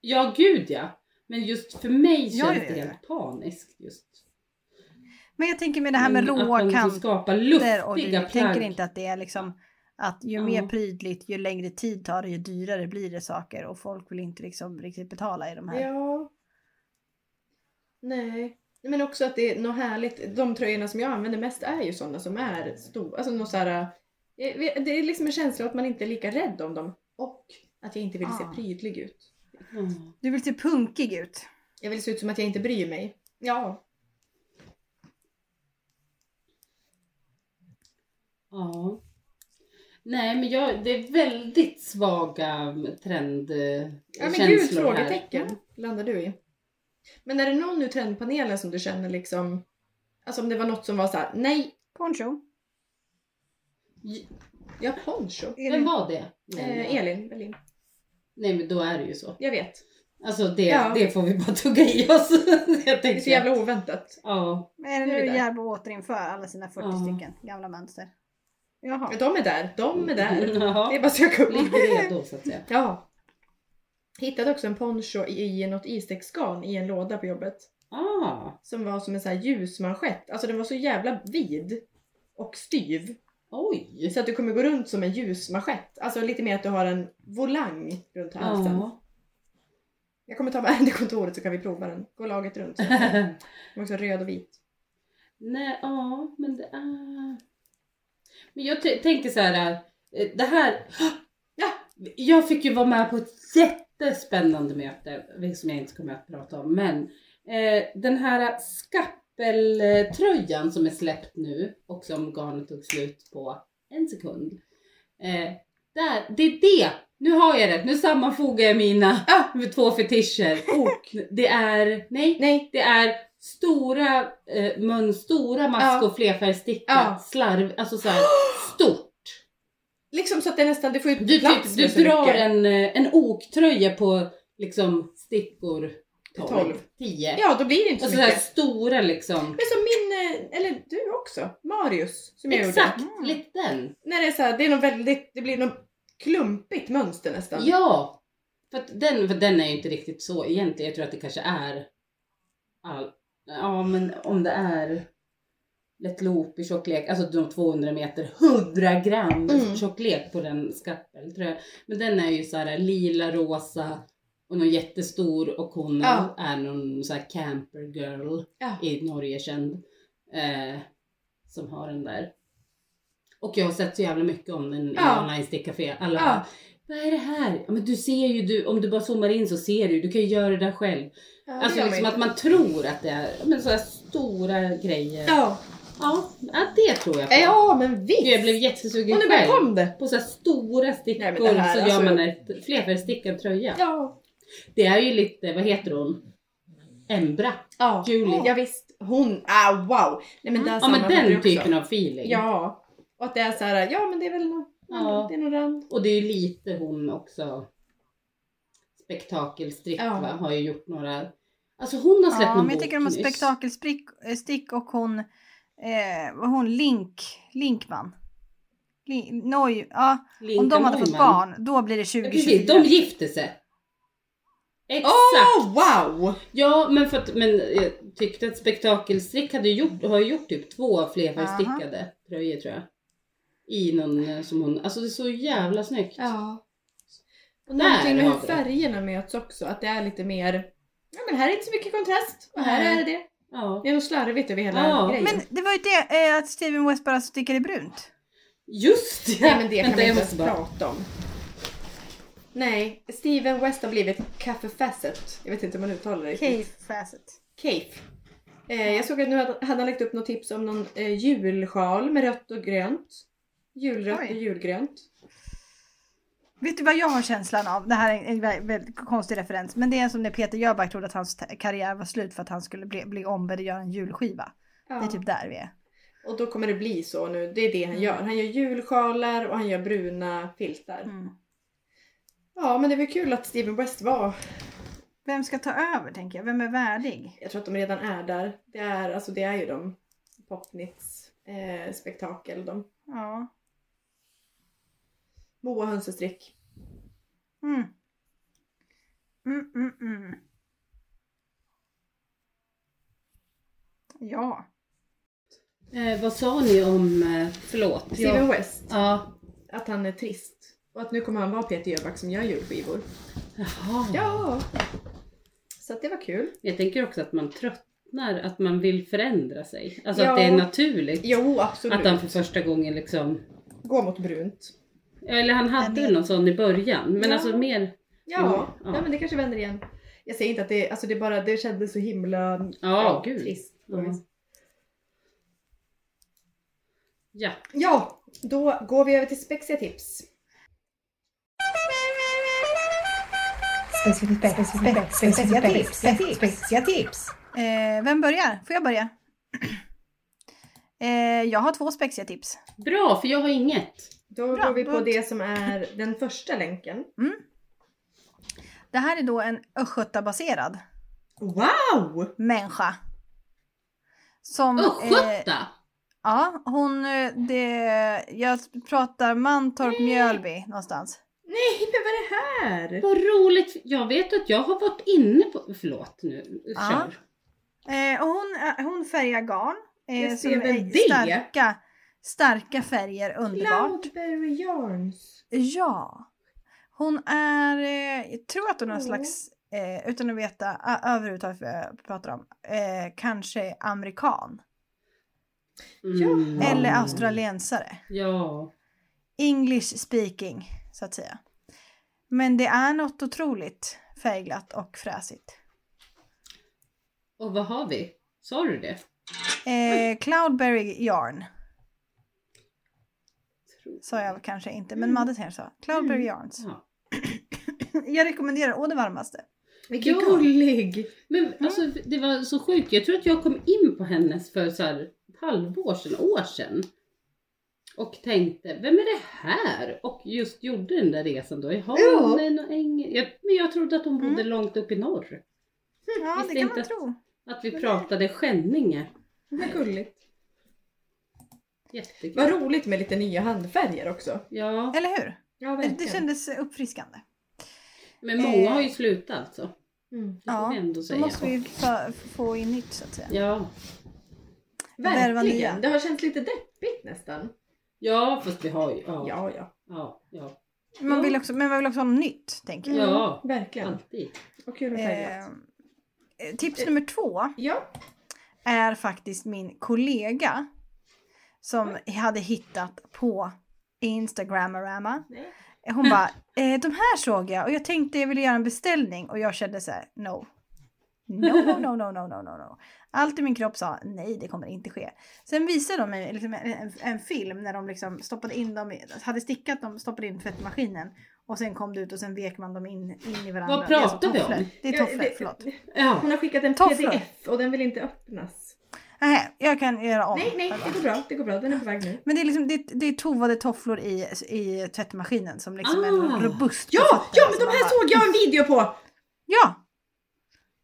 Speaker 2: Ja, gud ja. Men just för mig känns
Speaker 3: Ja, ja,
Speaker 2: det
Speaker 3: ja, ja.
Speaker 2: helt paniskt just.
Speaker 3: Men jag tänker med det här med
Speaker 2: Men
Speaker 3: råa
Speaker 2: Att man
Speaker 3: kanter.
Speaker 2: liksom skapar
Speaker 3: och du
Speaker 2: luftiga
Speaker 3: tänker
Speaker 2: plagg.
Speaker 3: inte att det är liksom att ju
Speaker 2: Ja.
Speaker 3: mer prydligt, ju längre tid tar det, ju dyrare blir det saker och folk vill inte liksom riktigt betala i de här.
Speaker 1: Ja. Nej. Men också att det är något härligt. De tröjorna som jag använder mest är ju sådana som är stora. Alltså något så här, eh, det är liksom en känsla av att man inte är lika rädd om dem. Och att jag inte vill
Speaker 3: Ah.
Speaker 1: se prydlig ut.
Speaker 2: Ja.
Speaker 3: Du vill se punkig ut.
Speaker 1: Jag vill se ut som att jag inte bryr mig. Ja.
Speaker 2: Ja. Nej men jag, det är väldigt svaga trendkänslor
Speaker 1: Ja men gud,
Speaker 2: här.
Speaker 1: frågetecken landar du i. Men är det någon ur trendpanelen som du känner liksom, alltså om det var något som var så här: nej,
Speaker 3: Poncho.
Speaker 2: J-
Speaker 1: jag har poncho.
Speaker 2: Vem var det?
Speaker 1: Eh, Elin Berlin.
Speaker 2: Nej men då är det ju så.
Speaker 1: Jag vet.
Speaker 2: Alltså det,
Speaker 1: Ja.
Speaker 2: det får vi bara [LAUGHS] tugga i oss. jag
Speaker 1: Det är
Speaker 2: tänker.
Speaker 1: så jävla oväntat.
Speaker 2: Ja.
Speaker 3: Är det
Speaker 1: Nu är vi
Speaker 3: nu
Speaker 1: där.
Speaker 3: Järbo återinför alla sina 40
Speaker 2: Ja.
Speaker 3: stycken gamla mönster? Jaha.
Speaker 1: De är där, de är där.
Speaker 2: [LAUGHS]
Speaker 1: Det är
Speaker 2: Ja.
Speaker 1: bara att söka upp.
Speaker 2: Lite redo så att säga.
Speaker 1: Ja. Hittade också en poncho i, i något isdäcksgarn i en låda på jobbet.
Speaker 2: Ah.
Speaker 1: Som var som en sån här ljusmanschett. Alltså den var så jävla vid och styv.
Speaker 2: Oj.
Speaker 1: Så att du kommer gå runt som en ljusmanschett. Alltså lite mer att du har en volang runt halsen.
Speaker 2: Ja.
Speaker 1: Jag kommer ta med den till kontoret så kan vi prova den. Gå laget runt. Så att säga.
Speaker 2: [LAUGHS]
Speaker 1: Den var också röd och vit.
Speaker 2: Nej, ja, men det är... Men jag t- tänker så här, eh, det här... Ja, jag fick ju vara med på ett jättespännande möte eh, som jag inte kommer att prata om, men eh, den här skappeltröjan som är släppt nu och som garnet tog slut på en sekund. Eh, där, det är det! Nu har jag det, nu sammanfogar jag mina [LAUGHS] två fetischer.
Speaker 1: Ok.
Speaker 2: Det är, nej,
Speaker 1: Nej.
Speaker 2: det är stora eh, mun, stora mask
Speaker 1: Ja.
Speaker 2: och flerfärgstickat,
Speaker 1: Ja.
Speaker 2: slarv, alltså så här, stort.
Speaker 1: Liksom så att det nästan, det får ju
Speaker 2: Du,
Speaker 1: plats
Speaker 2: typ, du
Speaker 1: med så
Speaker 2: drar
Speaker 1: mycket.
Speaker 2: en, eh, en oktröja på liksom stickor 12,
Speaker 1: Tolv.
Speaker 2: 10.
Speaker 1: Ja, då blir det inte
Speaker 2: Och
Speaker 1: så
Speaker 2: så här
Speaker 1: mycket.
Speaker 2: stora liksom.
Speaker 1: Men som min, eh, eller du också, Marius. Som jag gjorde.
Speaker 2: Exakt,
Speaker 3: Mm.
Speaker 2: lite den.
Speaker 1: När det är så här, det är något väldigt, det blir något klumpigt mönster nästan.
Speaker 2: Ja, för, att den, för den är ju inte riktigt så egentligen. Jag tror att det kanske är all, ja men om det är lätt loop i tjocklek, alltså de 200 meter, 100 gram
Speaker 1: Mm.
Speaker 2: tjocklek på den skappel tror jag. Men den är ju så här lila, rosa och någon jättestor och hon
Speaker 1: Ja.
Speaker 2: är någon så här camper girl
Speaker 1: Ja.
Speaker 2: i Norge känd. Eh, som har den där. Och jag har sett så jävla mycket om den
Speaker 1: Ja.
Speaker 2: i online stickcafé. Alla
Speaker 1: Ja.
Speaker 2: bara, vad är det här? Ja, men du ser ju, du, om du bara zoomar in så ser du, du kan ju göra det där själv.
Speaker 1: Ja, det
Speaker 2: alltså
Speaker 1: gör
Speaker 2: liksom
Speaker 1: man
Speaker 2: att
Speaker 1: ju.
Speaker 2: man tror att det är ja, men så här stora grejer. Ja,
Speaker 1: Ja.
Speaker 2: ja det tror jag på.
Speaker 1: ja, men visst!
Speaker 2: Jag blev
Speaker 1: Och
Speaker 2: jättesugen
Speaker 1: nu bara
Speaker 2: själv.
Speaker 1: kom det!
Speaker 2: På så här stora stickor
Speaker 1: Nej, men det här,
Speaker 2: så
Speaker 1: alltså-
Speaker 2: gör man ett flerfärgstickad tröja.
Speaker 1: Ja.
Speaker 2: Det är ju lite, vad heter hon? Embra.
Speaker 1: ja.
Speaker 2: Julie.
Speaker 1: Ja, visst. Hon, ah wow! Nej men där
Speaker 2: Mm. Ja men
Speaker 1: sammanfattar du
Speaker 2: den
Speaker 1: också.
Speaker 2: typen av feeling.
Speaker 1: Ja. Och att det är så här, ja men det är väl någon,
Speaker 2: Ja.
Speaker 1: det är någon rand.
Speaker 2: Och det är ju lite hon också. Spektakelstrick
Speaker 1: Ja.
Speaker 2: va? Har ju gjort några. Alltså hon har släppt
Speaker 3: Ja,
Speaker 2: någon
Speaker 3: men jag tycker de har
Speaker 2: nyss.
Speaker 3: spektakelstick och hon, eh, vad hon Link, Linkman. Link, Noj, ja. Om de hade fått
Speaker 2: Linkan
Speaker 3: barn, då blir det
Speaker 2: Ja,
Speaker 3: 2024.
Speaker 2: precis, de gifte sig. Exakt!
Speaker 1: Oh wow!
Speaker 2: Ja, men, för att, men jag tyckte att spektakelstrick hade gjort, har ju gjort typ två flerfärgstickade tröjor tror jag. I någon eh, som hon, alltså det är så jävla snyggt.
Speaker 1: Ja. Och
Speaker 2: Där
Speaker 1: någonting med
Speaker 2: har
Speaker 1: hur
Speaker 2: vi det.
Speaker 1: färgerna möts också, att det är lite mer, ja men här är inte så mycket kontrast och här
Speaker 2: Nej.
Speaker 1: är det.
Speaker 2: Ja.
Speaker 1: Det är nog slarvigt över hela
Speaker 2: Ja.
Speaker 1: grejen.
Speaker 3: Men det var ju det eh, att Steven West bara stickade brunt.
Speaker 2: Just det!
Speaker 1: Nej men det kan
Speaker 2: Vänta,
Speaker 1: vi
Speaker 2: jag
Speaker 1: inte ens
Speaker 2: måste bara-
Speaker 1: prata om. Nej, Steven West har blivit Café Facet. Jag vet inte hur man uttalar det.
Speaker 3: Cave Facet.
Speaker 1: Cape. Eh, jag såg att nu hade hade han lagt upp något tips om någon eh, julsjal med rött och grönt. Julrött
Speaker 3: Oj.
Speaker 1: och julgrönt.
Speaker 3: Vet du vad jag har känslan av? Det här är en vä- väldigt konstig referens. Men det är som när Peter Jöback trodde att hans t- karriär var slut för att han skulle bli, bli ombedd att göra en julskiva.
Speaker 1: Ja.
Speaker 3: Det är typ där vi är.
Speaker 1: Och då kommer det bli så nu. Det är det han gör. Han gör julsjalar och han gör bruna filtar.
Speaker 3: Mm.
Speaker 1: Ja men det var kul att Steven West var.
Speaker 3: Vem ska ta över tänker jag? Vem är värdig?
Speaker 1: Jag tror att de redan är där. Det är, alltså, det är ju de popnits eh, spektakel. De.
Speaker 3: Ja.
Speaker 1: Moa Hönsestrick.
Speaker 3: Mm. Mm, mm, mm. Ja.
Speaker 2: Eh, vad sa ni om, eh, förlåt.
Speaker 1: Steven
Speaker 2: jag-
Speaker 1: West,
Speaker 2: Ja.
Speaker 1: att han är trist. Och att nu kommer han vara Peter Jöback som gör julskivor.
Speaker 2: Jaha.
Speaker 1: Ja! Så att det var kul.
Speaker 2: Jag tänker också att man tröttnar, att man vill förändra sig. Alltså
Speaker 1: Ja.
Speaker 2: att det är naturligt.
Speaker 1: Jo, absolut.
Speaker 2: Att han för första gången liksom,
Speaker 1: Gå mot brunt.
Speaker 2: eller han hade
Speaker 3: Men-
Speaker 2: väl någon sån i början, men
Speaker 1: Ja.
Speaker 2: alltså mer,
Speaker 1: Ja,
Speaker 2: Ja.
Speaker 1: Nej, men det kanske vänder igen. Jag säger inte att det, alltså det bara, det kändes så himla
Speaker 2: ja gud.
Speaker 1: trist. på något
Speaker 2: Ja.
Speaker 1: vis.
Speaker 2: Ja,
Speaker 1: Ja, då går vi över till spexiga tips.
Speaker 5: Speciella tips. Speciella tips.
Speaker 3: Eh, vem börjar? Får jag börja? [CLEARS THROAT] Eh, jag har två spexiga tips.
Speaker 2: bra för jag har inget.
Speaker 1: Då
Speaker 3: Bra,
Speaker 1: går vi på
Speaker 3: då-
Speaker 1: det som är den första länken.
Speaker 3: Det här är då en östgötabaserad
Speaker 1: Wow!
Speaker 3: människa. Som, eh,
Speaker 2: Östgöta!
Speaker 3: ja, hon, eh, det, jag pratar Mantorp,
Speaker 1: Mm.
Speaker 3: Mjölby någonstans.
Speaker 1: Nej, men vad är det här?
Speaker 2: Vad roligt! Jag vet att jag har varit inne på, förlåt nu,
Speaker 3: Ja.
Speaker 2: kör.
Speaker 3: Eh, och hon, eh, hon färgar garn. Eh,
Speaker 1: Jag
Speaker 3: som
Speaker 1: ser väl
Speaker 3: är
Speaker 1: det.
Speaker 3: starka, starka färger, underbart.
Speaker 1: Cloudberry Yarns.
Speaker 3: Ja. Hon är, eh, jag tror att hon är någon
Speaker 1: Ja.
Speaker 3: slags, eh, utan att veta ö- överhuvudtaget vad jag pratar om, eh, kanske amerikan.
Speaker 2: Mm.
Speaker 1: Ja.
Speaker 3: Eller australiensare.
Speaker 2: Ja.
Speaker 3: English speaking, så att säga. Men det är något otroligt färgglatt och fräsigt.
Speaker 2: Och vad har vi? Sa du det?
Speaker 3: Eh, Cloudberry yarn
Speaker 2: Tror-
Speaker 3: sa jag kanske inte, men Madde kanske sa. Cloudberry yarns. [LAUGHS]
Speaker 2: Ja.
Speaker 3: Jag rekommenderar å det varmaste.
Speaker 1: Vilken
Speaker 2: Ja.
Speaker 1: gullig!
Speaker 3: Mm.
Speaker 2: Men alltså det var så sjukt, jag tror att jag kom in på hennes för så här ett halvår sedan, år sedan. Och tänkte, vem är det här? Och just gjorde den där resan då. Jaha,
Speaker 1: Ja.
Speaker 2: hon är någon äng... jag, men jag trodde att hon bodde
Speaker 3: Mm.
Speaker 2: långt upp i norr.
Speaker 3: Ja,
Speaker 2: Visste
Speaker 3: det kan
Speaker 2: inte
Speaker 3: man
Speaker 2: att-
Speaker 3: tro.
Speaker 2: Att
Speaker 3: Mm.
Speaker 2: vi pratade skänninge.
Speaker 1: Vad gulligt.
Speaker 2: Jättekul.
Speaker 1: Vad roligt med lite nya handfärger också.
Speaker 2: Ja,
Speaker 3: Eller hur?
Speaker 1: Ja,
Speaker 3: Det kändes uppfriskande.
Speaker 2: men många har ju slutat alltså.
Speaker 1: Mm.
Speaker 2: Det
Speaker 3: Eh, Ja,
Speaker 2: får vi ändå
Speaker 3: Då
Speaker 2: säga.
Speaker 3: måste vi få, få in nytt så att säga.
Speaker 2: Ja.
Speaker 3: Värva nya.
Speaker 1: Verkligen. Det har känts lite deppigt nästan.
Speaker 2: ja, fast vi har ju. Ja,
Speaker 1: Ja, ja.
Speaker 2: ja, ja.
Speaker 3: Man vill också, men man vill också ha nytt, tänker jag.
Speaker 2: Ja.
Speaker 1: Verkligen.
Speaker 2: alltid.
Speaker 1: Och kul med färgglatt.
Speaker 3: Eh, eh, tips nummer två
Speaker 1: Ja.
Speaker 3: är faktiskt min kollega som hade hittat på Instagrammarama.
Speaker 1: Nej. [LAUGHS]
Speaker 3: Hon bara, eh, de här såg jag och jag tänkte jag ville göra en beställning och jag kände så här, no. No, no, no, no, no, no, no, no. Allt i min kropp sa nej, det kommer inte ske. Sen visade de mig liksom en, en, en film när de liksom stoppade in dem, i- hade stickat dem, stoppade in tvättmaskinen och sen kom det ut och sen vek man dem in, in i varandra.
Speaker 2: Vad
Speaker 3: Det är alltså
Speaker 2: pratar vi om?
Speaker 3: tofflor. Det är
Speaker 1: Ja,
Speaker 3: tofflor,
Speaker 1: det-
Speaker 3: förlåt.
Speaker 2: Ja.
Speaker 1: Hon har skickat en
Speaker 3: Tofflor.
Speaker 1: pdf och den vill inte öppnas.
Speaker 3: Nej, jag kan göra om.
Speaker 1: Nej, nej, det går bra. Det går bra. Den är på väg nu.
Speaker 3: Men det är, liksom, det, är- det är tovade tofflor i, i tvättmaskinen som liksom är
Speaker 2: Ah.
Speaker 3: robust. på
Speaker 1: Ja,
Speaker 3: fötterna,
Speaker 1: ja men
Speaker 3: så
Speaker 1: de
Speaker 3: man
Speaker 1: här
Speaker 3: bara-
Speaker 1: såg jag en video på!
Speaker 3: Ja!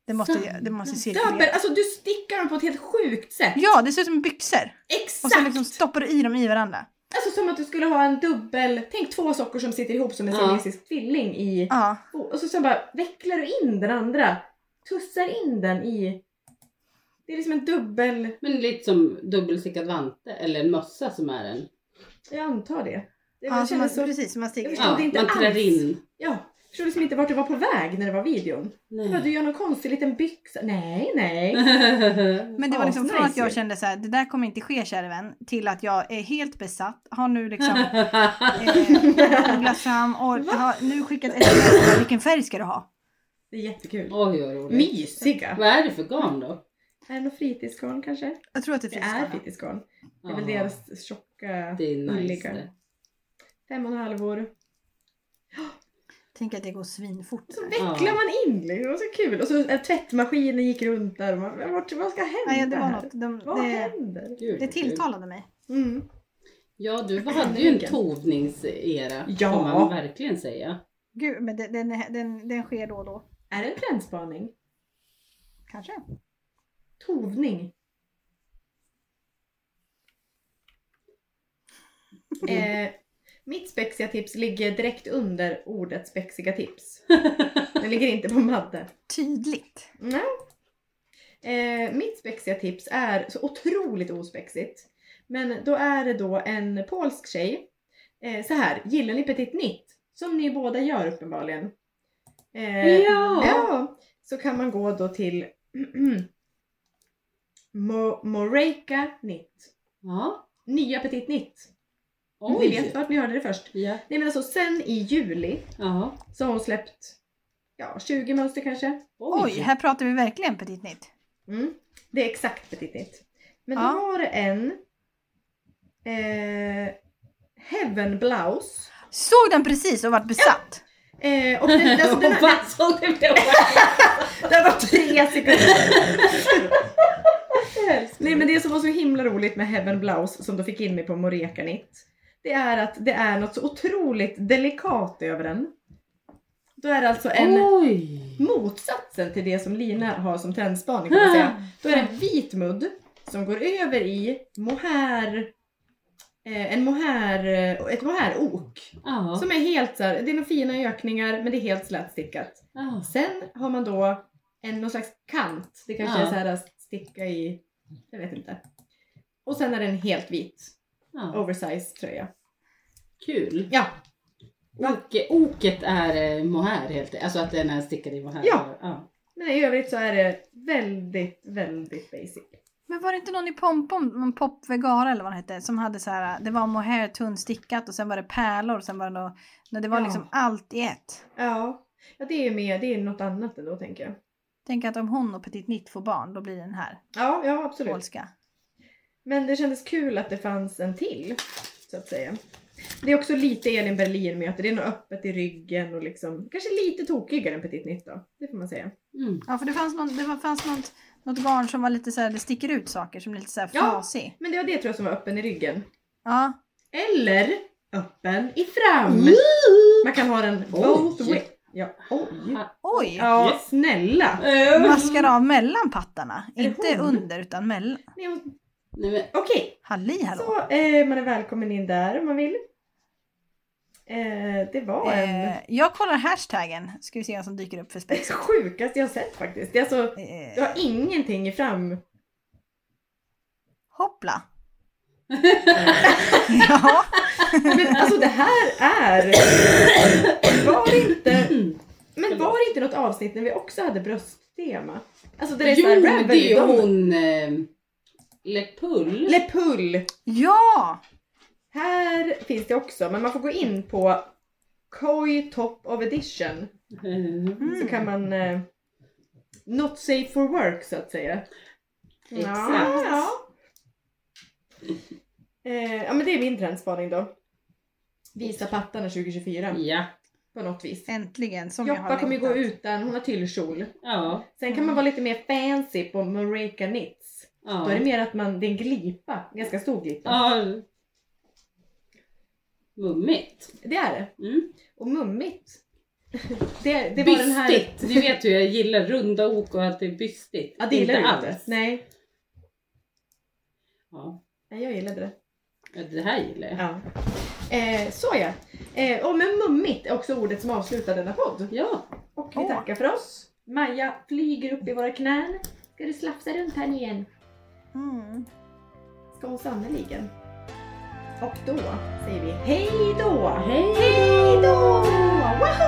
Speaker 3: Det måste, det måste
Speaker 1: Döber,
Speaker 3: cirkulera.
Speaker 1: alltså du stickar dem på ett helt sjukt sätt.
Speaker 3: Ja, det ser ut som byxor. Och
Speaker 1: Exakt!
Speaker 3: sen liksom stoppar du i dem i varandra.
Speaker 1: Alltså som att du skulle ha en dubbel, tänk två sockor som sitter ihop som en
Speaker 2: Ja.
Speaker 1: siamesisk tvilling i.
Speaker 3: Ja.
Speaker 1: Och så sen bara vecklar du in den andra. Tussar in den i. Det är liksom en dubbel,
Speaker 2: Men lite som dubbelstickad vante eller en mössa som är en.
Speaker 1: jag antar det. Det
Speaker 3: ja som man,
Speaker 1: kändes så,
Speaker 3: Precis, som man
Speaker 1: Jag
Speaker 3: sticker.
Speaker 1: förstår.
Speaker 2: Ja,
Speaker 1: trodde inte
Speaker 2: man trär
Speaker 1: alls.
Speaker 2: in.
Speaker 1: ja. Jag förstod liksom inte vart du var på väg när det var videon.
Speaker 2: Nej.
Speaker 1: Ja, du gör någon konstig liten byxa. Nej, nej.
Speaker 3: Men det var liksom från att
Speaker 1: Asnice ju.
Speaker 3: jag kände så här, det där kommer inte ske kära vän, till att jag är helt besatt, har nu liksom
Speaker 1: [LAUGHS]
Speaker 3: eh, googlat fram och har nu skickat ett sms, vilken färg ska du ha?
Speaker 1: Det är jättekul.
Speaker 2: Oj vad roligt.
Speaker 1: Mysiga.
Speaker 2: Vad är det för garn då?
Speaker 1: Är det något fritidsgarn kanske?
Speaker 3: Jag tror att det
Speaker 1: Det
Speaker 3: finns
Speaker 1: är
Speaker 3: sådana.
Speaker 1: fritidsgarn. Det är väl
Speaker 2: Ja,
Speaker 1: deras tjocka,
Speaker 2: Det är nice
Speaker 1: ulliga.
Speaker 2: det.
Speaker 1: Fem och en halv år.
Speaker 3: Tänk att det går svinfort.
Speaker 1: Så vecklar man in liksom. Det var så kul. Och så eh, tvättmaskinen gick runt där. Och man, men vart, vad ska hända
Speaker 3: Nej, det var
Speaker 1: här?
Speaker 3: något. De,
Speaker 1: Vad
Speaker 3: det,
Speaker 1: händer?
Speaker 2: Gud,
Speaker 3: det
Speaker 2: vad kul.
Speaker 3: tilltalade mig.
Speaker 1: Mm.
Speaker 2: Ja du hade ju en
Speaker 1: Vilken?
Speaker 2: tovningsera
Speaker 1: Ja.
Speaker 2: kan man verkligen säga.
Speaker 3: Gud, men den, den, den, den sker då och då.
Speaker 1: Är det en trendspaning?
Speaker 3: Kanske.
Speaker 1: Tovning? Eh, Mitt spexiga tips ligger direkt under ordet spexiga tips. Det ligger inte på madde.
Speaker 3: Tydligt.
Speaker 1: Nej. Eh, mitt spexiga tips är så otroligt ospexigt. Men då är det då en polsk tjej. Eh, så här, gillar ni Petit Nytt? Som ni båda gör uppenbarligen. Eh,
Speaker 2: Ja.
Speaker 1: ja! Så kan man gå då till [CLEARS THROAT] Mo- Moreika Nytt.
Speaker 2: Ja.
Speaker 1: Nya Petit Nytt.
Speaker 2: Oj.
Speaker 1: Ni Mm, vet vart ni hörde det först.
Speaker 2: Ja.
Speaker 1: Nej men alltså sen i juli
Speaker 2: ja.
Speaker 1: så har hon släppt ja, 20 mönster kanske.
Speaker 3: Oj,
Speaker 2: [LAUGHS]
Speaker 3: här pratar vi verkligen petit nytt.
Speaker 1: Mm. Det är exakt Petit Nytt. Men
Speaker 3: Ja.
Speaker 1: då var det en eh, Heaven Blouse.
Speaker 3: Såg den precis och vart besatt.
Speaker 1: Eh, och den, alltså, den, [LAUGHS]
Speaker 2: Och
Speaker 1: här,
Speaker 2: vad såg det blev.
Speaker 1: den var tre sekunder.
Speaker 2: Jag
Speaker 1: [LAUGHS]
Speaker 2: älskar
Speaker 1: Nej men det som var så himla roligt med Heaven Blouse som då fick in mig på Moreka Knit. Det är att det är något så otroligt delikat över den. Då är det alltså en
Speaker 2: Oj!
Speaker 1: motsatsen till det som Lina har som trendspaning kan man säga. Då är det en vit mudd som går över i mohair, eh, en mohair, eh, ett mohairok.
Speaker 2: Ja.
Speaker 1: Som är helt så här, det är några fina ökningar men det är helt slätstickat.
Speaker 2: ja.
Speaker 1: Sen har man då en, någon slags kant, det kanske
Speaker 2: Ja.
Speaker 1: är så här att sticka i, jag vet inte. Och sen är det en helt vit
Speaker 2: ja.
Speaker 1: oversize tröja.
Speaker 2: Kul.
Speaker 1: Ja,
Speaker 2: Oke, oket är eh, mohair helt Alltså att den är stickad i mohair.
Speaker 1: Ja.
Speaker 2: ja.
Speaker 1: men i övrigt så är det väldigt, väldigt basic.
Speaker 3: Men var det inte någon i Pompom, någon Pop Vegara eller vad den hette, som hade så här, det var mohair tunnstickat och sen var det pärlor och sen var det något, nej, det var
Speaker 1: Ja.
Speaker 3: liksom allt i ett.
Speaker 1: Ja, ja det är mer, det är något annat ändå tänker jag.
Speaker 3: Tänk att om hon och Petit Nitt får barn, då blir den här
Speaker 1: Ja, ja absolut.
Speaker 3: polska.
Speaker 1: Men det kändes kul att det fanns en till, så att säga. Det är också lite Elin Berlin-möte, det är nog öppet i ryggen och liksom, kanske lite tokigare än Petit Nytt då, det får man säga.
Speaker 2: Mm.
Speaker 3: Ja, för det fanns, någon, det var- fanns något, något garn som var lite så här, det sticker ut saker som är lite så här
Speaker 1: Ja.
Speaker 3: flasig.
Speaker 1: Men det var det tror jag som var öppen i ryggen.
Speaker 3: Ja.
Speaker 1: Eller öppen i fram! Man kan ha den both
Speaker 2: Mm. Oj.
Speaker 1: way. Ja, oj.
Speaker 3: Oj!
Speaker 1: Ja,
Speaker 2: Yes.
Speaker 1: snälla!
Speaker 2: Mm.
Speaker 3: Maskar av mellan pattarna.
Speaker 1: Är det
Speaker 3: Inte
Speaker 1: hon?
Speaker 3: under utan mellan.
Speaker 1: Nej, hon-
Speaker 2: Nej, [CLEARS THROAT] men,
Speaker 1: Okej,
Speaker 3: Halli hallå!
Speaker 1: så eh, man är välkommen in där om man vill. Eh, det var en...
Speaker 3: Eh, jag kollar hashtaggen. Ska vi se vad som dyker upp för
Speaker 1: Det är
Speaker 3: spex.
Speaker 1: det sjukaste jag har sett faktiskt. Det är alltså, du
Speaker 3: Eh,
Speaker 1: har ingenting i fram...
Speaker 2: [LAUGHS]
Speaker 1: [LAUGHS]
Speaker 3: hoppla! ja,
Speaker 1: Men alltså det här är... Var det inte... Men var det inte något avsnitt när vi också hade brösttema? Alltså där det är
Speaker 2: jo,
Speaker 1: såhär
Speaker 2: men det är
Speaker 1: Ravelry,
Speaker 2: hon... Eh, Lepull.
Speaker 1: Le Pull.
Speaker 3: ja!
Speaker 1: Här finns det också, men man får gå in på Koi Top of Edition.
Speaker 2: Eh,
Speaker 3: Mm.
Speaker 1: Så kan man... Eh, not safe for work så att säga.
Speaker 2: Exakt.
Speaker 1: Ja, ja. Eh, ja men det är min trendspaning då. Mm. Visa pattarna 2024
Speaker 2: Ja.
Speaker 1: på något vis.
Speaker 3: Äntligen som jag har
Speaker 1: Joppa kommer ju gå
Speaker 3: längtat.
Speaker 1: utan, hon har tyllkjol.
Speaker 2: Ja.
Speaker 1: Sen kan man vara lite mer fancy på Marika Knits.
Speaker 2: ja.
Speaker 1: Då är det mer att man, det är en glipa, en ganska stor glipa.
Speaker 2: Ja. Mummigt.
Speaker 1: Det är det.
Speaker 2: Mm.
Speaker 1: Och mummigt. [LAUGHS] Det, det var den här...
Speaker 2: Bystigt. Ni vet hur jag gillar runda ok och allt är bystigt.
Speaker 1: Ja, det gillar du inte. Nej.
Speaker 2: Ja.
Speaker 1: Nej, jag gillade det.
Speaker 2: Ja, Det här gillar jag.
Speaker 1: Ja. Eh, så ja. Eh, och men mummigt är också ordet som avslutar denna podd.
Speaker 2: Ja.
Speaker 1: Och vi
Speaker 3: Åh.
Speaker 1: tackar för oss. Maja flyger upp i våra knän. Ska du slafsa runt här nu igen?
Speaker 3: Mm.
Speaker 1: Ska hon sannerligen. Och då säger vi hej då!
Speaker 2: Hej
Speaker 1: Hej då! Wahoo!